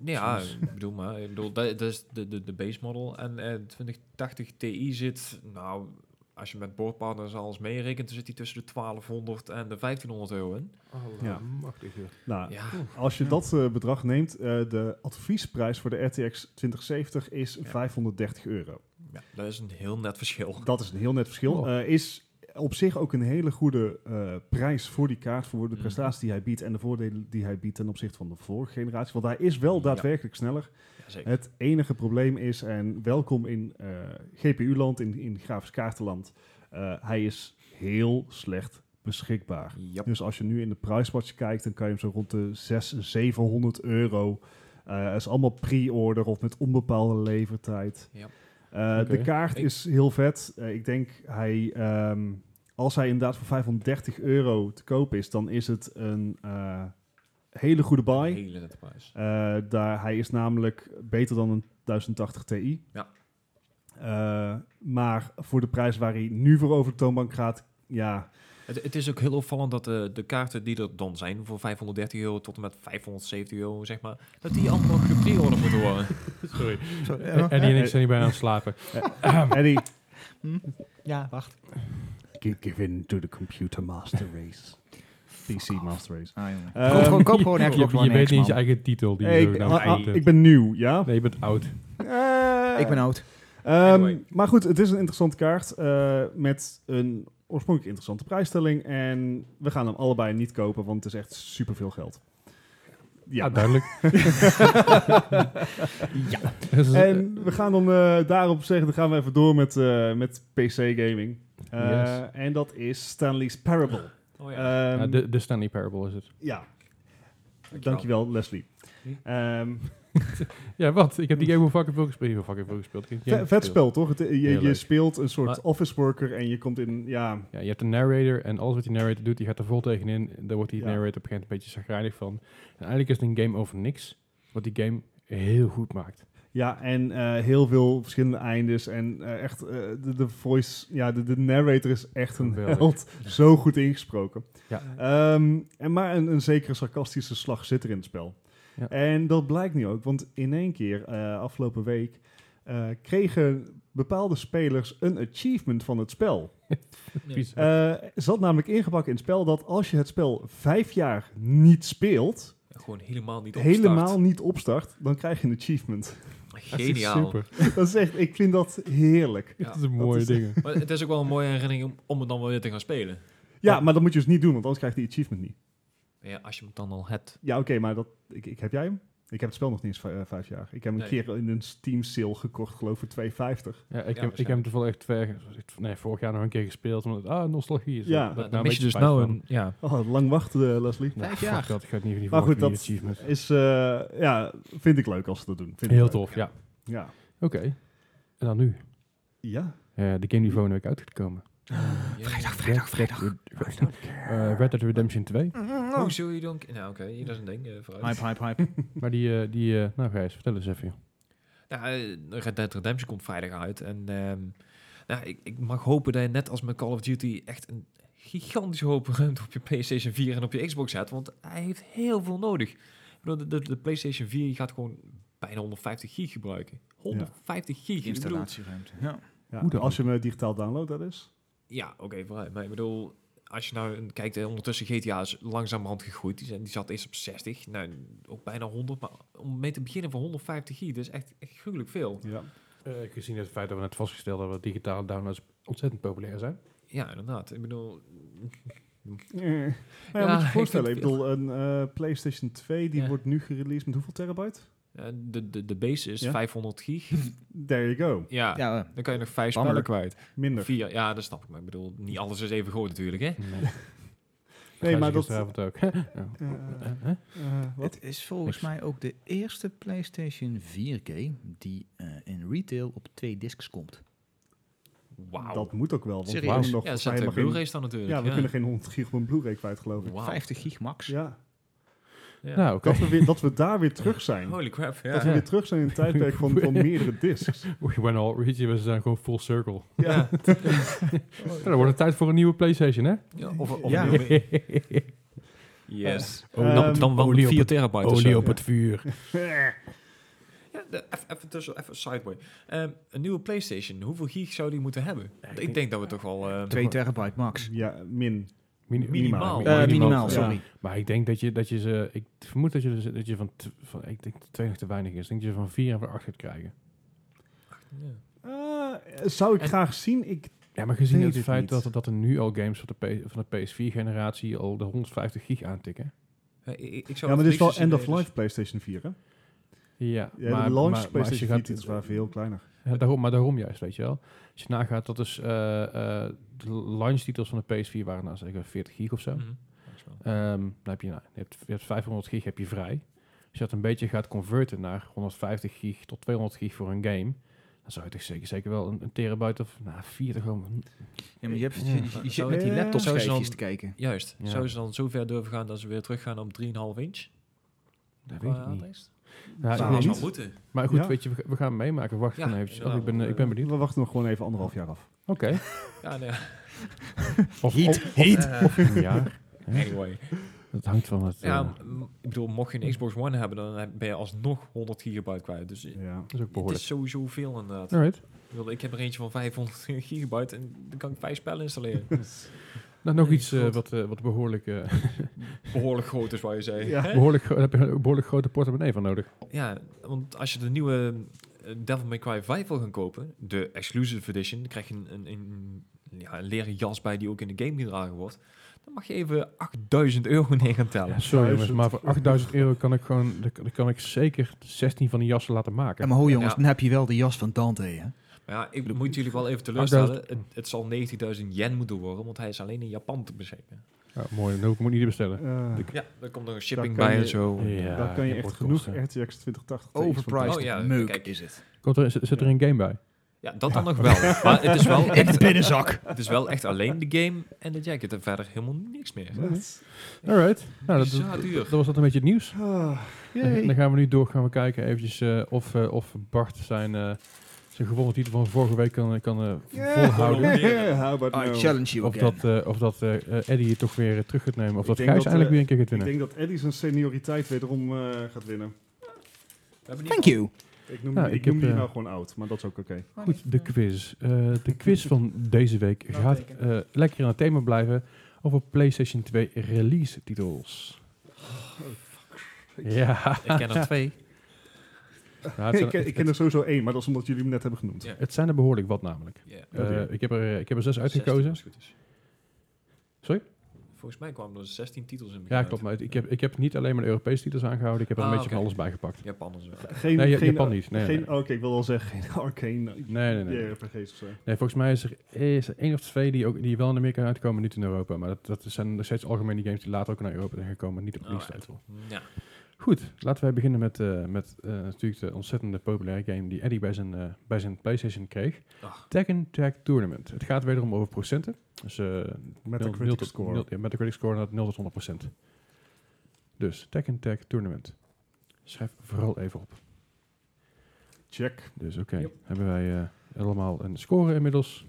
[SPEAKER 3] Nee, Ja, ik bedoel maar. Ik bedoel, dat, dat is de, de, de base model. En eh 2080 Ti zit, nou, als je met boordpartners alles meerekent, dan zit die tussen de 1200 en de 1500 euro in.
[SPEAKER 2] Ja. Nou,
[SPEAKER 3] Ja,
[SPEAKER 2] Als je dat eh, bedrag neemt, eh, de adviesprijs voor de RTX 2070 is 530 euro.
[SPEAKER 3] ja, dat is een heel net verschil.
[SPEAKER 2] Dat is een heel net verschil.
[SPEAKER 1] Oh.
[SPEAKER 2] Eh, is op zich ook een hele goede eh, prijs voor die kaart, voor de
[SPEAKER 3] Mhm.
[SPEAKER 2] prestatie die hij biedt en de voordelen die hij biedt ten opzichte van de vorige generatie. Want hij is wel
[SPEAKER 3] Ja.
[SPEAKER 2] daadwerkelijk sneller.
[SPEAKER 3] Ja, zeker.
[SPEAKER 2] Het enige probleem is, en welkom in eh, GPU-land, in, in grafisch kaartenland, eh, hij is heel slecht beschikbaar.
[SPEAKER 3] Ja.
[SPEAKER 2] Dus als je nu in de prijswatch kijkt, dan kan je hem zo rond de 600, 700 euro. Eh, Dat is allemaal pre-order of met onbepaalde levertijd.
[SPEAKER 3] Ja.
[SPEAKER 2] Eh,
[SPEAKER 1] Oké.
[SPEAKER 2] De kaart
[SPEAKER 3] Ik-
[SPEAKER 2] is heel vet. Eh, ik denk hij, ehm, als hij inderdaad voor 530 euro te koop is, dan is het een eh, hele goede buy.
[SPEAKER 3] Hele nette prijs.
[SPEAKER 2] Eh, daar, hij is namelijk beter dan een 1080 Ti.
[SPEAKER 3] Ja.
[SPEAKER 2] Eh, maar voor de prijs waar hij nu voor over de toonbank gaat, ja,
[SPEAKER 3] Het, het is ook heel opvallend dat eh, de, de kaarten die er dan zijn voor 530 euro tot en met 570 euro, zeg maar, dat die allemaal nog gepre-order moeten worden.
[SPEAKER 1] Sorry. Eh, Eddie en
[SPEAKER 2] Eh,
[SPEAKER 1] ik zijn hier bijna aan het slapen.
[SPEAKER 2] Eddie.
[SPEAKER 4] Ja, wacht.
[SPEAKER 2] Give in to the computer master race. PC master race.
[SPEAKER 4] Ah, jongen.
[SPEAKER 2] Ehm,
[SPEAKER 4] koop gewoon, koop gewoon
[SPEAKER 1] Je,
[SPEAKER 4] Xbox
[SPEAKER 1] je
[SPEAKER 4] One
[SPEAKER 1] weet
[SPEAKER 4] X,
[SPEAKER 1] niet eens je
[SPEAKER 4] man.
[SPEAKER 1] eigen titel. Die je
[SPEAKER 2] Hey, ik,
[SPEAKER 1] zogenaamd
[SPEAKER 2] ah, ah,
[SPEAKER 1] weet.
[SPEAKER 2] ik ben nieuw, ja?
[SPEAKER 1] Nee, je bent oud.
[SPEAKER 2] Eh,
[SPEAKER 4] Ik ben oud.
[SPEAKER 2] Ehm,
[SPEAKER 3] Anyway.
[SPEAKER 2] Maar goed, het is een interessante kaart eh, met een oorspronkelijk interessante prijsstelling. En we gaan hem allebei niet kopen, want het is echt superveel geld.
[SPEAKER 1] Ja,
[SPEAKER 2] Ja,
[SPEAKER 1] Ah, duidelijk. ja. Dus, eh,
[SPEAKER 2] en we gaan dan eh, daarop zeggen, dan gaan we even door met, eh, met PC gaming. Eh,
[SPEAKER 1] Yes.
[SPEAKER 2] En dat is Stanley's Parable.
[SPEAKER 3] Oh
[SPEAKER 1] ja,
[SPEAKER 2] Ehm,
[SPEAKER 1] de, de Stanley Parable is het.
[SPEAKER 2] ja. Dankjewel, Leslie.
[SPEAKER 1] Hm?
[SPEAKER 2] Ehm,
[SPEAKER 1] Ja, wat? Ik heb die game al fucking veel gespeeld. Heel fucking veel gespeeld. Ik heb die
[SPEAKER 2] Ve-
[SPEAKER 1] game
[SPEAKER 2] vet
[SPEAKER 1] gespeeld.
[SPEAKER 2] spel, toch? Het- je
[SPEAKER 1] Heel
[SPEAKER 2] je
[SPEAKER 1] leuk.
[SPEAKER 2] speelt een soort
[SPEAKER 3] Maar-
[SPEAKER 2] office worker en je komt in... Ja,
[SPEAKER 1] Ja, je hebt een narrator en alles wat die narrator doet, die gaat er vol tegenin. Daar wordt die
[SPEAKER 2] Ja.
[SPEAKER 1] narrator op een gegeven moment een beetje zagrijnig van. En eigenlijk is het een game over niks, wat die game heel goed maakt.
[SPEAKER 2] ja en eh, heel veel verschillende eindes. En eh, echt, eh, de, de voice... Ja, de, de narrator is echt een
[SPEAKER 1] Geweldig.
[SPEAKER 2] held. Zo goed ingesproken.
[SPEAKER 1] Ja.
[SPEAKER 2] Ehm, en maar een, een zekere sarcastische slag zit er in het spel.
[SPEAKER 1] Ja.
[SPEAKER 2] En dat blijkt nu ook, want in één keer, eh, afgelopen week... eh, eh, kregen bepaalde spelers een achievement van het spel.
[SPEAKER 1] Vies.
[SPEAKER 2] Eh, Er zat namelijk ingebakken in het spel dat als je het spel vijf jaar niet speelt,
[SPEAKER 3] Gewoon helemaal niet opstart.
[SPEAKER 2] helemaal niet opstart, dan krijg je een achievement.
[SPEAKER 1] Dat is
[SPEAKER 3] Geniaal.
[SPEAKER 1] Super.
[SPEAKER 2] dat is echt, ik vind dat heerlijk.
[SPEAKER 1] Dat is een mooie
[SPEAKER 2] is-
[SPEAKER 1] dingen.
[SPEAKER 3] Maar het is ook wel een mooie herinnering om, om het dan wel weer te gaan spelen.
[SPEAKER 2] Ja, maar dat moet je dus niet doen, want anders krijg je die achievement niet.
[SPEAKER 3] Ja, als je hem dan al hebt.
[SPEAKER 2] Ja, oké, maar dat, ik, ik, heb jij hem? Ik heb het spel nog niet eens vij- eh, vijf jaar. Ik heb hem een
[SPEAKER 3] Nee.
[SPEAKER 2] keer in een Steam sale gekocht, geloof ik, voor 2,50.
[SPEAKER 1] Ja, ik,
[SPEAKER 3] Ja,
[SPEAKER 1] heb, ik heb hem
[SPEAKER 3] waarschijnlijk.
[SPEAKER 1] toevallig echt twee, nee, vorig jaar nog een keer gespeeld. Omdat, het, ah, nostalgie is. dat-
[SPEAKER 2] Ja. Nou,
[SPEAKER 3] Dan,
[SPEAKER 1] daar
[SPEAKER 3] mis je
[SPEAKER 1] een
[SPEAKER 3] dus
[SPEAKER 1] beetje spijt
[SPEAKER 3] nou
[SPEAKER 1] van.
[SPEAKER 3] een... Ja,
[SPEAKER 2] Oh, lang wachten, eh, Leslie.
[SPEAKER 1] Nou,
[SPEAKER 4] Vijf
[SPEAKER 1] fuck
[SPEAKER 4] jaar.
[SPEAKER 1] dat, ik ga het niet voor die
[SPEAKER 2] Maar goed,
[SPEAKER 1] voor die
[SPEAKER 2] dat-
[SPEAKER 1] achievement.
[SPEAKER 2] Is, eh, ja, vind ik leuk als ze dat doen. Vind ik
[SPEAKER 1] Heel
[SPEAKER 2] leuk.
[SPEAKER 1] tof, ja.
[SPEAKER 2] Ja.
[SPEAKER 1] Oké. En dan nu.
[SPEAKER 2] ja.
[SPEAKER 1] Eh, de game die volgende week uitgekomen.
[SPEAKER 3] Ah, vrijdag.
[SPEAKER 1] Vrijdag, vrijdag. Red Dead Redemption 2.
[SPEAKER 3] Hoe zul je dan... Nou oké, hier is een ding. eh, vooruit.
[SPEAKER 4] Hype, hype, hype.
[SPEAKER 1] Maar die, eh, die eh, nou Gijs, vertel eens even. joh.
[SPEAKER 3] Nou, eh, Red Dead Redemption komt vrijdag uit. En ehm, nou, ik, ik mag hopen dat je net als met Call of Duty echt een gigantische hoop ruimte op je PlayStation 4 en op je Xbox zet. Want hij heeft heel veel nodig. Ik bedoel, de, de, de PlayStation 4 gaat gewoon bijna 150 gig gebruiken. 150 gig. Ik bedoel,
[SPEAKER 4] Installatieruimte. Ja.
[SPEAKER 2] Ja,
[SPEAKER 1] Hoe dan?
[SPEAKER 2] Als je hem eh, digitaal downloadt, dat is.
[SPEAKER 3] ja, oké, vooruit. Maar ik bedoel, als je nou een- kijkt, eh, ondertussen GTA is langzamerhand gegroeid. Die, zijn, die zat eerst op 60, nou ook bijna 100. Maar om mee te beginnen van 150 gig, dat is echt, echt gruwelijk veel.
[SPEAKER 2] Ja.
[SPEAKER 1] Eh, gezien het feit dat we net vastgesteld hebben dat digitale downloads ontzettend populair zijn.
[SPEAKER 3] Ja, inderdaad. Ik bedoel,
[SPEAKER 2] Eh. Maar
[SPEAKER 3] Ja,
[SPEAKER 2] ja, moet je je
[SPEAKER 3] ik
[SPEAKER 2] voorstellen, ik
[SPEAKER 3] vind het
[SPEAKER 2] bedoel, een eh, PlayStation 2 die
[SPEAKER 3] Ja.
[SPEAKER 2] wordt nu gereleased met hoeveel terabyte?
[SPEAKER 3] Ja, Eh, de, de, de base is
[SPEAKER 2] Ja?
[SPEAKER 3] 500 gig.
[SPEAKER 2] There you go.
[SPEAKER 3] ja.
[SPEAKER 4] Ja, eh,
[SPEAKER 3] Dan kan je nog vijf
[SPEAKER 4] Bammer.
[SPEAKER 3] spellen kwijt.
[SPEAKER 2] Minder.
[SPEAKER 3] Vier, ja, dat snap ik. Maar ik bedoel, niet alles is even goed natuurlijk, hè?
[SPEAKER 1] Nee,
[SPEAKER 2] maar
[SPEAKER 1] maar
[SPEAKER 2] dat-
[SPEAKER 1] dat... Gisteravond ook. Ja.
[SPEAKER 2] Eh,
[SPEAKER 1] Eh, eh?
[SPEAKER 2] eh, wat?
[SPEAKER 4] het is volgens mij ook de eerste PlayStation 4G die eh, in retail op twee discs komt.
[SPEAKER 3] Wauw.
[SPEAKER 2] Dat moet ook wel. Want we
[SPEAKER 4] Serieus?
[SPEAKER 2] kunnen nog,
[SPEAKER 3] ja, er
[SPEAKER 2] wij
[SPEAKER 3] staat de
[SPEAKER 2] hebben geen,
[SPEAKER 3] Blu-rays dan natuurlijk.
[SPEAKER 2] ja, we kunnen geen 100 gig op een Blu-ray kwijt, geloof ik.
[SPEAKER 3] Wauw.
[SPEAKER 4] 50 gig max.
[SPEAKER 2] Ja.
[SPEAKER 3] Ja.
[SPEAKER 1] Nou, oké.
[SPEAKER 2] Dat, we weer, dat we daar weer terug zijn.
[SPEAKER 3] Holy crap,
[SPEAKER 2] Nou. Dat
[SPEAKER 3] ja.
[SPEAKER 2] we weer terug zijn in het tijdperk van, van meerdere discs.
[SPEAKER 1] We went all reach, we zijn gewoon full
[SPEAKER 2] Oh,
[SPEAKER 1] circle.
[SPEAKER 2] Ja.
[SPEAKER 1] Nou, dan wordt het tijd voor een nieuwe PlayStation, hè?
[SPEAKER 3] Ja, of, of
[SPEAKER 4] Ja.
[SPEAKER 3] een nieuwe- Yes.
[SPEAKER 2] Ehm,
[SPEAKER 3] dan, dan wel
[SPEAKER 1] olie op
[SPEAKER 3] 4
[SPEAKER 1] het-
[SPEAKER 3] terabyte of zo.
[SPEAKER 2] het
[SPEAKER 1] vuur.
[SPEAKER 3] Ja, de- even, even tussen, even sideway. Ehm, een nieuwe Playstation, hoeveel gig zou die moeten hebben? Want ik denk dat we toch wel... ehm,
[SPEAKER 4] 2 terabyte max.
[SPEAKER 2] ja, min.
[SPEAKER 3] Minimaal.
[SPEAKER 4] Eh,
[SPEAKER 3] Minimaal,
[SPEAKER 4] minimaal,
[SPEAKER 1] ja.
[SPEAKER 4] sorry.
[SPEAKER 1] Maar ik denk dat je, dat je ze... Ik vermoed dat je, ze- dat je van, t- van... Ik denk dat twee nog te weinig is. Ik denk dat je van vier en van acht gaat krijgen.
[SPEAKER 3] ja.
[SPEAKER 2] Eh, zou ik
[SPEAKER 3] En-
[SPEAKER 2] graag zien. Ik,
[SPEAKER 1] Ja, maar gezien
[SPEAKER 2] Weet
[SPEAKER 1] het
[SPEAKER 2] het
[SPEAKER 1] feit
[SPEAKER 2] niet.
[SPEAKER 1] dat, er- dat er nu al games van de, P- van de PS4-generatie al de 150 gig aantikken.
[SPEAKER 3] Ja, ik, ik
[SPEAKER 2] ja,
[SPEAKER 3] zou
[SPEAKER 2] maar
[SPEAKER 3] het
[SPEAKER 2] dit is wel
[SPEAKER 3] liefst eens
[SPEAKER 2] end of
[SPEAKER 3] idee-
[SPEAKER 2] life PlayStation 4, hè?
[SPEAKER 1] Ja,
[SPEAKER 2] Ja,
[SPEAKER 1] maar,
[SPEAKER 2] de
[SPEAKER 1] maar,
[SPEAKER 2] launch
[SPEAKER 1] maar als je
[SPEAKER 2] PlayStation 4
[SPEAKER 1] gaat,
[SPEAKER 2] titels waren veel kleiner.
[SPEAKER 1] ja, daarom, maar daarom juist, weet je wel. Als je nagaat, dat is eh, eh, de launch-titels van de PS4 waren nou zeker 40 gig of zo.
[SPEAKER 3] Mhm. Dat is wel-
[SPEAKER 1] Ehm, dan heb je, nou, je, hebt, je hebt 500 gig heb je vrij. Als je dat een beetje gaat converten naar 150 gig tot 200 gig voor een game, dan zou je toch zeker, zeker wel een, een terabyte of nou, 40 gewoon.
[SPEAKER 4] Ja, maar je hebt
[SPEAKER 1] Ja.
[SPEAKER 4] je, je, je zit met die
[SPEAKER 2] Ja.
[SPEAKER 3] Zou ze
[SPEAKER 4] laptopschijfjes
[SPEAKER 3] dan-
[SPEAKER 4] te kijken.
[SPEAKER 3] Juist.
[SPEAKER 1] Ja.
[SPEAKER 3] Zou ze dan zo ver durven gaan dat ze weer teruggaan op 3,5 inch?
[SPEAKER 1] Dat weet ik
[SPEAKER 3] Qua
[SPEAKER 1] niet.
[SPEAKER 3] aanreis?
[SPEAKER 1] Nou,
[SPEAKER 2] zou
[SPEAKER 1] ik weet
[SPEAKER 2] niet.
[SPEAKER 1] niet.
[SPEAKER 3] moeten.
[SPEAKER 1] Maar goed,
[SPEAKER 2] Ja.
[SPEAKER 1] weet je, we, we gaan het meemaken. Wacht
[SPEAKER 3] Ja,
[SPEAKER 1] gewoon eventjes. af. Ik
[SPEAKER 3] inderdaad.
[SPEAKER 1] ben, eh, ik ben benieuwd.
[SPEAKER 2] We wachten nog gewoon even anderhalf jaar af.
[SPEAKER 1] Oké.
[SPEAKER 3] Ja, nee.
[SPEAKER 1] Of, of-
[SPEAKER 3] Eh,
[SPEAKER 1] of een jaar.
[SPEAKER 3] anyway.
[SPEAKER 1] Dat hangt van het...
[SPEAKER 3] Ja,
[SPEAKER 1] Ja.
[SPEAKER 3] m- ik bedoel, mocht je een Xbox One hebben, dan heb- ben je alsnog 100 gigabyte kwijt. Dus eh,
[SPEAKER 2] Ja.
[SPEAKER 1] dat is ook
[SPEAKER 3] het
[SPEAKER 1] behoorlijk.
[SPEAKER 3] is sowieso veel inderdaad.
[SPEAKER 1] Alright.
[SPEAKER 3] Ik bedoel, Ik heb er eentje van 500 gigabyte en dan kan ik vijf spellen installeren.
[SPEAKER 1] Nou, nog
[SPEAKER 3] Nee,
[SPEAKER 1] iets eh,
[SPEAKER 3] goed.
[SPEAKER 1] wat, eh, wat behoorlijk, eh,
[SPEAKER 3] Behoorlijk groot is waar je zei.
[SPEAKER 2] Ja.
[SPEAKER 3] Hè?
[SPEAKER 1] behoorlijk, gro- daar heb je een behoorlijk grote portemonnee van nodig.
[SPEAKER 3] Ja, want als je de nieuwe eh, Devil May Cry 5 wil gaan kopen, de Exclusive Edition, dan krijg je een, een, een, ja, een leren jas bij die ook in de game gedragen wordt. Dan mag je even 8000 euro neer gaan tellen.
[SPEAKER 1] Ja, sorry jongens,
[SPEAKER 2] Duizend.
[SPEAKER 1] maar voor 8000 euro kan ik gewoon... Dan kan- dan kan ik zeker 16 van die jassen laten maken.
[SPEAKER 4] Ja, maar ho jongens,
[SPEAKER 3] Ja.
[SPEAKER 4] dan heb je wel de jas van Dante, hè?
[SPEAKER 3] Maar ja, ik moet jullie wel even teleurstellen. Het, het zal 19.000 yen moeten worden, want hij is alleen in Japan te beschikken.
[SPEAKER 1] Ja, mooi, dan hoef ik hem niet te bestellen.
[SPEAKER 2] Eh,
[SPEAKER 3] Ja, daar komt nog een shipping
[SPEAKER 2] Daar kan
[SPEAKER 3] bij en
[SPEAKER 2] je-
[SPEAKER 3] zo.
[SPEAKER 2] daar Eh, kan je echt genoeg RTX 2080 tegen
[SPEAKER 4] Overpriced
[SPEAKER 3] Oh ja,
[SPEAKER 4] meuk
[SPEAKER 3] kijk.
[SPEAKER 4] is het.
[SPEAKER 1] Komt er, zit, zit er een game bij?
[SPEAKER 3] Ja, dat dan nog wel. Maar het is wel,
[SPEAKER 4] In de
[SPEAKER 3] echt,
[SPEAKER 4] binnenzak.
[SPEAKER 3] het is wel echt alleen de game en de jacket en verder helemaal niks meer.
[SPEAKER 2] van- Wat?
[SPEAKER 1] Alright. Nou, dat,
[SPEAKER 3] Bizar
[SPEAKER 1] dat,
[SPEAKER 3] duur.
[SPEAKER 1] dat was dat een beetje het nieuws.
[SPEAKER 2] Ah,
[SPEAKER 1] Dan,
[SPEAKER 2] yay.
[SPEAKER 1] gaan we nu door, gaan we kijken eventjes eh, of, eh, of Bart zijn, eh zijn gewonnen titel van vorige week kan, kan eh, volhouden.
[SPEAKER 2] Yeah, how about
[SPEAKER 4] I
[SPEAKER 3] Ah,
[SPEAKER 2] no?
[SPEAKER 4] challenge you
[SPEAKER 1] Of
[SPEAKER 4] again.
[SPEAKER 1] dat, eh, of dat eh, eh, Eddie het toch weer eh, terug gaat nemen. Of
[SPEAKER 2] Ik
[SPEAKER 1] dat
[SPEAKER 2] denk
[SPEAKER 1] Gijs
[SPEAKER 2] dat,
[SPEAKER 1] eindelijk
[SPEAKER 2] eh,
[SPEAKER 1] weer een keer gaat
[SPEAKER 2] Ik
[SPEAKER 1] winnen.
[SPEAKER 2] denk dat Eddie zijn senioriteit wederom eh, gaat winnen.
[SPEAKER 3] We hebben
[SPEAKER 4] Thank
[SPEAKER 3] niet
[SPEAKER 4] you.
[SPEAKER 2] Ik noem,
[SPEAKER 1] Ja,
[SPEAKER 2] die- ik
[SPEAKER 1] ik
[SPEAKER 2] noem
[SPEAKER 1] heb,
[SPEAKER 2] die
[SPEAKER 1] eh,
[SPEAKER 2] nou gewoon oud, maar dat is ook oké.
[SPEAKER 1] Goed, de quiz. Eh, de quiz van deze week gaat eh, lekker aan het thema blijven over PlayStation 2 release titels.
[SPEAKER 2] Oh,
[SPEAKER 1] Ja,
[SPEAKER 3] Ik ken er twee.
[SPEAKER 1] nou, het,
[SPEAKER 2] Ik,
[SPEAKER 1] zijn,
[SPEAKER 2] ken- ik ken er sowieso één, maar dat is omdat jullie hem net hebben genoemd.
[SPEAKER 3] Ja.
[SPEAKER 1] het zijn er behoorlijk wat namelijk.
[SPEAKER 3] Ja.
[SPEAKER 1] Eh,
[SPEAKER 2] Oké.
[SPEAKER 1] ik, heb er, ik heb er zes
[SPEAKER 3] 16
[SPEAKER 1] uitgekozen.
[SPEAKER 3] als het goed is.
[SPEAKER 1] Sorry?
[SPEAKER 3] Volgens mij kwamen er 16 titels in.
[SPEAKER 1] Ja, klopt. Maar het- ik heb, ik heb niet alleen maar de Europese titels aangehouden. Ik heb er een
[SPEAKER 3] Ah,
[SPEAKER 1] beetje van
[SPEAKER 3] oké.
[SPEAKER 1] alles bijgepakt.
[SPEAKER 3] Japan en zo.
[SPEAKER 2] Geen,
[SPEAKER 1] Nee, Ja-
[SPEAKER 2] geen,
[SPEAKER 1] Japan niet. Nee,
[SPEAKER 2] geen, oh,
[SPEAKER 1] nee.
[SPEAKER 2] Oké, ik wil al zeggen, geen Arcane
[SPEAKER 1] Nee, nee, nee.
[SPEAKER 2] JRPG's of zo.
[SPEAKER 1] Nee, volgens mij is er, is er één of twee die, ook, die wel in Amerika uitkomen, niet in Europa. Maar dat, dat zijn nog steeds algemene games die later ook naar Europa zijn gekomen, niet op
[SPEAKER 3] Alright.
[SPEAKER 1] release title.
[SPEAKER 3] Oh, Ja.
[SPEAKER 1] Goed, laten wij beginnen met, eh, met eh, natuurlijk de ontzettende populaire game die Eddie bij zijn, eh, bij zijn PlayStation kreeg.
[SPEAKER 3] Ach.
[SPEAKER 1] Tekken Tag Tournament. Het gaat wederom over procenten. Dus eh
[SPEAKER 2] Met
[SPEAKER 1] nul-
[SPEAKER 2] de
[SPEAKER 1] nul
[SPEAKER 2] critic
[SPEAKER 1] tot-
[SPEAKER 2] score.
[SPEAKER 1] nul- ja, Metacritic score naar 0 tot 100 Dus Tekken Tag Tournament. Schrijf vooral even op.
[SPEAKER 2] Check.
[SPEAKER 1] Dus oké,
[SPEAKER 3] Yep.
[SPEAKER 1] hebben wij eh, allemaal een score inmiddels.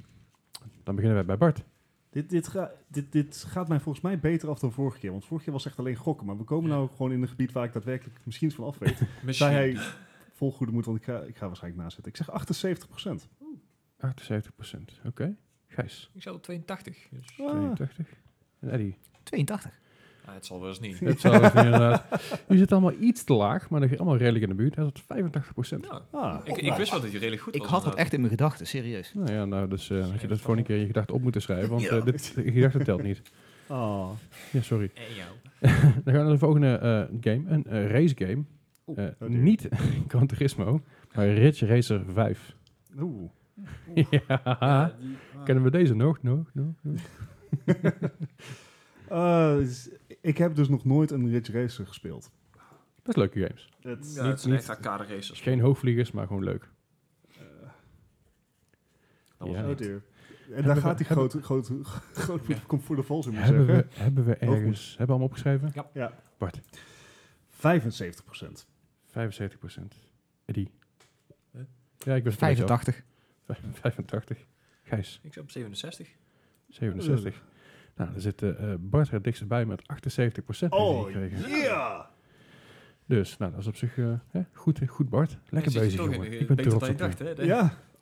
[SPEAKER 1] Dan beginnen wij bij Bart.
[SPEAKER 2] Dit, dit, ga- dit, dit gaat mij volgens mij beter af dan vorige keer. Want vorige keer was echt alleen gokken. Maar we komen
[SPEAKER 3] Ja.
[SPEAKER 2] nou gewoon in een gebied waar ik daadwerkelijk misschien van af weet. Zij
[SPEAKER 3] Misschien.
[SPEAKER 2] hij volgoede moet, want ik ga, ik ga waarschijnlijk nazetten. Ik zeg 78
[SPEAKER 1] 78 Oké, Gijs.
[SPEAKER 3] Ik zat op 82. Dus,
[SPEAKER 2] Ah.
[SPEAKER 1] 82. En Eddie.
[SPEAKER 4] 82.
[SPEAKER 3] Ah, het zal wel eens niet.
[SPEAKER 1] Dat zou het inderdaad. Je zit allemaal iets te laag, maar dan allemaal redelijk in de buurt. Hij zat 85
[SPEAKER 3] Ja.
[SPEAKER 2] Ah,
[SPEAKER 3] Ik, ik wist wel dat hij redelijk goed
[SPEAKER 4] Ik
[SPEAKER 3] was.
[SPEAKER 4] had dat
[SPEAKER 3] inderdaad.
[SPEAKER 4] echt in mijn gedachten, serieus.
[SPEAKER 1] Nou ja, nou, dus eh, had je dat vorige keer in je gedachten op moeten schrijven, want eh, dit, je gedachte telt niet. Eh,
[SPEAKER 2] Ah.
[SPEAKER 1] Ja, sorry.
[SPEAKER 3] En jou.
[SPEAKER 1] Dan gaan we naar de volgende eh, game, een eh, race game.
[SPEAKER 2] Oeh,
[SPEAKER 1] Eh,
[SPEAKER 2] oh dear.
[SPEAKER 1] niet Gran Turismo, maar Ridge Racer 5.
[SPEAKER 2] Oeh.
[SPEAKER 1] ja, kennen we deze nog? nog, nog, nog?
[SPEAKER 2] Eh, dus ik heb dus nog nooit een Ridge Racer gespeeld.
[SPEAKER 1] Best leuke games.
[SPEAKER 2] Het,
[SPEAKER 3] Ja, het zijn echt arcade
[SPEAKER 1] Dus
[SPEAKER 3] racers.
[SPEAKER 1] geen hoogvliegers, maar gewoon leuk.
[SPEAKER 3] Dat was
[SPEAKER 1] Ja.
[SPEAKER 2] oh
[SPEAKER 3] het.
[SPEAKER 2] dear. En
[SPEAKER 1] Hebben
[SPEAKER 2] daar
[SPEAKER 1] we-
[SPEAKER 2] gaat die
[SPEAKER 1] hebben-
[SPEAKER 2] groot, groot, groot
[SPEAKER 3] Ja.
[SPEAKER 2] komt voor de vals in moet
[SPEAKER 1] Hebben we,
[SPEAKER 2] zeggen.
[SPEAKER 1] hebben we
[SPEAKER 2] Hoogmoed.
[SPEAKER 1] ergens... Hebben we hem opgeschreven?
[SPEAKER 2] Ja.
[SPEAKER 1] Bart.
[SPEAKER 2] 75
[SPEAKER 1] 75 Eddie.
[SPEAKER 3] Huh?
[SPEAKER 1] Ja, ik was het een beetje
[SPEAKER 4] 85.
[SPEAKER 1] af. 85. Gijs.
[SPEAKER 3] Ik zat op 67.
[SPEAKER 1] 67. Nou, dan zit eh, eh, Bart er dichtst bij met 78 procent.
[SPEAKER 2] Oh, yeah!
[SPEAKER 1] Dus, nou, dat is op zich eh, hè, goed, goed, Bart. Lekker
[SPEAKER 3] Hij zit
[SPEAKER 1] bezig,
[SPEAKER 3] toch
[SPEAKER 1] jongen.
[SPEAKER 3] in de-
[SPEAKER 1] Ik ben
[SPEAKER 3] beter
[SPEAKER 1] trots
[SPEAKER 3] dan
[SPEAKER 1] op
[SPEAKER 3] je
[SPEAKER 1] je.
[SPEAKER 3] dacht, hè? De-
[SPEAKER 2] Ja.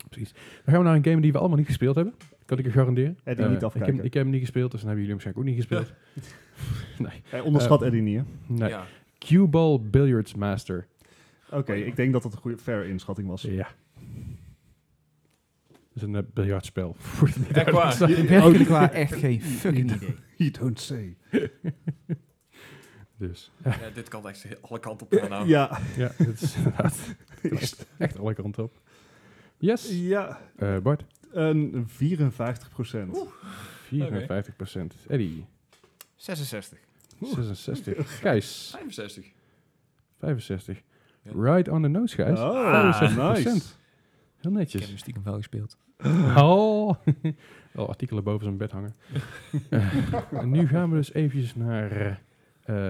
[SPEAKER 1] Dan gaan we naar een game die we allemaal niet gespeeld hebben. Kan ik je garanderen.
[SPEAKER 2] Eddie
[SPEAKER 1] Eh,
[SPEAKER 2] niet
[SPEAKER 1] ik, heb,
[SPEAKER 2] afkijken.
[SPEAKER 1] ik heb hem niet gespeeld, dus dan hebben jullie hem waarschijnlijk ook niet gespeeld. nee.
[SPEAKER 2] Eh, onderschat Eddie niet, hè?
[SPEAKER 1] nee.
[SPEAKER 3] Ja.
[SPEAKER 1] Q-Ball Billiards Master.
[SPEAKER 2] Oké, ik denk dat dat een goede, fair inschatting was.
[SPEAKER 1] Ja. Dat is een eh, biljartspel. Voor de niet
[SPEAKER 3] Echt waar.
[SPEAKER 1] duidelijk staat.
[SPEAKER 4] Werkelijk waar, echt Oh. geen fucking idee.
[SPEAKER 2] You don't say.
[SPEAKER 1] Dus,
[SPEAKER 3] Ja, dit kan echt alle kanten op gaan. Nou.
[SPEAKER 2] Ja.
[SPEAKER 1] ja, dat is inderdaad echt alle kanten op. Yes.
[SPEAKER 2] ja,
[SPEAKER 1] Eh, Bart.
[SPEAKER 2] een 54 procent. Oh,
[SPEAKER 1] 54 Eddie,
[SPEAKER 4] 66.
[SPEAKER 1] 66. Gijs,
[SPEAKER 3] 65.
[SPEAKER 1] 65.
[SPEAKER 3] Ja.
[SPEAKER 1] Right on the nose, Gijs.
[SPEAKER 2] Oh,
[SPEAKER 1] 65%.
[SPEAKER 2] nice.
[SPEAKER 1] Heel
[SPEAKER 3] Ik heb
[SPEAKER 1] netjes.
[SPEAKER 3] hem stiekem wel gespeeld.
[SPEAKER 1] Oh. Al artikelen boven zijn bed hangen. Eh, en nu gaan we dus eventjes naar eh,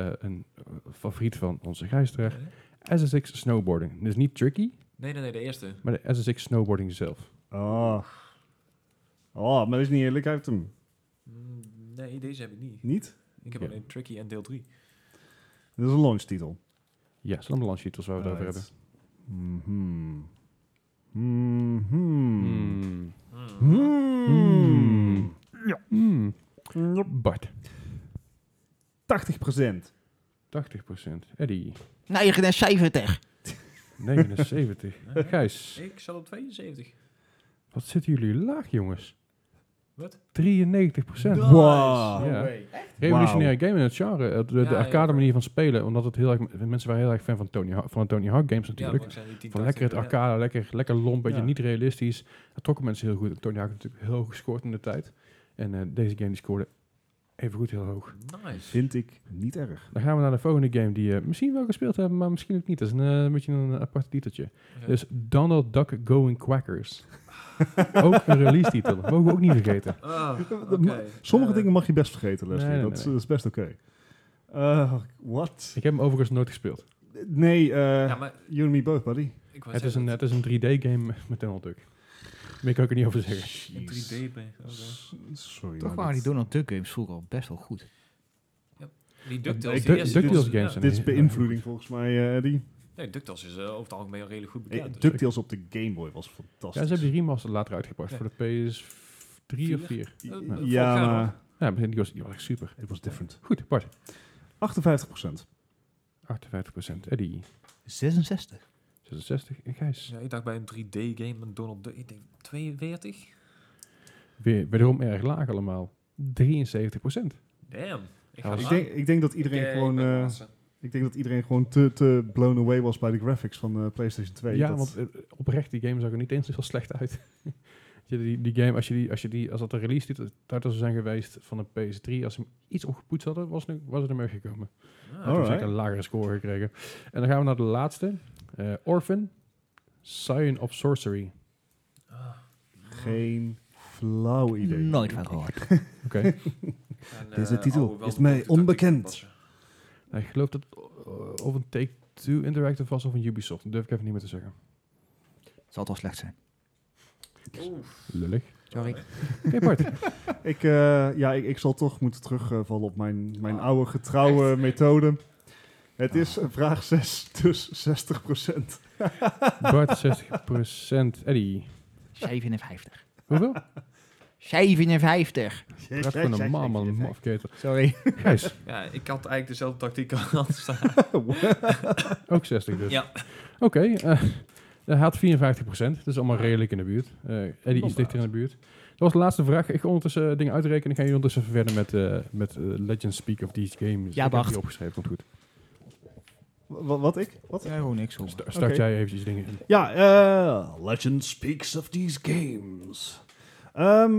[SPEAKER 1] eh, een favoriet van onze Gijsdrag. SSX Snowboarding. Dus niet tricky,
[SPEAKER 3] Nee, nee, nee, de eerste.
[SPEAKER 1] maar de SSX Snowboarding zelf.
[SPEAKER 2] Oh. oh, maar dat is niet eerlijk. Hij heeft hem
[SPEAKER 3] Mm, Nee, deze heb ik niet.
[SPEAKER 2] niet.
[SPEAKER 3] Ik heb
[SPEAKER 1] Ja.
[SPEAKER 3] alleen Tricky en deel 3.
[SPEAKER 2] Dat is een launchtitel.
[SPEAKER 1] Ja, het zijn allemaal launchtitels waar we het over hebben.
[SPEAKER 2] Mhm. Mhm.
[SPEAKER 1] Hmm. Mhm.
[SPEAKER 2] Hmm.
[SPEAKER 1] Hmm. Bart,
[SPEAKER 2] 80 procent.
[SPEAKER 1] 80%. Eddie,
[SPEAKER 4] 79.
[SPEAKER 1] 79. Gijs.
[SPEAKER 3] Ik zat op 72.
[SPEAKER 1] Wat zitten jullie laag, jongens?
[SPEAKER 3] Wat?
[SPEAKER 1] 93 procent.
[SPEAKER 2] Wow.
[SPEAKER 1] Ja. Revolutionaire game in het genre. Het- De,
[SPEAKER 3] Ja,
[SPEAKER 1] de
[SPEAKER 3] ja,
[SPEAKER 1] arcade
[SPEAKER 3] ja.
[SPEAKER 1] manier van spelen. Omdat het heel erg, mensen waren heel erg fan van, Tony Hawk, van de Tony Hawk games
[SPEAKER 3] Ja,
[SPEAKER 1] natuurlijk.
[SPEAKER 3] maar ik zei die 10,
[SPEAKER 1] van lekker het
[SPEAKER 3] 80,
[SPEAKER 1] arcade, lekker, lekker lomp, beetje
[SPEAKER 2] Ja.
[SPEAKER 1] niet realistisch. Dat trokken mensen heel goed. En Tony Hawk heeft natuurlijk heel hoog gescoord in de tijd. En eh, deze game die scoorde evengoed heel hoog.
[SPEAKER 3] ja. Nice.
[SPEAKER 2] Vind ik niet erg.
[SPEAKER 1] Dan gaan we naar de volgende game die je misschien wel gespeeld hebben, maar misschien ook niet. Dat is een, eh, een beetje een apart titeltje.
[SPEAKER 3] Ja.
[SPEAKER 1] Dus Donald Duck Going Quackers. ook een release titel. Mogen we ook niet vergeten.
[SPEAKER 3] Ah, oké.
[SPEAKER 2] Sommige
[SPEAKER 3] Eh,
[SPEAKER 2] dingen mag je best vergeten, Leslie.
[SPEAKER 1] nee,
[SPEAKER 2] dat,
[SPEAKER 1] nee,
[SPEAKER 2] is-
[SPEAKER 1] nee.
[SPEAKER 2] dat is best oké. Eh, Wat?
[SPEAKER 1] Ik heb hem overigens nooit gespeeld.
[SPEAKER 2] Nee, eh,
[SPEAKER 3] Ja, maar
[SPEAKER 2] you and me both, buddy.
[SPEAKER 3] ik was
[SPEAKER 1] Het is, een, het is een 3D-game met Donald Duck. Meer kan ik er niet over zeggen.
[SPEAKER 3] in 3D ben. oké.
[SPEAKER 2] S- Sorry.
[SPEAKER 4] Toch
[SPEAKER 2] maar
[SPEAKER 4] waren die
[SPEAKER 2] dit-
[SPEAKER 4] Donald Duck games vroeger al best wel goed.
[SPEAKER 3] Die DuckTales.
[SPEAKER 2] Ik-
[SPEAKER 3] die eerste
[SPEAKER 1] DuckTales
[SPEAKER 3] was-
[SPEAKER 1] games
[SPEAKER 3] ja.
[SPEAKER 1] zijn-
[SPEAKER 2] Dit is beïnvloeding volgens mij, eh Eddie.
[SPEAKER 3] Nee, DuckTales is eh, over het algemeen redelijk goed
[SPEAKER 2] Eh,
[SPEAKER 3] bekend. dus
[SPEAKER 2] DuckTales op de Game Boy was
[SPEAKER 1] Ja, ze
[SPEAKER 2] fantastisch.
[SPEAKER 1] hebben die remaster later uitgebracht
[SPEAKER 3] Ja.
[SPEAKER 1] voor de PS3
[SPEAKER 3] Vier?
[SPEAKER 1] of 4.
[SPEAKER 3] ik- eh,
[SPEAKER 2] ja,
[SPEAKER 3] vorig jaar nog.
[SPEAKER 2] maar
[SPEAKER 1] Ja, maar die was, die was echt super.
[SPEAKER 2] het was different.
[SPEAKER 1] Goed, Bart.
[SPEAKER 2] 58
[SPEAKER 1] 58%. Eddie,
[SPEAKER 4] 66.
[SPEAKER 1] 66. En Gijs.
[SPEAKER 3] Ja, ik dacht bij een 3D-game met Donald Duck, ik denk 42?
[SPEAKER 1] Weer, wederom erg laag allemaal. 73
[SPEAKER 3] Damn. Ik,
[SPEAKER 1] Ja,
[SPEAKER 3] ga
[SPEAKER 1] was-
[SPEAKER 2] Oh, Ik
[SPEAKER 3] eraan.
[SPEAKER 2] denk, ik denk dat iedereen
[SPEAKER 3] Ik, eh,
[SPEAKER 2] gewoon,
[SPEAKER 3] ik ben de
[SPEAKER 2] eh,
[SPEAKER 3] laatste.
[SPEAKER 2] ik denk dat iedereen gewoon te, te blown away was bij de graphics van eh, PlayStation 2.
[SPEAKER 1] ja,
[SPEAKER 2] Dat-
[SPEAKER 1] want eh, oprecht, die game zag er niet eens zo slecht uit. Als je die, die game, als, je die, als, je die, als dat de release die titel zou zijn geweest van een PS3, als ze hem iets opgepoetst hadden, was, nu, was het ermee gekomen.
[SPEAKER 3] Ah,
[SPEAKER 1] Had
[SPEAKER 2] Oh.
[SPEAKER 1] hij
[SPEAKER 2] Alright.
[SPEAKER 1] zeker een lagere score gekregen. En dan gaan we naar de laatste. Eh, Orphan, Scion of Sorcery.
[SPEAKER 2] Geen flauw idee.
[SPEAKER 4] Nooit van gehoord.
[SPEAKER 1] Oké.
[SPEAKER 3] en,
[SPEAKER 2] Deze
[SPEAKER 3] eh,
[SPEAKER 2] titel
[SPEAKER 3] alhoewel
[SPEAKER 2] is
[SPEAKER 3] de
[SPEAKER 2] mij
[SPEAKER 3] tactiek
[SPEAKER 2] onbekend.
[SPEAKER 3] toepassen.
[SPEAKER 1] Nou, ik geloof dat het eh, of een Take-Two Interactive was of een Ubisoft. Dat durf ik even niet meer te zeggen.
[SPEAKER 4] Zal het wel slecht zijn.
[SPEAKER 1] Lullig.
[SPEAKER 4] Sorry.
[SPEAKER 1] Oké, Bart.
[SPEAKER 2] Ik, eh, ja, ik, ik zal toch moeten terugvallen op mijn, mijn
[SPEAKER 3] Ah.
[SPEAKER 2] oude getrouwe methode. Het
[SPEAKER 4] Ah.
[SPEAKER 2] is vraag 6, dus 60%.
[SPEAKER 1] Bart, 60%. Eddie,
[SPEAKER 4] 57.
[SPEAKER 1] hoeveel?
[SPEAKER 4] 57.
[SPEAKER 1] Praat gewoon normaal, man. Mafketel.
[SPEAKER 4] Sorry.
[SPEAKER 1] Gijs,
[SPEAKER 3] Ja, ik had eigenlijk dezelfde tactiek al aan staan.
[SPEAKER 1] ook 60 dus.
[SPEAKER 3] Ja.
[SPEAKER 1] Oké, eh, hij had 54 Dat is allemaal redelijk in de buurt. Eh Eddie
[SPEAKER 2] Not
[SPEAKER 1] is dichter in
[SPEAKER 2] bad.
[SPEAKER 1] de buurt. Dat was de laatste vraag. Ik ga ondertussen eh, dingen uitrekenen. Ik ga jullie ondertussen verder met, eh, met eh, Legends Speak of These Games.
[SPEAKER 4] Ja,
[SPEAKER 1] Ik heb
[SPEAKER 4] Bart.
[SPEAKER 1] die opgeschreven. Komt goed.
[SPEAKER 2] Wat, wat ik? Wat?
[SPEAKER 4] Ja, gewoon niks hoor.
[SPEAKER 1] Sta- start
[SPEAKER 2] Oké.
[SPEAKER 1] jij eventjes dingen in.
[SPEAKER 2] Ja, eh, Legend speaks of these games. Ehm,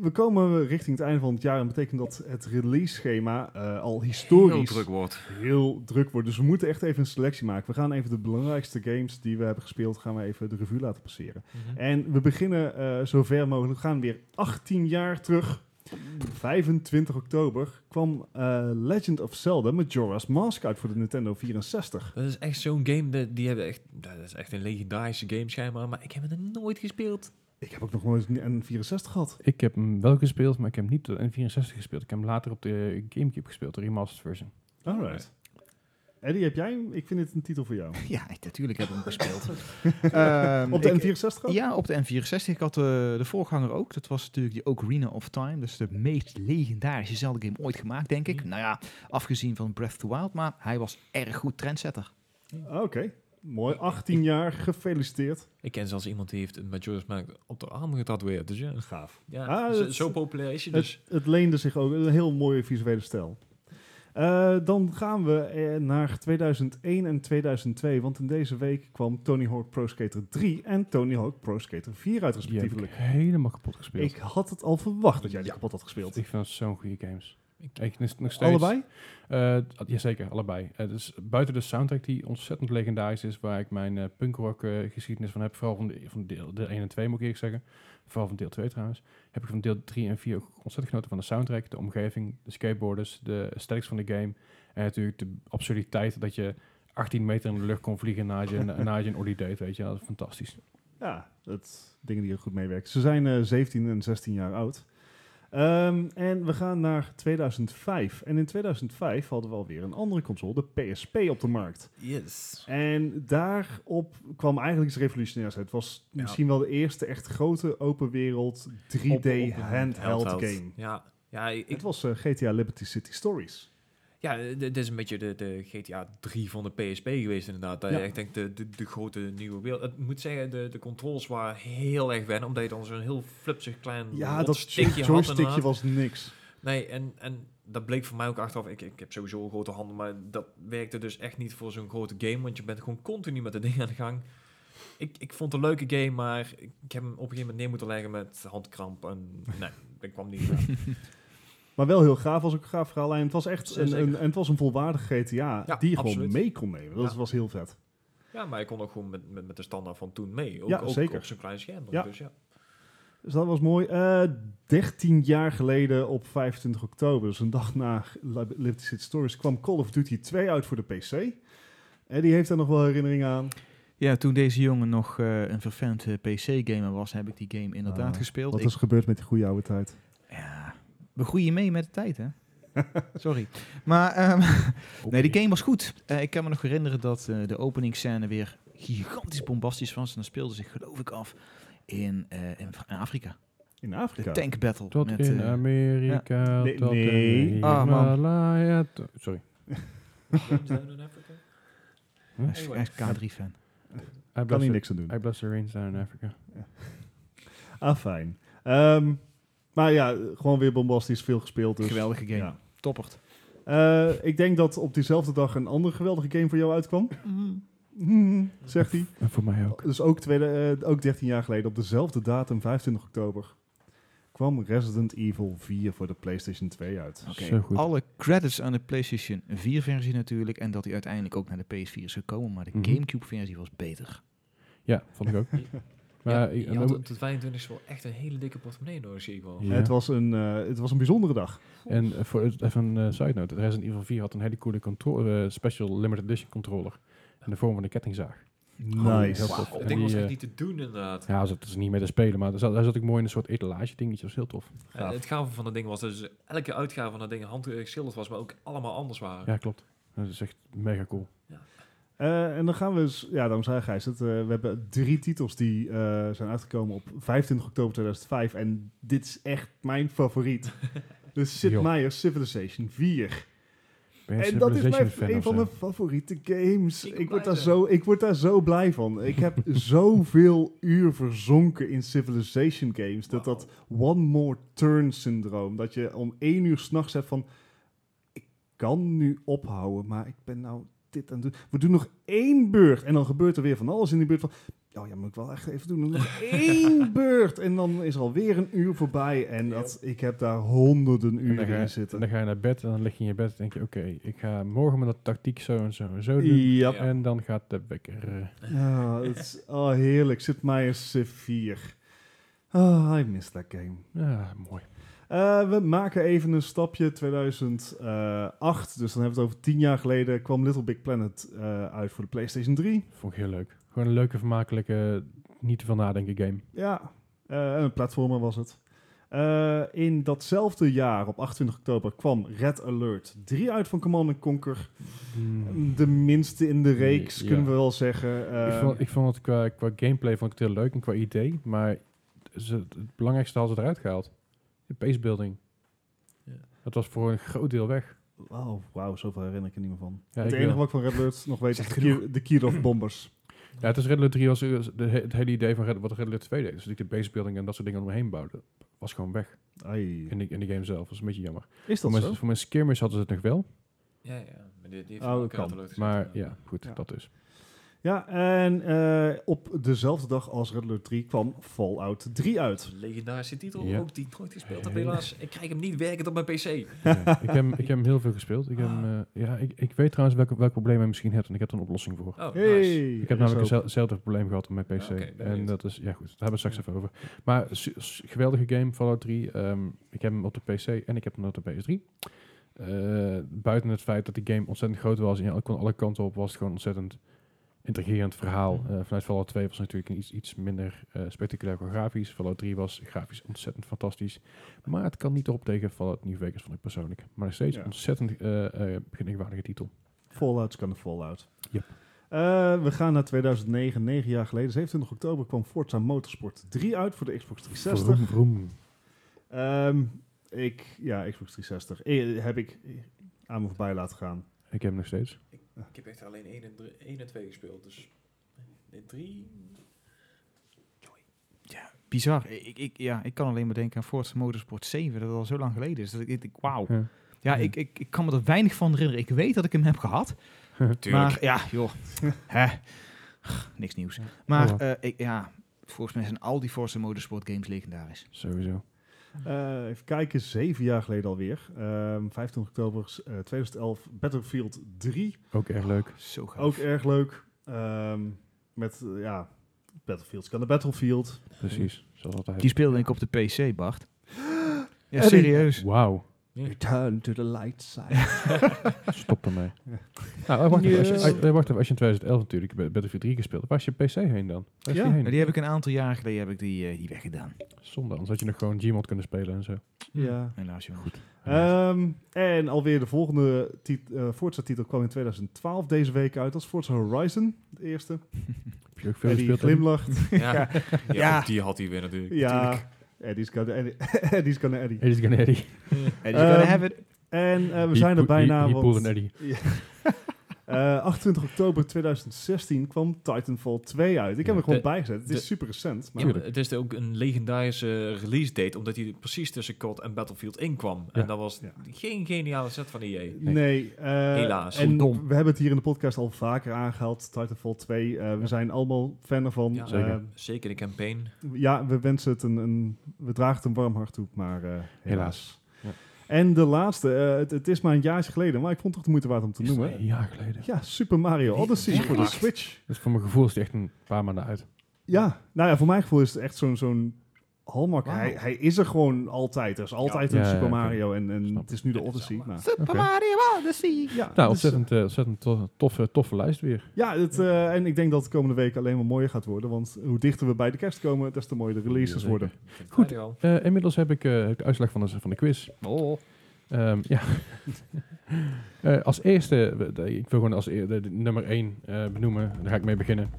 [SPEAKER 2] we komen richting het einde van het jaar en betekent dat het release-schema eh, al historisch
[SPEAKER 3] Heel druk wordt.
[SPEAKER 2] heel druk wordt. Dus we moeten echt even een selectie maken. We gaan even de belangrijkste games die we hebben gespeeld, gaan we even de revue laten passeren. En we beginnen eh, zo ver mogelijk. We gaan weer 18 jaar terug. 25 oktober kwam eh, Legend of Zelda Majora's Mask uit voor de Nintendo 64.
[SPEAKER 3] Dat is echt zo'n game, die, die hebben echt, dat is echt een legendarische game schijnbaar, maar ik heb het nog nooit gespeeld.
[SPEAKER 2] Ik heb ook nog nooit een N64 gehad.
[SPEAKER 1] Ik heb hem wel gespeeld, maar ik heb hem niet de N64 gespeeld. Ik heb hem later op de Gamecube gespeeld, de remastered version.
[SPEAKER 2] Alright. Eddie, heb jij hem? Ik vind dit een titel voor jou.
[SPEAKER 4] Ja, ik- natuurlijk heb ik hem gespeeld. Ehm,
[SPEAKER 2] Op de N64 ook?
[SPEAKER 4] Ja, op de N64. Ik had eh, de voorganger ook. Dat was natuurlijk die Ocarina of Time. Dat is de meest legendarische Zelda-game ooit gemaakt, denk ik.
[SPEAKER 3] Mhm.
[SPEAKER 4] Nou ja, afgezien van Breath of the Wild. Maar hij was erg goed trendsetter.
[SPEAKER 2] Ah, Oké, mooi. 18 jaar, gefeliciteerd.
[SPEAKER 3] Ik ken zelfs iemand die heeft een Majora's Mask op de arm getatoeëerd, dus ja.
[SPEAKER 2] Gaaf.
[SPEAKER 3] ja
[SPEAKER 2] Ah,
[SPEAKER 3] zo,
[SPEAKER 2] dat-
[SPEAKER 3] zo populair is je
[SPEAKER 2] Het,
[SPEAKER 3] dus.
[SPEAKER 2] het leende zich ook een heel mooie visuele stijl. Eh, dan gaan we eh, naar 2001 en 2002, want in deze week kwam Tony Hawk Pro Skater 3 en Tony Hawk Pro Skater 4 uit
[SPEAKER 1] Die heb ik
[SPEAKER 2] respectievelijk.
[SPEAKER 1] helemaal kapot gespeeld.
[SPEAKER 2] Ik had het al verwacht dat jij die
[SPEAKER 3] Ja.
[SPEAKER 2] kapot had gespeeld.
[SPEAKER 1] Ik vind het zo'n goede games.
[SPEAKER 3] Ik-
[SPEAKER 1] Ik, nog steeds,
[SPEAKER 2] Allebei?
[SPEAKER 1] Eh, d- jazeker, allebei. Het is buiten de soundtrack die ontzettend legendarisch is, waar ik mijn eh, punkrock eh, geschiedenis van heb, vooral van, de, van deel, deel 1 en 2 moet ik eerlijk zeggen, vooral van deel 2 trouwens, heb ik van deel 3 en 4 ook ontzettend genoten van de soundtrack, de omgeving, de skateboarders, de aesthetics van de game en natuurlijk de absurditeit dat je 18 meter in de lucht kon vliegen na je, na je een ollie deed, weet je, dat is fantastisch.
[SPEAKER 2] Ja, dat dingen die er goed meewerken. Ze zijn eh, 17 en 16 jaar oud. Ehm, en we gaan naar 2005. En in 2005 hadden we alweer een andere console, de PSP, op de markt.
[SPEAKER 3] Yes.
[SPEAKER 2] En daarop kwam eigenlijk iets revolutionairs uit. Het was
[SPEAKER 3] Ja.
[SPEAKER 2] misschien wel de eerste echt grote open wereld 3D handheld game.
[SPEAKER 3] Ja, ja, ik,
[SPEAKER 2] Het was eh, GTA Liberty City Stories.
[SPEAKER 3] Ja, eh, dit is een beetje de, de GTA 3 van de PSP geweest inderdaad. Dat
[SPEAKER 2] Ja.
[SPEAKER 3] je echt denkt, de, de, de grote nieuwe wereld. Ik moet zeggen, de, de controls waren heel erg wennen, omdat je dan zo'n heel flipsig klein
[SPEAKER 2] Ja,
[SPEAKER 3] rond
[SPEAKER 2] dat
[SPEAKER 3] stickje had
[SPEAKER 2] joystickje
[SPEAKER 3] inderdaad.
[SPEAKER 2] was niks.
[SPEAKER 3] Nee, en, en dat bleek voor mij ook achteraf. Ik, ik heb sowieso een grote handen, maar dat werkte dus echt niet voor zo'n grote game, want je bent gewoon continu met dat ding aan de gang. Ik, ik vond het een leuke game, maar ik, ik heb hem op een gegeven moment neer moeten leggen met handkramp. En nee, dat kwam niet. aan.
[SPEAKER 2] Maar wel heel gaaf, was ook een gaaf verhaal. En het was echt
[SPEAKER 3] Zeker.
[SPEAKER 2] een, een, en het was een volwaardig GTA
[SPEAKER 3] Ja,
[SPEAKER 2] die je gewoon
[SPEAKER 3] absoluut.
[SPEAKER 2] mee kon nemen. Dat
[SPEAKER 3] Ja.
[SPEAKER 2] was heel vet.
[SPEAKER 3] Ja, maar ik kon ook gewoon met, met, met de standaard van toen mee. Ook,
[SPEAKER 2] Ja,
[SPEAKER 3] ook
[SPEAKER 2] zeker.
[SPEAKER 3] op zo'n klein scherm.
[SPEAKER 2] Ja.
[SPEAKER 3] Dus ja.
[SPEAKER 2] Dus dat was mooi. Eh 13 jaar geleden op 25 oktober, dus een dag na Lib- Liberty City Stories, kwam Call of Duty 2 uit voor de PC. En die heeft daar nog wel herinneringen aan.
[SPEAKER 4] Ja, toen deze jongen nog eh, een vervent PC-gamer was, heb ik die game inderdaad
[SPEAKER 2] Ah,
[SPEAKER 4] gespeeld.
[SPEAKER 2] Wat
[SPEAKER 4] Ik-
[SPEAKER 2] is gebeurd met die goede oude tijd?
[SPEAKER 4] ja, we groeien mee met de tijd, hè? Sorry. Maar ehm, nee, die
[SPEAKER 1] Oké.
[SPEAKER 4] game was goed. Eh, ik kan me nog herinneren dat eh, de openingsscène weer gigantisch bombastisch was. En dan speelde zich, geloof ik, af in, eh, in in Afrika.
[SPEAKER 2] In
[SPEAKER 4] De
[SPEAKER 2] Afrika.
[SPEAKER 4] tank battle.
[SPEAKER 1] Tot
[SPEAKER 4] met,
[SPEAKER 1] in
[SPEAKER 4] eh,
[SPEAKER 1] Amerika,
[SPEAKER 2] Nee,
[SPEAKER 1] tot
[SPEAKER 2] nee.
[SPEAKER 1] in
[SPEAKER 4] Ah, man.
[SPEAKER 1] Himalaya, to- Sorry,
[SPEAKER 4] hij is- hij is K3-fan.
[SPEAKER 1] I
[SPEAKER 2] kan
[SPEAKER 1] bless,
[SPEAKER 2] hier
[SPEAKER 1] the,
[SPEAKER 2] niks aan doen.
[SPEAKER 1] I bless the rains down in Africa.
[SPEAKER 2] Ah, fijn. Ehm, maar ja, gewoon weer bombastisch veel gespeeld. Dus,
[SPEAKER 4] Geweldige game.
[SPEAKER 2] Ja.
[SPEAKER 4] Toppert.
[SPEAKER 2] Eh, ik denk dat op diezelfde dag een andere geweldige game voor jou uitkwam.
[SPEAKER 1] Mhm.
[SPEAKER 2] Hmm, zegt hij.
[SPEAKER 1] En voor mij ook.
[SPEAKER 2] Dus ook, tweede, eh, ook 13 jaar geleden, op dezelfde datum, 25 oktober, kwam Resident Evil 4 voor de PlayStation 2 uit.
[SPEAKER 4] Oké.
[SPEAKER 1] Zo goed.
[SPEAKER 4] Alle credits aan de PlayStation 4-versie natuurlijk. En dat hij uiteindelijk ook naar de PS4 is gekomen. Maar de
[SPEAKER 1] Mhm.
[SPEAKER 4] GameCube-versie was beter.
[SPEAKER 1] Ja, vond ik ook. Maar eh, ik-
[SPEAKER 3] je had op de 25 wel echt een hele dikke portemonnee nodig, zie ik wel.
[SPEAKER 1] Ja.
[SPEAKER 2] Het, was een, eh, het was een bijzondere dag.
[SPEAKER 1] En eh, voor het- even een eh, side note. Resident Evil 4 had een hele coole contro- eh, special limited edition controller. In de vorm van een kettingzaag.
[SPEAKER 2] Nice.
[SPEAKER 1] Heel tof.
[SPEAKER 3] Wauw,
[SPEAKER 1] En
[SPEAKER 3] dat ding was
[SPEAKER 1] die,
[SPEAKER 3] echt
[SPEAKER 1] eh,
[SPEAKER 3] niet te doen, inderdaad.
[SPEAKER 1] Ja, dat is niet meer te spelen, maar daar zat, daar zat ik mooi in een soort etalage dingetje. Dat was heel tof.
[SPEAKER 3] Eh, het gave van dat ding was dus elke uitgave van dat ding handgeschilderd was, maar ook allemaal anders waren.
[SPEAKER 1] Ja, klopt. Dat is echt mega cool.
[SPEAKER 2] Eh, en dan gaan we eens, ja, daarom zei Gijs het, eh, we hebben drie titels die eh, zijn uitgekomen op 25 oktober 2005. En dit is echt mijn favoriet. De Sid
[SPEAKER 1] Joh.
[SPEAKER 2] Meier's Civilization 4.
[SPEAKER 1] Ben je
[SPEAKER 2] En
[SPEAKER 1] een
[SPEAKER 2] dat is mijn,
[SPEAKER 1] Civilization fan
[SPEAKER 2] een
[SPEAKER 1] of
[SPEAKER 2] van
[SPEAKER 1] zo?
[SPEAKER 2] mijn favoriete games.
[SPEAKER 3] Ik
[SPEAKER 2] Ik
[SPEAKER 3] blij
[SPEAKER 2] word, daar
[SPEAKER 3] zijn.
[SPEAKER 2] zo, ik word daar zo blij van. Ik heb zoveel uur verzonken in Civilization games. Dat dat one more turn syndroom. Dat je om één uur s'nachts hebt van... Ik kan nu ophouden, maar ik ben nou dit aan het doen. We doen nog één beurt. En dan gebeurt er weer van alles in die beurt van... Oh ja, moet ik wel echt even doen. Nog één beurt. En dan is er alweer een uur voorbij. En dat, ik heb daar honderden
[SPEAKER 1] En dan,
[SPEAKER 2] uren
[SPEAKER 1] ga, je-
[SPEAKER 2] in
[SPEAKER 1] en
[SPEAKER 2] zitten.
[SPEAKER 1] dan ga je naar bed en dan lig je in je bed en denk je, oké, ik ga morgen met dat tactiek zo en zo en zo doen.
[SPEAKER 2] Ja,
[SPEAKER 3] Ja.
[SPEAKER 1] En dan gaat de wekker. eh,
[SPEAKER 2] Ah, het is, oh, heerlijk. Sid Meier's Civ 4. Ah, I miss that game.
[SPEAKER 1] ja, mooi.
[SPEAKER 2] Eh, we maken even een stapje. 2008, dus dan hebben we het over 10 jaar geleden, kwam Little Big Planet eh, uit voor de PlayStation 3.
[SPEAKER 1] Vond ik heel leuk. Gewoon een leuke, vermakelijke, niet te veel nadenken game.
[SPEAKER 2] Ja, eh, een platformer was het. Eh, in datzelfde jaar, op 28 oktober, kwam Red Alert 3 uit van Command Conquer. De minste in de reeks,
[SPEAKER 1] Ja.
[SPEAKER 2] kunnen we wel zeggen. Eh,
[SPEAKER 1] ik, vond, ik vond het qua, qua gameplay vond ik het heel leuk en qua idee, maar ze, het belangrijkste hadden ze eruit gehaald. De pacebuilding.
[SPEAKER 3] Ja.
[SPEAKER 1] Dat was voor een groot deel weg.
[SPEAKER 2] Wauw, Oh, wauw, zoveel herinner ik er niet meer van.
[SPEAKER 1] Ja,
[SPEAKER 2] het
[SPEAKER 1] ik eh, wel.
[SPEAKER 2] enige wat ik van Red Alert nog weet is
[SPEAKER 4] Zegt
[SPEAKER 2] de, Kier, de Kirov Bombers.
[SPEAKER 1] Ja, het is Red Alert 3 was eh, de, he- het hele idee van Red, wat Red Alert 2 deed. Dus dat ik de basebuilding en dat soort dingen omheen bouwde, was gewoon weg.
[SPEAKER 2] Ai.
[SPEAKER 1] In de, in de game zelf, dat is een beetje jammer.
[SPEAKER 2] Is
[SPEAKER 1] Voor
[SPEAKER 2] dat
[SPEAKER 1] mijn,
[SPEAKER 2] zo?
[SPEAKER 1] voor mijn skirmish hadden ze het nog wel,
[SPEAKER 3] Ja, ja. Maar die, die heeft
[SPEAKER 2] Oh,
[SPEAKER 3] wel
[SPEAKER 2] dat kan.
[SPEAKER 3] katalog gezet,
[SPEAKER 1] maar ja, goed,
[SPEAKER 2] Ja.
[SPEAKER 1] dat dus.
[SPEAKER 2] Ja, en eh, op dezelfde dag als Red Alert 3 kwam Fallout 3 uit.
[SPEAKER 3] Legendarische titel,
[SPEAKER 1] Ja.
[SPEAKER 3] ook die ik nooit gespeeld heb
[SPEAKER 1] Heel-
[SPEAKER 3] helaas. Ik krijg hem niet werkend op mijn PC.
[SPEAKER 1] Ja, ik, heb, ik heb hem heel veel gespeeld. Ik, heb, hem,
[SPEAKER 2] Ah.
[SPEAKER 1] eh, ja, ik, ik weet trouwens welk, welk probleem hij misschien hebt en ik heb er een oplossing voor.
[SPEAKER 3] Oh, nice.
[SPEAKER 2] Hey,
[SPEAKER 1] Ik heb
[SPEAKER 2] dat is
[SPEAKER 1] namelijk
[SPEAKER 2] ook-
[SPEAKER 1] hetzel- hetzelfde probleem gehad op mijn PC.
[SPEAKER 3] Ja, oké, ben
[SPEAKER 1] en
[SPEAKER 3] benieuwd.
[SPEAKER 1] dat is, ja goed, daar hebben we straks even over. Maar su- su- geweldige game, Fallout 3. Ehm, ik heb hem op de PC en ik heb hem op de PS3. Eh, buiten het feit dat die game ontzettend groot was en je kon alle kanten op, was het gewoon ontzettend intrigerend verhaal. Eh, vanuit Fallout 2 was het natuurlijk een iets, iets minder eh, spectaculair qua grafisch. Fallout 3 was grafisch ontzettend fantastisch. Maar het kan niet op tegen Fallout New Vegas, vond ik persoonlijk. Maar nog steeds
[SPEAKER 2] Ja.
[SPEAKER 1] ontzettend eh eh gedenkwaardige titel.
[SPEAKER 2] Fallout kan de Fallout.
[SPEAKER 1] Yep.
[SPEAKER 2] Eh, we gaan naar 2009, 9 jaar geleden. 27 oktober kwam Forza Motorsport 3 uit voor de Xbox
[SPEAKER 1] Vroom,
[SPEAKER 2] 360.
[SPEAKER 1] vroom.
[SPEAKER 2] Ehm, ik, ja, Xbox 360. Eh, heb ik aan me voorbij laten gaan.
[SPEAKER 1] Ik heb hem nog steeds.
[SPEAKER 3] Ik heb echt alleen 1 en, drie- één en 2 gespeeld, dus... 3?
[SPEAKER 4] Bizar. Ik, ik, ja, ik kan alleen maar denken aan Forza Motorsport 7. Dat al zo lang geleden is. Dat ik, ik, wauw.
[SPEAKER 1] Ja.
[SPEAKER 4] Ja,
[SPEAKER 1] Ja.
[SPEAKER 4] ik, ik, ik kan me er weinig van herinneren. Ik weet dat ik hem heb gehad. Maar ja, joh. Hè. Niks nieuws. Maar
[SPEAKER 1] Oh,
[SPEAKER 4] eh, ik, ja, volgens mij zijn al die Forza Motorsport games legendarisch.
[SPEAKER 1] Sowieso.
[SPEAKER 2] Eh, even kijken, zeven jaar geleden alweer. Ehm 15 oktober eh, 2011, Battlefield 3.
[SPEAKER 1] Ook erg leuk.
[SPEAKER 4] Zo gaaf.
[SPEAKER 2] Ook erg leuk. Ehm, met, eh, ja, Battlefield kan de Battlefield.
[SPEAKER 1] Precies. Zoals altijd.
[SPEAKER 4] Die speelde ik op de PC, Bart. Ja,
[SPEAKER 2] Eddie.
[SPEAKER 4] serieus.
[SPEAKER 1] Wauw.
[SPEAKER 2] Return to the light side.
[SPEAKER 1] Stop ermee.
[SPEAKER 2] Ja.
[SPEAKER 1] Nou, eh, wacht, even, als je,
[SPEAKER 2] Yes.
[SPEAKER 1] als- eh, wacht even. Als je in 2011 natuurlijk bij Battlefield 3 gespeeld hebt, waar is je PC heen dan? Waar is die
[SPEAKER 2] Ja.
[SPEAKER 4] Ja,
[SPEAKER 1] heen?
[SPEAKER 4] die heb ik een aantal jaren geleden heb ik die, eh, die weggedaan.
[SPEAKER 1] Zonde, anders had je nog gewoon Gmod kunnen spelen en zo.
[SPEAKER 2] Ja.
[SPEAKER 4] Helaas, jongens. Goed.
[SPEAKER 2] Ehm, en alweer de volgende tit- eh, Forza-titel kwam in 2012 deze week uit. Dat is Forza Horizon, de eerste.
[SPEAKER 1] Heb je ook veel
[SPEAKER 2] En die
[SPEAKER 1] gespeeld? Tim?
[SPEAKER 2] glimlacht.
[SPEAKER 3] Ja. Ja,
[SPEAKER 4] Ja.
[SPEAKER 3] die had hij weer natuurlijk.
[SPEAKER 2] ja, Eddie's gonna Eddie. Eddie's gonna Eddie.
[SPEAKER 1] Eddie's gonna Eddie.
[SPEAKER 4] Eddie's gonna
[SPEAKER 2] Ehm,
[SPEAKER 4] have it.
[SPEAKER 2] En eh, we
[SPEAKER 1] He
[SPEAKER 2] zijn er
[SPEAKER 1] poo- he-
[SPEAKER 2] bijna,
[SPEAKER 1] he pulled
[SPEAKER 2] want
[SPEAKER 1] an Eddie.
[SPEAKER 2] eh, 28 oktober 2016 kwam Titanfall 2 uit. Ik heb
[SPEAKER 1] Ja.
[SPEAKER 2] hem gewoon
[SPEAKER 3] De-
[SPEAKER 2] bijgezet. Het
[SPEAKER 3] de-
[SPEAKER 2] is super recent. Maar
[SPEAKER 3] Ja, maar het is ook een legendarische eh, release date, omdat hij precies tussen COD en Battlefield inkwam.
[SPEAKER 1] Ja.
[SPEAKER 3] En dat was
[SPEAKER 2] Ja.
[SPEAKER 3] geen geniale set van E EA.
[SPEAKER 2] Nee. eh,
[SPEAKER 3] Helaas.
[SPEAKER 2] En
[SPEAKER 4] Dom.
[SPEAKER 2] we hebben het hier in de podcast al vaker aangehaald. Titanfall 2. eh, we
[SPEAKER 1] Ja.
[SPEAKER 2] zijn allemaal fan ervan.
[SPEAKER 3] Ja.
[SPEAKER 1] Zeker.
[SPEAKER 2] Eh,
[SPEAKER 3] Zeker de campaign.
[SPEAKER 2] ja, we wensen het een, een... We dragen het een warm hart toe, maar eh, helaas.
[SPEAKER 1] Ja.
[SPEAKER 2] En de laatste. eh, het, het is maar een jaartje geleden, maar ik vond het toch de moeite waard om te
[SPEAKER 1] Is
[SPEAKER 2] noemen.
[SPEAKER 1] Een jaar geleden.
[SPEAKER 2] Ja, Super Mario Odyssey voor de Switch.
[SPEAKER 1] Dus voor mijn gevoel is die echt een paar maanden uit.
[SPEAKER 2] Ja, nou ja, voor mijn gevoel is het echt zo'n zo'n hallmark.
[SPEAKER 3] Wauw.
[SPEAKER 2] Hij, hij is er gewoon altijd. Er is altijd
[SPEAKER 1] Ja,
[SPEAKER 2] een
[SPEAKER 1] ja,
[SPEAKER 2] Super
[SPEAKER 1] oké.
[SPEAKER 2] Mario en, en
[SPEAKER 1] Snap
[SPEAKER 2] het is nu de Odyssey. Maar,
[SPEAKER 4] Super
[SPEAKER 1] Oké.
[SPEAKER 4] Mario Odyssey.
[SPEAKER 2] ja,
[SPEAKER 1] Nou,
[SPEAKER 2] dus,
[SPEAKER 1] ontzettend, eh, ontzettend to- toffe, toffe lijst weer.
[SPEAKER 2] Ja, het, eh, en ik denk dat de komende week alleen maar mooier gaat worden. Want hoe dichter we bij de kerst komen, des te mooier de releases
[SPEAKER 1] Jazeker.
[SPEAKER 2] worden.
[SPEAKER 1] Goed.
[SPEAKER 3] Vrijdag al.
[SPEAKER 1] Eh, inmiddels heb ik eh, heb ik de uitslag van de, van de quiz.
[SPEAKER 4] Oh.
[SPEAKER 1] Ehm, ja. Eh, als eerste, we- de- ik wil gewoon als eer- de, de nummer 1 benoemen. Daar ga ik mee beginnen.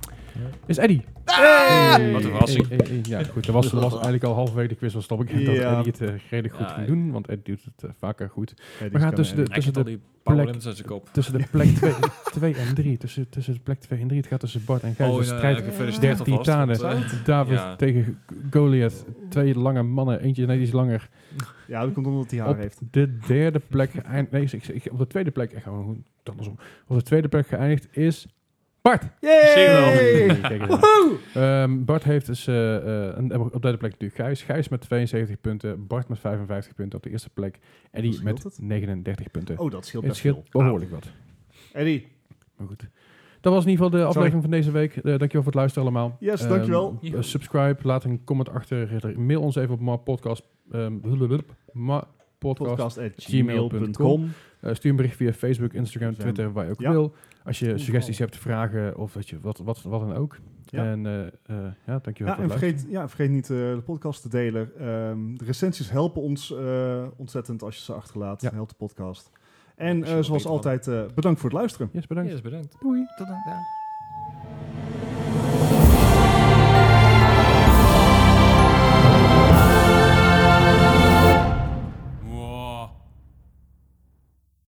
[SPEAKER 1] Is Eddie.
[SPEAKER 2] Hey!
[SPEAKER 3] Eh, Wat een verrassing.
[SPEAKER 1] Hey, hey, hey. Ja, goed. Dat was, dat was eigenlijk al halverwege de quiz was stop ik dat
[SPEAKER 2] Ja.
[SPEAKER 1] Eddie het eh, redelijk goed
[SPEAKER 3] Ja,
[SPEAKER 1] ging doen. Want Eddie doet het eh, vaker goed.
[SPEAKER 2] Ja, die
[SPEAKER 1] We gaan
[SPEAKER 2] is
[SPEAKER 1] tussen de,
[SPEAKER 2] kunnen-
[SPEAKER 3] Hij
[SPEAKER 1] tussen
[SPEAKER 3] had al
[SPEAKER 1] de,
[SPEAKER 3] die power
[SPEAKER 1] plek-
[SPEAKER 3] limits uit zijn kop.
[SPEAKER 1] tussen de plek 2 en 3. Tussen, tussen de plek 2 en 3. Het gaat tussen Bart en Gijs.
[SPEAKER 3] Oh,
[SPEAKER 1] de
[SPEAKER 3] ja, ja,
[SPEAKER 1] strijd
[SPEAKER 3] gefeliciteerd
[SPEAKER 1] der
[SPEAKER 3] alvast, want,
[SPEAKER 1] titanen.
[SPEAKER 3] eh,
[SPEAKER 1] David
[SPEAKER 3] ja.
[SPEAKER 1] tegen Goliath. Twee lange mannen. Eentje net iets langer.
[SPEAKER 2] Ja, dat komt omdat hij haar
[SPEAKER 1] op
[SPEAKER 2] heeft.
[SPEAKER 1] de derde plek geëindigd. Nee, ik, ik, op de tweede plek. Ik ga gewoon goed, het andersom. Op de tweede plek geëindigd is Bart.
[SPEAKER 2] Yay!
[SPEAKER 1] Kijk eens aan. Ehm, Bart heeft dus eh, eh, een- op de derde plek natuurlijk Gijs. Gijs met 72 punten. Bart met 55 punten op de eerste plek. Eddie
[SPEAKER 2] Hoe
[SPEAKER 1] met
[SPEAKER 2] scheelt het?
[SPEAKER 1] 39 punten.
[SPEAKER 2] Oh, dat scheelt
[SPEAKER 1] het
[SPEAKER 2] best veel.
[SPEAKER 1] scheelt behoorlijk wat.
[SPEAKER 2] Ah, Eddie,
[SPEAKER 1] Maar goed. Dat was in ieder geval de aflevering van deze week. Eh, dankjewel voor het luisteren allemaal.
[SPEAKER 2] Yes,
[SPEAKER 1] Ehm,
[SPEAKER 2] dankjewel.
[SPEAKER 1] eh, subscribe, laat een comment achter. Mail ons even op mapodcast. ehm, blubblub, mapodcast
[SPEAKER 2] podcast at
[SPEAKER 1] gmail.com.
[SPEAKER 2] gmail.com.
[SPEAKER 1] Eh, stuur een bericht via Facebook, Instagram,
[SPEAKER 2] Instagram.
[SPEAKER 1] Twitter, waar je ook
[SPEAKER 2] Ja.
[SPEAKER 1] wil. Als je suggesties hebt, vragen of dat je wat, wat, wat dan ook.
[SPEAKER 2] Ja.
[SPEAKER 1] En eh, eh, ja, dankjewel
[SPEAKER 2] Ja,
[SPEAKER 1] voor het
[SPEAKER 2] en
[SPEAKER 1] luisteren.
[SPEAKER 2] vergeet, ja, vergeet niet eh, de podcast te delen. Ehm, de recensies helpen ons eh, ontzettend als je ze achterlaat.
[SPEAKER 1] Ja.
[SPEAKER 2] Helpt de podcast. En
[SPEAKER 3] Als je
[SPEAKER 2] eh,
[SPEAKER 3] wat
[SPEAKER 2] zoals
[SPEAKER 3] beter
[SPEAKER 2] altijd, eh, bedankt voor het luisteren.
[SPEAKER 1] Yes, bedankt.
[SPEAKER 3] Yes, bedankt.
[SPEAKER 1] Doei.
[SPEAKER 4] Tot dan. ja.